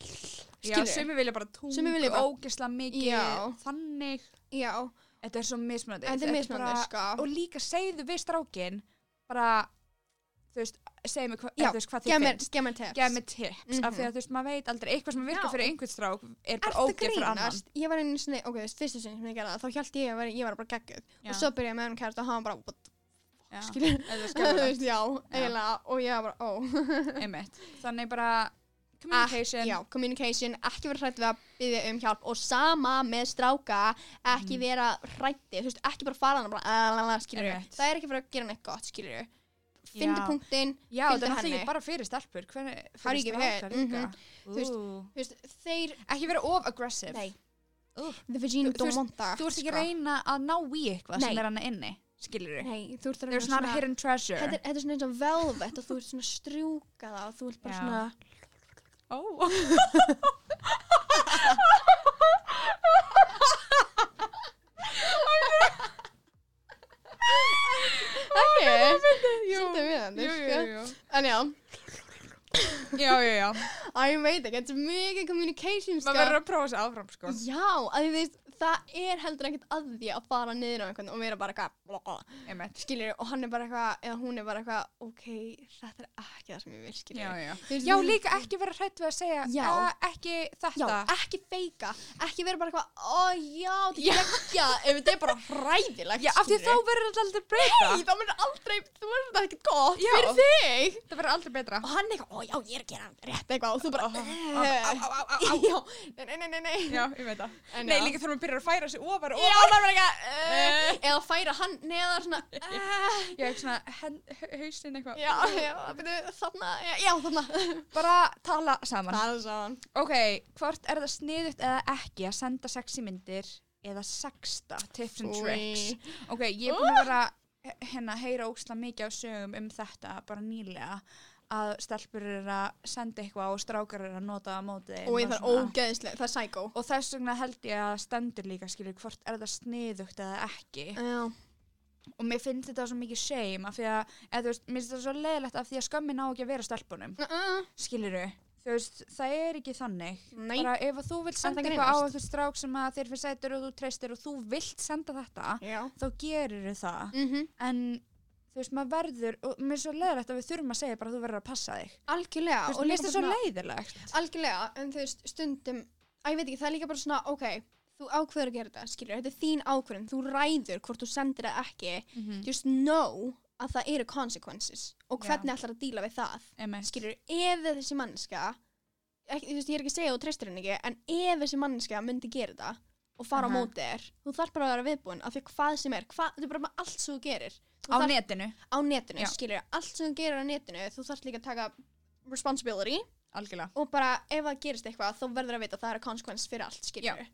B: Já,
A: skilur
B: sumi vilja bara tungu,
A: Sumir vilja bara-
B: ógisla mikið,
A: Já.
B: þannig.
A: já
B: Þetta er svo mismunandi.
A: Þetta er mismunandi,
B: bara-
A: sko.
B: Og líka segðu við strákin, bara, þú veist, segðu mér hva,
A: Já,
B: eða, þú veist, hvað þið
A: Gemmer,
B: finnst.
A: gemmer tips.
B: Gef mér tips,
A: Mhm.
B: af því að þú veist, maður veit aldrei, eitthvað sem virkar
A: Já.
B: fyrir einhvern strák er bara
A: Ertu
B: ógeð fyrir annan.
A: grínast? Ég var einu sinni, ok, þú veist, fyrstu sinni sem ég gerði það, þá hjælti ég að vera, ég var bara geggjöð.
B: Já.
A: Og svo byrjaði ég með hann kært og hann var bara, what,
B: Já,
A: skilur,
B: eða þú
A: þú
B: veist, skemmtilegt,
A: veist, já, eiginlega, og ég var bara, ó.
B: einmitt. Þannig bara, communication,
A: Ah, Já, communication, ekki vera hrætt við að byggja um hjálp og sama með stráka, ekki
B: Mm.
A: vera hrætti, þú veist, ekki bara fara hann og bara, alalala, skilur,
B: Einmitt.
A: það er ekki fyrir að gera neitt gott, skilur,
B: Já.
A: fyndi punktinn,
B: já
A: fylgdu
B: þetta er náttúrulega
A: henni.
B: ekki bara fyrir stelpur, hvernig,
A: How do
B: fyrir
A: you give head?
B: strákar líka.
A: Þú veist,
B: Ú.
A: þú veist, þeir,
B: Ekki vera of aggressive.
A: nei,
B: Ú.
A: the vagina
B: Þú- þú
A: don't
B: veist-
A: want that,
B: Þú ert ekki
A: sko.
B: að reyna að ná í eitthvað sem
A: Nei.
B: er hann inni, skilur við.
A: Nei, þú ert að
B: There's not a hidden treasure.
A: Þetta er, þetta er svona eins og velvet og þú ert svona að strjúka það og þú ert bara
B: Já.
A: svona
B: Oh.
A: Ekki, svolítið við
B: Jú, jú, jú.
A: En já
B: sko. já, Sko. já, já.
A: Æ, ég veit ekki, þetta er mikið communication
B: Maður verður að prófa þessi áfram, sko.
A: Já, að því veist, það er heldur ekkert að því að fara niður á einhvern og vera bara eitthvað
B: Einmitt.
A: skilur og hann er bara eitthvað, eða hún er bara eitthvað, ok, þetta er ekki það sem ég vil skilur.
B: Já, já.
A: Þú veist,
B: Já,
A: þú-
B: líka ekki vera hrætt við að segja,
A: Já.
B: "Eh, ekki
A: Já,
B: þetta.
A: ekki feika, ekki vera bara eitthvað, ó já, þetta er ekki, ef þetta er bara hræðilegt,
B: Já, af því þá
A: skilurðu.
B: verður þetta aldrei breyta.
A: Nei, þá myndir aldrei, þú verður þetta ekkert gott
B: Já.
A: fyrir þig.
B: Það verður aldrei betra.
A: Og hann eitthvað, ó já, ég er að gera rétt eitthvað og þú bara,
B: Á, á, á, á, á.
A: já, nei, nei, nei, nei, nei.
B: Já, ég veit það.
A: En
B: Nei,
A: já.
B: líka þegar maður byrjar að færa sig ofar og
A: Já,
B: ofar.
A: það er bara eitthvað, uh, eða færa hann neðar svona, uh,
B: Já, ekki svona hen- hau- hausinn eitthvað.
A: já, já, byrju, þarna, já, já, þarna.
B: Bara tala saman.
A: er saman.
B: Ok, hvort er það sniðut eða ekki að senda sexy myndir eða sexta tips and
A: Új.
B: tricks? Ok, ég er búin að vera eh, hérna að heyra ósla mikið á sögum um þetta bara nýlega að stelpur eru að senda eitthvað og strákar eru að nota það á móti þeim
A: Og ég þarf
B: svona.
A: ógeðislega, það er sækó.
B: og þess vegna held ég að það stendur líka skilur hvort er það sniðugt eða ekki
A: Já,
B: og mér finnst þetta svo mikið shame af því að, eða þú veist, mér finnst þetta svo leiðilegt af því að skömmin á ekki að vera á stelpunum
A: uh,
B: skiluru, þú veist, það er ekki þannig
A: Nei.
B: bara ef að þú vilt senda
A: það
B: eitthvað á
A: grínast.
B: einhvern strák sem að þér finnst sætur og þú treystir og þú vilt senda þetta
A: já.
B: þá gerir það
A: Mhm.
B: en þú veist, maður verður og mér er svo leiðilegt að við þurfum að segja bara að þú verður að passa þig
A: Algjörlega.
B: þú veist,
A: og
B: mér
A: líka
B: finnst
A: bara
B: það svo
A: svona-
B: leiðilegt
A: Algjörlega, en þú veist, stundum, að ég veit ekki, það er líka bara svona, ok, þú ákveður að gera þetta, skilur, þetta er þín ákveðin, þú ræður hvort þú sendir það ekki, just know að það eru consequences og
B: Já.
A: hvernig ætlar að díla við það.
B: Einmitt.
A: skilur, ef þessi mannska ekki, þú veist, ég er ekki að segja og treystir henni ekki en ef þessi mannska myndi gera þetta og fara á
B: Aha.
A: móti þér, þú þarf bara að vera viðbúin af því að hvað sem er, hvað, þetta er bara með allt sem þú gerir þú
B: á
A: þarft-
B: netinu,
A: á netinu,
B: Já.
A: skilur, allt sem þú gerir á netinu þú þarf líka að taka responsibility
B: algjörlega
A: og bara ef það gerist eitthvað þá verður að vita að það eru consequence fyrir allt, skilur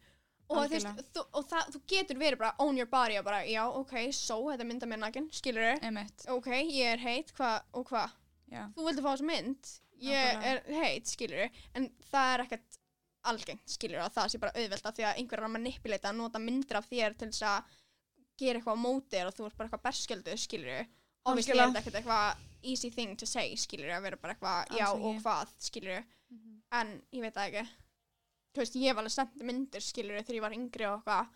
A: og, þú, veist,
B: algjörlega.
A: þú, og það, þú getur verið bara own your body og bara, já, ok, so, þetta mynda mér nakin, skilur
B: Einmitt.
A: ok, ég er heit, hva, og hvað
B: Já.
A: þú vildi fá þessa mynd ég er
B: Nákvæmlega.
A: heit, skilur en það er ekkert algengt, skilur að það sé bara auðvelt af því að einhver er að manipuleita að nota myndir af þér til þess að gera eitthvað á móti þér og þú ert bara eitthvað berskjöldu, skilur og við
B: Algjörlega.
A: skilur þetta eitthvað easy thing to say, skilur að vera bara eitthvað
B: Alls
A: já
B: ekki. Mhm.
A: og hvað, skilur en ég veit það ekki þú veist, ég var alveg sendt myndir, skilur þegar ég var yngri og eitthvað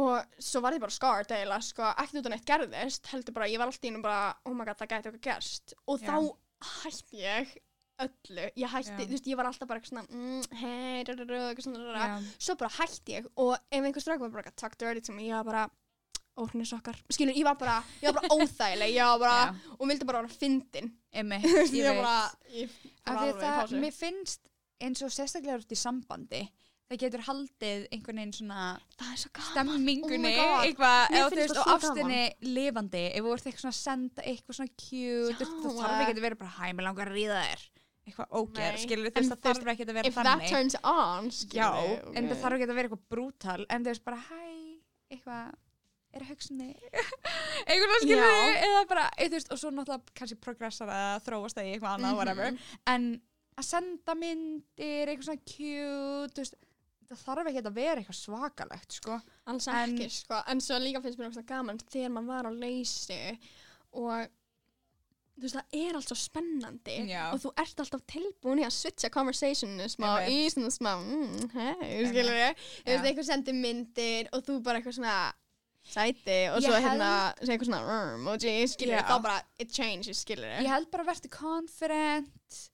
A: og svo var ég bara scarred eiginlega sko, ekkert út af neitt gerðist heldur bara, ég var alltaf í einu bara oh my god, það gæti eitthvað gerst og
B: Já.
A: þá hætti ég öllu ég hætti,
B: Já.
A: þú veist, ég var alltaf bara eitthvað svona mm, hei, rr, rr, eitthvað svona rr,
B: Já.
A: svo bara hætti ég og ef einhver strákur var bara eitthvað talk dirty to me, ég var bara óhrinu sokkar, skilur, ég var bara ég var bara óþægileg, ég var bara
B: Já.
A: og vildi bara vera fyndin
B: Einmitt,
A: Þú veist,
B: ég
A: ég var
B: veit.
A: bara, ég var
B: Af því
A: alveg í
B: það,
A: pásu.
B: mér finnst eins og sérstaklega út í sambandi það getur haldið einhvern veginn svona
A: það er svo gaman Oh my
B: stemmingunni
A: god.
B: eitthvað,
A: Mér
B: eða þú
A: finnst
B: veist,
A: það
B: og
A: svo
B: ástinni lifandi, ef þú ert eitthvað svona að senda eitthvað svona cute, þú veist, það
A: Já.
B: þarf ekki að vera bara hæ, mér langar að ríða þér eitthvað ógeð,
A: Nei.
B: skilur þú
A: En
B: veist, það
A: þú veist,
B: þarf ekki að vera
A: if that
B: þannig
A: turns on
B: já,
A: skilur,
B: en
A: ok.
B: það þarf ekki að vera eitthvað brútal en þú veist bara hæ, eitthvað er að hugsa um mig eitthvað svona skilur
A: Já.
B: þig, eða bara, eða, þú veist, og svo náttúrulega kannski progressar að þróast það í eitthvað annað,
A: Mhm.
B: whatever en að senda myndir, eitthvað svona cute, þú veist það þarf ekki að vera eitthvað svakalegt, sko
A: alls
B: En-
A: ekki sko, en svo líka finnst mér ógeðslega gaman þegar maður var á leysi og þú veist það er alltaf spennandi
B: Já.
A: og þú ert alltaf tilbúin í að switcha conversationinu smá í
B: Einmitt.
A: svona smá mm, hei,
B: Einmitt.
A: skilur ég, þú
B: Já.
A: veist einhver sendir myndir og þú bara eitthvað svona sæti og
B: Ég
A: svo
B: held-
A: hérna segir eitthvað svona "Mm, emoji, skilur
B: Já.
A: ég, þá bara it changes, skilur
B: ég
A: ég
B: held bara að verði confident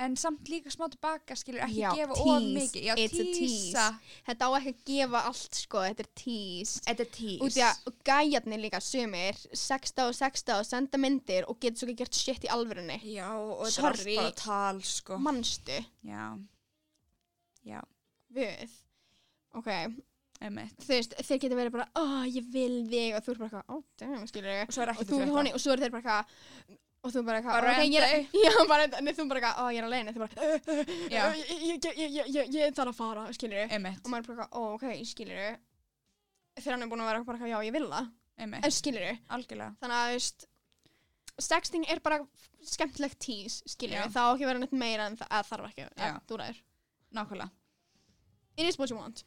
B: en samt líka smá tilbaka skilur ekki
A: Já,
B: gefa of
A: tease.
B: mikið já,
A: It's a
B: teasa.
A: þetta á ekki að gefa allt sko, þetta er tease
B: Þetta er tease
A: út í að og gæjarnir líka sumir 16 og 16 og senda myndir og getur svo ekki gert shit í alvörunni
B: já, og þetta er
A: Sorry.
B: allt bara tal sko.
A: mannstu
B: já, já,
A: við ok,
B: emitt
A: þú veist, þeir getur verið bara oh, ég vil þig og þú er bara eitthvað oh, damn, skilur
B: og svo er
A: og,
B: ekki
A: þú, honi, og svo er þeir bara eitthvað og þú bara eitthvað
B: Bara
A: "Ok, ég er-
B: randau."
A: já, bara enda- nei, þú bara eitthvað, ó, ég er að leiðin þú bara, "Uh, uh, uh,
B: Já.
A: ég, ég, ég, ég, ég, ég, ég þarf að fara skilur
B: emitt,
A: og maður er bara eitthvað, ó, ok, skilur þegar hann er búin að vera bara eitthvað, já, ég vil það
B: emitt,
A: skilur
B: algjörlega
A: þannig að þú veist sexting er bara skemmtilegt tease skilur
B: Já.
A: við, það á ekki að vera neitt meira en það eða þarf ekki
B: Já.
A: að þú ræður
B: nákvæmlega
A: it is what you want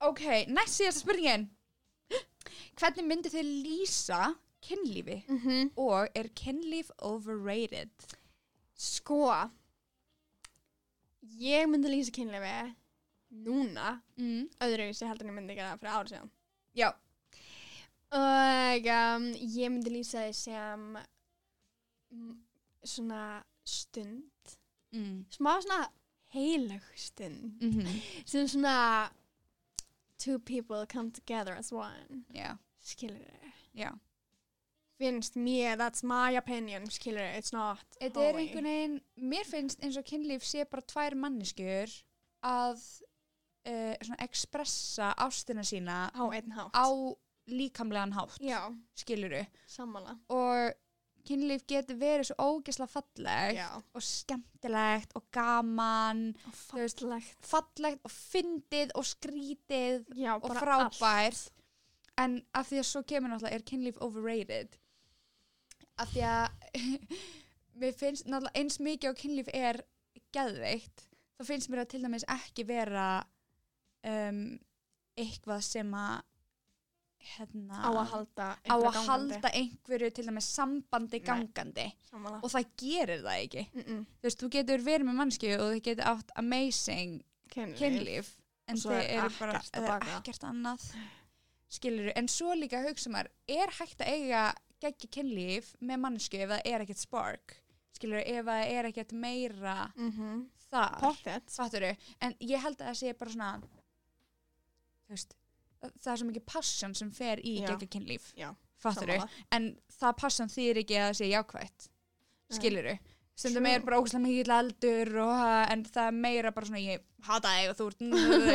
B: ok, næst síðasta spurningin hvernig myndu þið lýsa kynlífi
A: mm -hmm.
B: og er kynlíf overrated
A: sko ég myndi lýsa kynlefi núna
B: mm.
A: öðruvísi heldur en ég myndi gera það fyrir ára síðan
B: Já,
A: og um, ég myndi lýsa því sem mm, svona stund
B: mm.
A: smá svona heilög stund
B: Mm
A: sem svona two people come together as one
B: já,
A: skilur þau
B: já
A: finnst mér, that's my opinion skilur þau, it's not
B: Þetta er
A: Chloe.
B: einhvern veginn, mér finnst eins og kynlíf sé bara tvær manneskjur að uh, svona ekspressa ástina sína
A: á einn hátt
B: á líkamlegan hátt,
A: já,
B: skiluru.
A: sammála
B: Og kynlíf getur verið svo ógesla fallegt
A: já,
B: og skemmtilegt og gaman,
A: og fallegt
B: fallegt og fyndið og skrítið
A: já,
B: og
A: bara
B: frábært.
A: allt.
B: En af því að svo kemur náttúrulega, er kynlíf overrated? Af því að mér finnst náttúrulega eins mikið á kynlíf er geðveikt, þá finnst mér að til dæmis ekki vera um, eitthvað sem að hérna,
A: á að halda
B: á
A: einhverju
B: að
A: gangandi.
B: halda einhverju til dæmis sambandi
A: Nei.
B: gangandi
A: sammála
B: og það gerir það ekki.
A: mm -mm.
B: Þú veist, þú getur verið með mannskju og þú getur átt amazing
A: kynlíf,
B: kynlíf en
A: Og svo
B: þið
A: er
B: eru bara
A: ekkert að
B: það er
A: baka.
B: ekkert annað skilur en svo líka hugsa maður er hægt að eiga geggi kynlíf með mannsku ef það er ekkert spark skilur ef það er ekkert meira
A: Mm -hmm.
B: þar Fatturu. en ég held að það sé bara svona þú veist það það er svo mikið passion sem fer í
A: Já.
B: geggi kynlíf
A: Já,
B: fatturu, en það passion þýr ekki að það sé jákvætt
A: Nei.
B: skilur stundum
A: True.
B: er bara ógæslega mikið aldur og, það- en það er meira bara svona ég hata þig og þú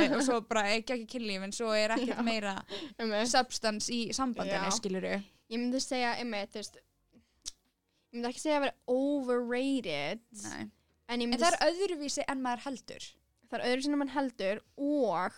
B: ert og svo bara ekki ekki kynlíf en svo er ekkert
A: Já.
B: meira
A: Einmitt.
B: substans í sambandinu
A: Já.
B: skilur
A: ég myndi segja einmitt, þú veist, ég myndi ekki segja að vera overrated
B: en
A: en ég myndi
B: það er öðruvísi en maður heldur
A: það er öðru sinni mann heldur og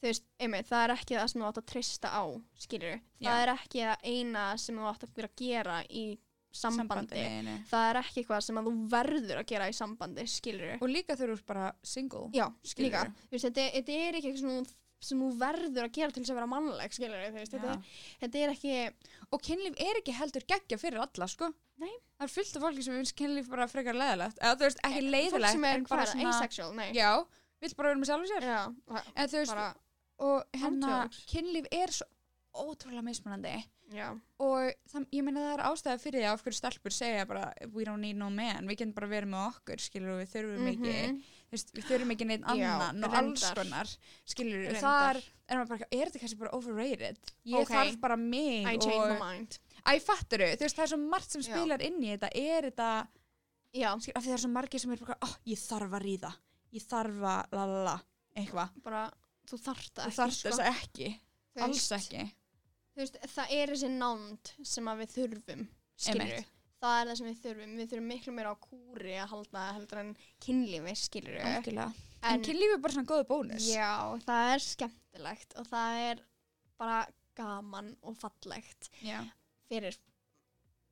A: þú veist, einmitt, það er ekki það sem þú átt að treysta á, skilur það
B: Já.
A: er ekki það eina sem þú átt að vera að gera í sambandi,
B: sambandinu
A: það er ekki eitthvað sem að þú verður að gera í sambandi, skilur
B: og líka þau eru bara single
A: já,
B: Skilurðu?
A: líka, þú veist, þetta, þetta er ekki eitthvað sem þú, sem þú verður að gera til þess að vera mannleg, skilur þú veist, þetta,
B: Já.
A: er- þetta er ekki
B: og kynlíf er ekki heldur geggja fyrir alla sko
A: Nei.
B: það er fullt af fólki sem finnst kynlíf bara frekar leðilegt eða þú veist ekki
A: Eh, fólk
B: leiðilegt
A: sem er
B: en bara
A: hvað,
B: svona
A: asexual, nei
B: já, vill bara vera með sjálfur sér
A: Já, það-
B: en þú veist
A: bara,
B: og hérna,
A: Ándjóks.
B: kynlíf er svo ótrúlega mismunandi
A: já,
B: og það, ég meina það er ástæða fyrir því að af hverju stelpur segja bara we don't need no man, við getum bara verið með okkur skilur við þurfum ekki
A: Mhm.
B: þú veist, við þurfum ekki neitt
A: Já,
B: annan og alls
A: reyndar.
B: konar skilur við,
A: Reyndar.
B: þar er maður bara er þetta kannski bara overrated ég
A: Ok.
B: þarf bara mig
A: I changed my
B: og,
A: mind
B: æ fattur þú veist það er svo margt sem
A: Já.
B: spilar inn í þetta er þetta,
A: Já,
B: skilur, af því það er svo margir sem er bara oh, ég þarf að ríða, ég þarf að la la la, eitthvað,
A: bara, þú þarft það
B: þú
A: ekki,
B: þarf
A: sko.
B: þess að ekki
A: Þú
B: alls
A: veist,
B: ekki
A: þú veist, það er þessi nánd sem að við þurfum skilur
B: Einmitt.
A: það er það sem við þurfum við þurfum miklu meira á kúri að halda heldur en kynlífi skilur en,
B: Algjörlega. En, en kynlíf er bara svona góðu bónus.
A: já, það er skemmtilegt og það er bara gaman og fallegt
B: Já.
A: fyrir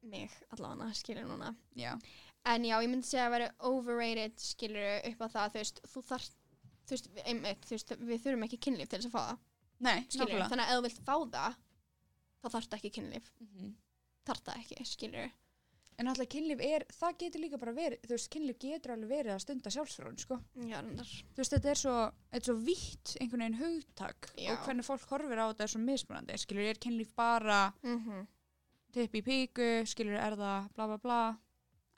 A: mig allavega skilur núna
B: Já.
A: en já, ég myndi segja að vera overrated skilur upp á það, þú veist, þú þarft þú veist, einmitt, þú veist, við þurfum ekki kynlíf til þess að fá það,
B: Nei,
A: skilur
B: nákvæmlega.
A: þannig að ef þú vilt fá það þá þarft ekki kynlíf,
B: Mhm.
A: þarft það ekki skilur,
B: En alltaf kynlíf er, það getur líka bara verið, þú veist, kynlíf getur alveg verið að stunda sjálfsfrón, sko.
A: já, reyndar
B: Þú veist, þetta er svo, þetta er svo vitt einhvern veginn hugtak
A: Já.
B: og hvernig fólk horfir á þetta er svo mismunandi. Skilur, er kynlíf bara
A: mm
B: tipp í píku, skilur, er það bla bla bla.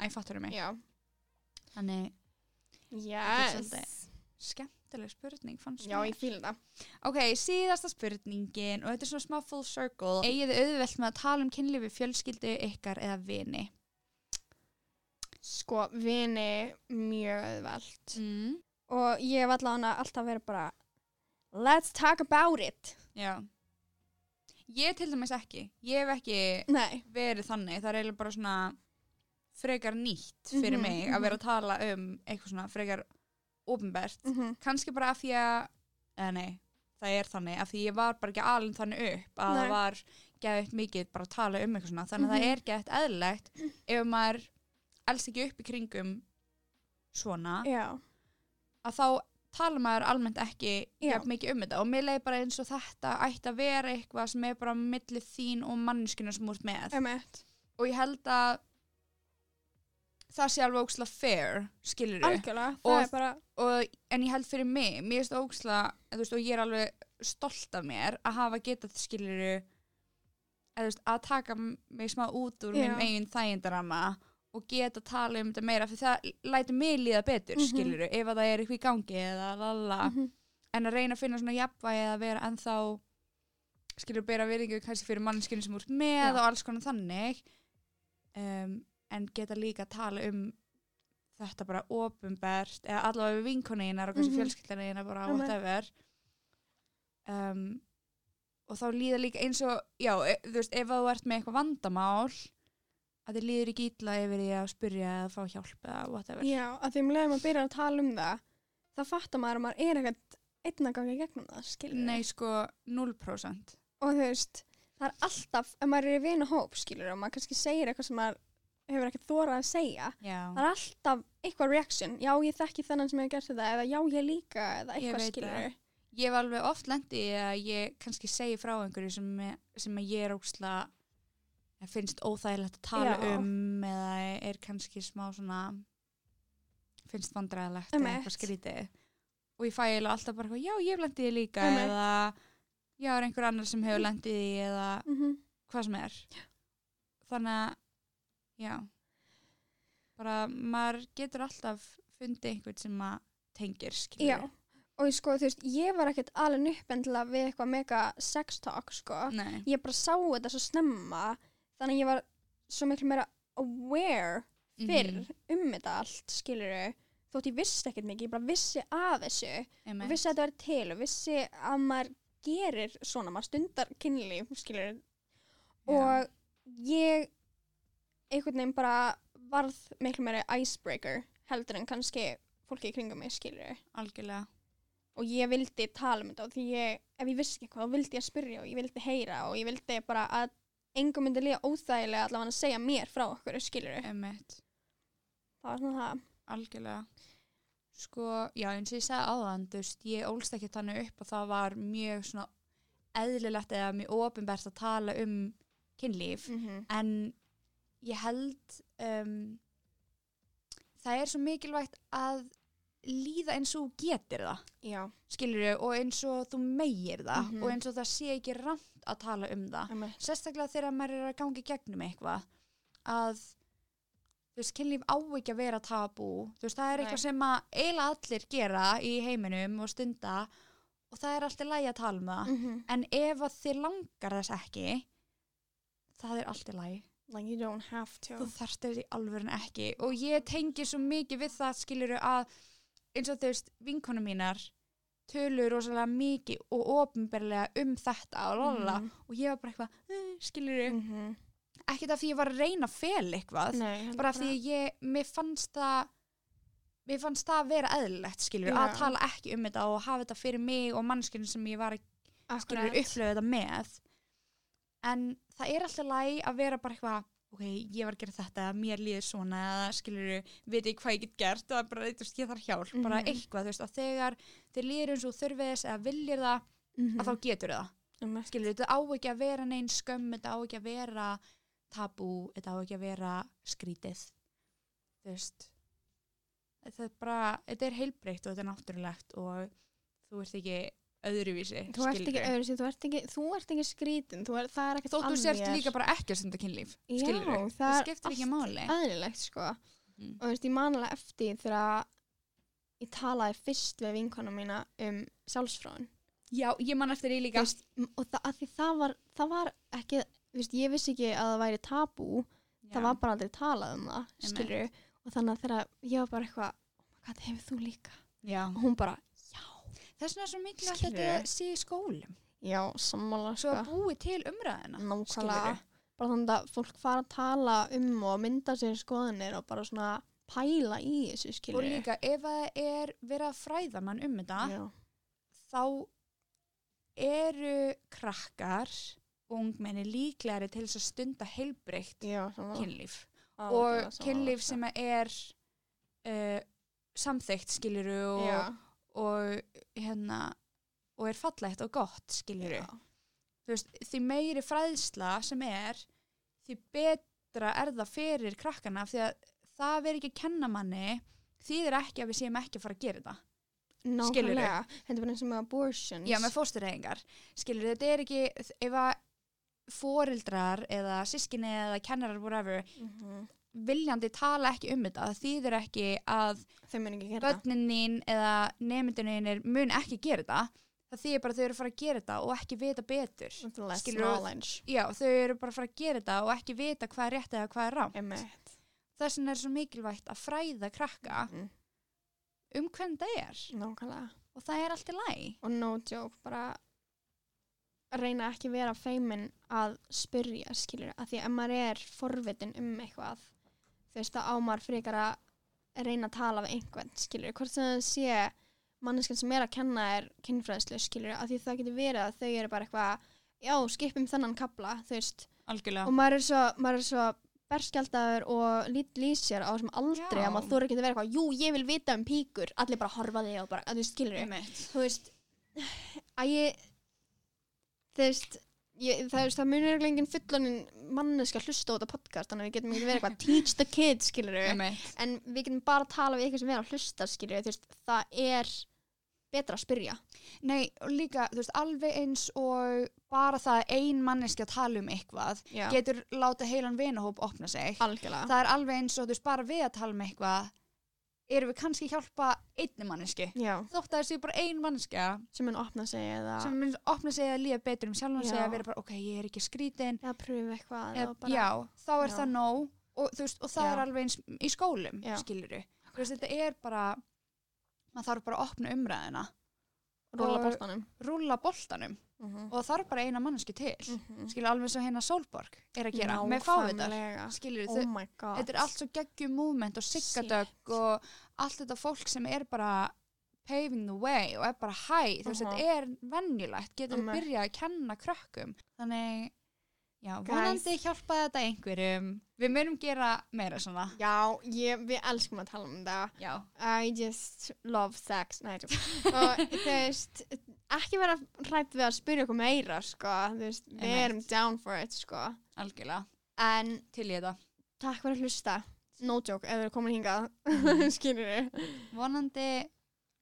B: Æ, fattur um mig.
A: Já.
B: Þannig, er
A: Yes.
B: svolítið- skemmtileg spurning fannst
A: Já, ég fíl það.
B: Ok, síðasta spurningin og þetta er svona smá full circle. Egið þið auðvelt með að tala um kynlífi fjölskyldu ykkar eða vini?
A: Sko, vini mjög auðvelt.
B: Mm.
A: Og ég hef allavega alltaf verið bara, let's talk about it.
B: Já. Ég til dæmis ekki. Ég hef ekki
A: Nei.
B: verið þannig. Það er eiginlega bara svona frekar nýtt fyrir
A: Mhm,
B: mig að vera að tala um eitthvað svona frekar ofinbært.
A: Mm
B: Kanski bara af því að, eða nei, það er þannig, af því ég var bara ekki alveg þannig upp að
A: Nei.
B: það var geðið mikið bara að tala um eitthvað svona. Þannig
A: Mhm.
B: að það er geðið eðlilegt ef maður elst ekki upp í kringum svona
A: Já.
B: að þá tala maður almennt ekki
A: Já.
B: jafn mikið um þetta og mér leiði bara eins og þetta ætti að vera eitthvað sem er bara
A: Um.
B: millið þín og manneskina sem úr með
A: Emmett.
B: og ég held að það sé alveg óksla fair, skilur við
A: algjörlega,
B: Og-
A: það er bara
B: og, en ég held fyrir mig, mér finnst óksla þú veist, og ég er alveg stolt af mér að hafa getað skilur eða þú veist, að taka m- mig smá út úr
A: Já.
B: minn eigin þægindarama og geta tala um þetta meira fyrir það lætur mig líða betur, mm
A: Mhm.
B: -hmm. ef að það er eitthvað í gangi eða lala
A: Mhm.
B: en að reyna að finna svona jafnvægi að vera ennþá skilur bera virðingu kannski fyrir mannskinu sem úr
A: Já.
B: með og alls konar þannig um, en geta líka að tala um þetta bara ofinbert eða allavega við vinkoneinar og kannski mm
A: Mhm.
B: -hmm. fjölskyldineinar bara
A: Amen.
B: whatever um, og þá líða líka eins og já, e, þú veist, ef að þú ert með eitthvað vandamál að þið líður ekki illa yfir því að spyrja eða fá hjálp eða whatever
A: já, að því um leiðum að byrja að tala um það þá fattar maður að maður er ekkert einn að ganga í gegnum það, skilur
B: Nei, sko 0%
A: og þú veist, það er alltaf ef maður er í vinahóp, skilur, og maður kannski segir eitthvað sem maður hefur ekkert þórað að segja
B: Já,
A: það er alltaf eitthvað reaction já, ég þekki þennan sem hefur gert þetta eða já, ég líka, eða
B: Ég
A: eitthvað
B: veit
A: skilur
B: ég hef alveg oft lendi að ég kannski segi frá einhverju sem, sem að ég er óksla finnst óþægilegt að tala
A: Já.
B: um eða er kannski smá svona finnst vandræðilegt eða
A: Einmitt.
B: eitthvað skrítið og ég fæ eiginlega alltaf bara eitthvað, já ég hef lendið því líka
A: Einmitt.
B: eða já er einhver annar sem hefur lendið því eða
A: mm
B: hvað sem er þannig að já bara maður getur alltaf fundið einhvern sem að tengir
A: já,
B: skilur
A: og ég sko, þú veist, ég var ekkert alveg uppendilega við eitthvað mega sex talk, sko
B: Nei.
A: ég bara sá þetta svo snemma þannig að ég var svo miklu meira aware
B: Mhm.
A: fyrr um þetta allt, skilur þótt ég vissi ekkert mikið, ég bara vissi af þessu
B: Einmitt.
A: vissi að þetta var til og vissi að maður gerir svona, maður stundar kynlíf, skilur
B: Já.
A: og ég einhvern veginn bara varð miklu meira icebreaker heldur en kannski fólki í kringum mig skilur
B: algjörlega
A: og ég vildi tala um þetta og því ég, ef ég vissi ekki eitthvað, þá vildi ég spyrja og ég vildi heyra og ég vildi bara að engum myndi líða óþægilega allavega að segja mér frá okkur skilur
B: emitt,
A: það var svona það
B: algjörlega sko, já eins og ég sagði áðan þú veist, ég ólst ekki þannig upp og það var mjög svona eðlilegt eða mjög ofinbært að tala um kynlíf,
A: mm -hmm.
B: en ég held um, það er svo mikilvægt að líða eins og þú getir það
A: já,
B: skilur og eins og þú meir það
A: Mhm.
B: og eins og það sé ekki rangt að tala um það
A: emmitt
B: sérstaklega þegar maður er að gangi gegnum eitthvað að þú veist, kynlíf á ekki að vera tabú þú veist, það er
A: Nei.
B: eitthvað sem að eiginlega allir gera í heiminum og stunda og það er alltaf lægi að tala um það
A: mm -hmm.
B: en ef að þið langar þess ekki það er alltaf lægi
A: like you don't have to
B: þú þarft þess í alvörin ekki og ég tengi svo mikið við það skilur að eins og þú veist, vinkonum mínar tölur rosalega mikið og ofinberlega um þetta og lalala
A: Mhm.
B: og ég var bara eitthvað, skilur mm
A: Mhm.
B: ekkert af því ég var að reyna að fel eitthvað
A: Nei, heldur
B: bara af því ég, mér fannst það mér fannst það að vera eðlilegt skilur,
A: Já.
B: að tala ekki um þetta og hafa þetta fyrir mig og mannskinu sem ég var að skilur
A: Akkurat.
B: upplöfa þetta með en það er alltaf læg að vera bara eitthvað ok, ég var að gera þetta, mér líður svona eða skilur, veit ég hvað ég get gert og það er bara, þú veist, ég þarf hjálp, bara
A: Mhm.
B: eitthvað þú veist, að þegar þið líður eins og þú þurfið þess eða viljir það,
A: Mhm.
B: að þá um, getur það
A: Einmitt.
B: skilur, þetta á ekki að vera neinn skömm, þetta á ekki að vera tabú, þetta á ekki að vera skrítið þú veist þetta er bara, þetta er heilbreytt og þetta er náttúrulegt og þú ert ekki öðruvísi
A: Þú ert ekki
B: skilurðu.
A: öðru þú ert ekki, þú ert ekki skrítin, þú er, það er ekkert
B: þótt þú sért
A: þér.
B: líka bara ekki að stunda kynlíf
A: Já,
B: skilurðu.
A: það
B: það
A: er
B: skiptir ekki
A: allt
B: máli
A: Æðilegt, sko.
B: Mhm.
A: Og þú veist, ég manlega eftir því þegar að ég talaði fyrst við vinkona mína um sjálfsfróðun.
B: já, ég man eftir því
A: Þú
B: líka
A: veist, m- og það, að því það var, það var ekki, þú veist, ég vissi ekki að það væri tabú, það var bara aldrei talað um það,
B: Einmitt.
A: skilur. Og þannig að þegar ég var bara eitthvað, oh my god, hefur þú líka?
B: já.
A: Og hún bara,
B: þess vegna er svo mikilvægt að
A: Skilurðu.
B: þetta sé í skólum
A: já, sammála,
B: svo
A: sko.
B: að búi til umræðina
A: Nákvæmlega.
B: skilurðu.
A: Bara þannig að fólk fara að tala um og mynda sér skoðanir og bara svona pæla í þessu,
B: og
A: skilur.
B: líka ef að það er verið að fræða mann um þetta
A: Já.
B: þá eru krakkar og ungmenni líklegari til þess að stunda heilbreytt
A: Já, sammála.
B: kynlíf og kynlíf sem að er uh, samþygt skiluru og,
A: Já,
B: og hérna og er fallegt og gott skiluru
A: já,
B: Þú veist, því meiri fræðsla sem er því betra er það fyrir krakkana af því að það að vera ekki að kenna manni þýðir ekki að við séum ekki að fara að gera þetta Skilurðu?
A: Nákvæmlega. Þetta er bara eins og með abortions.
B: Já, með fóstureyðingar. Skilur, þetta er ekki, ef að foreldrar eða sískinni eða kennarar, whatever,
A: Mhm.
B: viljandi tala ekki um þetta, það þýðir ekki að
A: Þau mun ekki gera það.
B: börnin þín eða nemyndin þín mun ekki gera þetta, það þýðir bara að þau eru að fara að gera þetta og ekki vita betur.
A: With less
B: skilurðu?
A: knowledge.
B: Já, þau eru bara að fara að gera þetta og ekki vita hvað er rétt eða hvað er rám.
A: Emmett.
B: Þess vegna er svo mikilvægt að fræða krakka
A: Mm.
B: um hvernig það er
A: Nákvæmlega.
B: og það er allt í læg.
A: Og no joke, bara reyna ekki að vera feimin að spyrja, skilur, að því að ef maður er forvitin um eitthvað, þú veist, þá ámar frekar að reyna að tala við einhvern, skilur, hvort sem það sé manneskan sem er að kenna er kynfræðslu, skilur, að því það getur verið að þau eru bara eitthvað, já, skipum þennan kabla, þú veist,
B: Algjörlega.
A: og maður er svo, maður er svo berskjaldar og lít lýsjar á þessum aldrei
B: Já.
A: að maður þóra ekki að vera eitthvað jú, ég vil vita um píkur, allir bara horfa á þig og bara, að þú skilur
B: Og
A: þig þú veist, að ég þú veist ég, það, veist, það munir ekki engin fullonin manneska hlusta á þetta podcast þannig að við getum ekki verið eitthvað teach the kids, skilur en við getum bara að tala við ykkur sem er að hlusta, skilur þú veist, það er betra að spyrja
B: Nei, og líka, þú veist, alveg eins og bara það að ein manneski að tala um eitthvað
A: Já.
B: getur láta heilan vinahóp opna sig.
A: algjörlega,
B: Það er alveg eins og, þú veist, bara við að tala um eitthvað erum við kannski að hjálpa einni manneski.
A: já,
B: Þótt að það séu bara ein manneskja
A: sem mun opna sig eða,
B: sem mun opna sig að líða betur um sjálfan sig
A: Já.
B: að vera bara, ok, ég er ekki skrítin.
A: eða pröfu eitthvað
B: Eða,
A: eða bara,
B: já, þá er
A: já.
B: það nóg og, þú veist, og það
A: Já.
B: er alveg eins í skólum,
A: Já.
B: skiluru. Þú veist, þetta er bara, maður þarf bara að opna umræðina,
A: róla
B: og-
A: boltanum
B: rúlla boltanum
A: Mhm.
B: og þarf bara eina manneski til.
A: Mhm.
B: skilur alveg svo hérna Solborg er að gera með fávitar
A: Nákvæmlega.
B: skilur
A: oh
B: þau
A: my god
B: þetta er allt svo geggjum movement og siggadögg
A: Shit.
B: og allt þetta fólk sem er bara paving the way og er bara hæ þú veist,
A: Aha.
B: þetta er venjulegt getur við
A: Amen.
B: byrjað að kenna krökkum þannig, já,
A: Guys.
B: vonandi hjálpaði þetta einhverjum við munum gera meira svona
A: já, ég, við elskum að tala um það
B: já,
A: I just love sex Nei, ég djók. og þú veist ekki vera hrætt við að spyrja okkur meira sko, þú veist, við
B: Einmitt.
A: erum down for it sko,
B: algjörlega,
A: en
B: til í þetta
A: takk fyrir að hlusta no joke, ef við erum komin hingað skilur við,
B: vonandi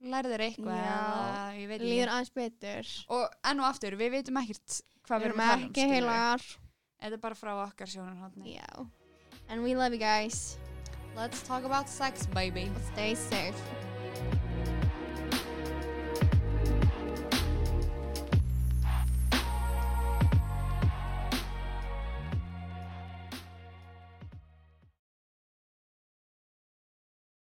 B: lærður eitthvað
A: Já.
B: eða ég veit ekki
A: líður aðeins betur
B: og enn og aftur, við veitum ekkert hvað
A: við
B: við
A: erum
B: að tala um,
A: ekki
B: skilurðu.
A: heilar
B: Þetta er bara frá okkar sjónarhóttni.
A: já, and we love you guys
B: Let's talk about sex, baby.
A: stay safe